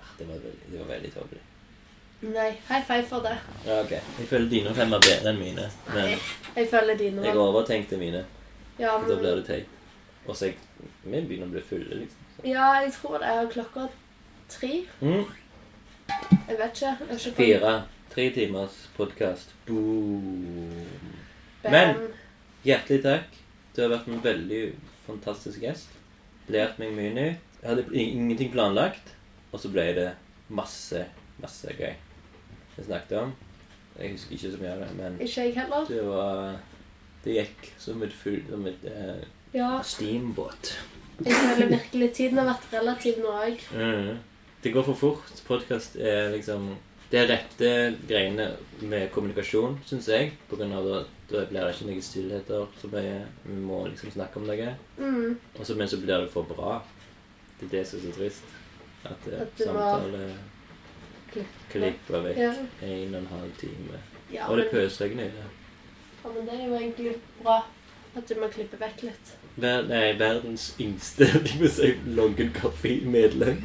Speaker 1: Ah, Det var veldig, det var veldig tåpelig.
Speaker 2: Nei, high five for det.
Speaker 1: Ja, OK. Jeg føler dine fem er bedre enn mine. Men
Speaker 2: Jeg følger dine
Speaker 1: jeg
Speaker 2: råd.
Speaker 1: overtenkte mine.
Speaker 2: Ja,
Speaker 1: Da
Speaker 2: men-
Speaker 1: blir det teit. Og så jeg Vi begynner å bli fulle, liksom.
Speaker 2: ja, jeg tror det er klokka tre.
Speaker 1: Mm.
Speaker 2: Jeg vet ikke. Jeg har ikke
Speaker 1: Fire. Tre timers podkast. Boom.
Speaker 2: fått-
Speaker 1: Men- Hjertelig takk. Du har vært en veldig fantastisk gjest. Lært meg mye nytt. Jeg hadde in- ingenting planlagt, og så ble det masse, masse gøy. Vi snakket om. Jeg husker ikke så mye av det, men
Speaker 2: Ikke jeg heller.
Speaker 1: det var Det gikk som et full... Som et eh,
Speaker 2: Ja,
Speaker 1: steamboat.
Speaker 2: jeg føler virkelig tiden har vært relativ nå òg.
Speaker 1: Mm. Det går for fort. Podkast er liksom Det er rette greiene med kommunikasjon, syns jeg. På grunn av at da blir det ikke noen stillheter så mye. Vi må liksom snakke om noe.
Speaker 2: Mm.
Speaker 1: Og så, men så blir det for bra. Det er det som er så trist. At, eh,
Speaker 2: At det var-
Speaker 1: samtale
Speaker 2: Klipp.
Speaker 1: klipper vekk
Speaker 2: Ja.
Speaker 1: en og en halv time.
Speaker 2: Ja,
Speaker 1: og det
Speaker 2: men,
Speaker 1: pøsregner i det.
Speaker 2: ja, men det er jo egentlig bra at du må klippe vekk litt.
Speaker 1: Ver, nei, verdens yngste [LAUGHS] de må si Longen [LAUGHS] Coffee-medlem.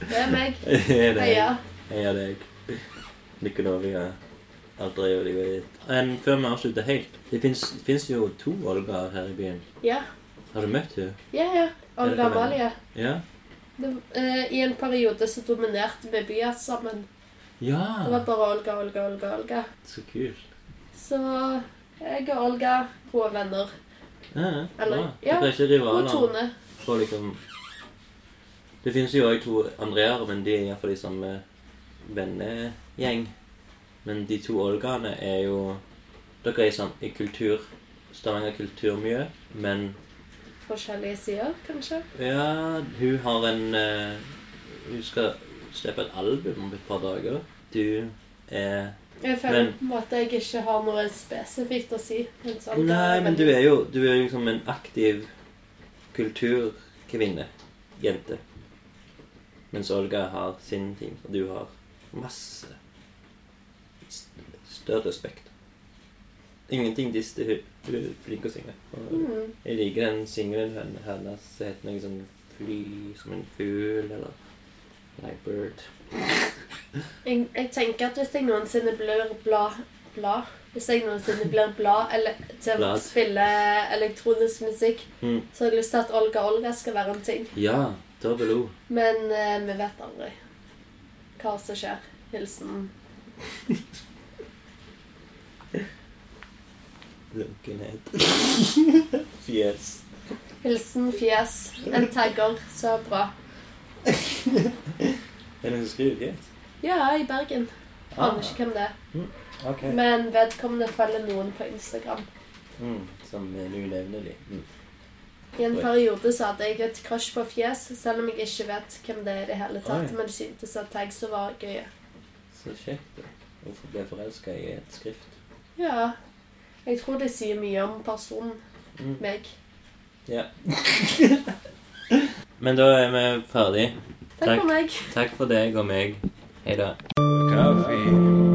Speaker 2: Det er meg.
Speaker 1: Heia
Speaker 2: Heia.
Speaker 1: Heia deg. Nikonovia. Alt er jo livet Men før vi avslutter helt Det fins jo to Olgaer her i byen.
Speaker 2: Ja.
Speaker 1: Har du møtt henne?
Speaker 2: Ja, ja.
Speaker 1: Er det
Speaker 2: Olga
Speaker 1: for meg?
Speaker 2: Amalie.
Speaker 1: Ja?
Speaker 2: Det, eh, I en periode så dominerte vi byen sammen. Det
Speaker 1: Ja!
Speaker 2: var bare Olga, Olga, Olga, Olga.
Speaker 1: Så kult.
Speaker 2: Så jeg og Olga, hun er venner.
Speaker 1: Ja, ja.
Speaker 2: Eller-
Speaker 1: bra.
Speaker 2: ja,
Speaker 1: Dere er ikke
Speaker 2: Hun og
Speaker 1: rivaler?
Speaker 2: Tone.
Speaker 1: For liksom Det finnes jo òg to Andreaer, men de er iallfall i samme vennegjeng. Men de to Olgaene er jo Dere er i, sam- i kultur Stavanger kulturmiljø, men
Speaker 2: Forskjellige sider, kanskje.
Speaker 1: ja, hun har en eh, Hun skal slippe et album om et par dager. Du er
Speaker 2: Jeg føler
Speaker 1: Men-
Speaker 2: på en måte jeg ikke har noe spesifikt å si. sånn mens Olga
Speaker 1: Nei,
Speaker 2: er
Speaker 1: men du
Speaker 2: veldig-
Speaker 1: er jo du er jo liksom en aktiv kulturkvinne. Jente. Mens Olga har sin ting, og du har masse s- større respekt. Ingenting diss til hun. Hun er flink til å synge. Og
Speaker 2: Mm.
Speaker 1: jeg liker den singelen hen- hennes som heter noe sånn Fly som en fugl, eller Like bird.
Speaker 2: Jeg, jeg tenker at hvis jeg noensinne blir bla, bla Hvis jeg noensinne blir bla eller til å
Speaker 1: Blad.
Speaker 2: spille elektronisk musikk,
Speaker 1: Mm.
Speaker 2: så har jeg lyst til at Olga Olga skal være en ting.
Speaker 1: Ja, dobbel O.
Speaker 2: Men eh, vi vet aldri hva som skjer. Hilsen
Speaker 1: Lunkenhet. [LAUGHS] Fjes.
Speaker 2: Hilsen fjes. En tagger. Så bra.
Speaker 1: Er det noen som skriver fjes?
Speaker 2: Ja, i Bergen.
Speaker 1: Ah.
Speaker 2: Aner ikke hvem det er.
Speaker 1: Ok.
Speaker 2: Men vedkommende følger noen på Instagram.
Speaker 1: Mm, som er unevnelig. Mm.
Speaker 2: I en periode så hadde jeg et crush på fjes, selv om jeg ikke vet hvem det er i det hele tatt.
Speaker 1: Oi.
Speaker 2: Men syntes at tags var gøye.
Speaker 1: Så kjekt. da. Hvorfor ble jeg forelska i et skrift?
Speaker 2: Ja. Jeg tror det sier mye om personen.
Speaker 1: Mm.
Speaker 2: Meg.
Speaker 1: [LAUGHS] Ja. Men da er vi ferdig.
Speaker 2: Takk
Speaker 1: Takk.
Speaker 2: for meg.
Speaker 1: Takk for deg og meg. Hei da.
Speaker 6: Kaffe.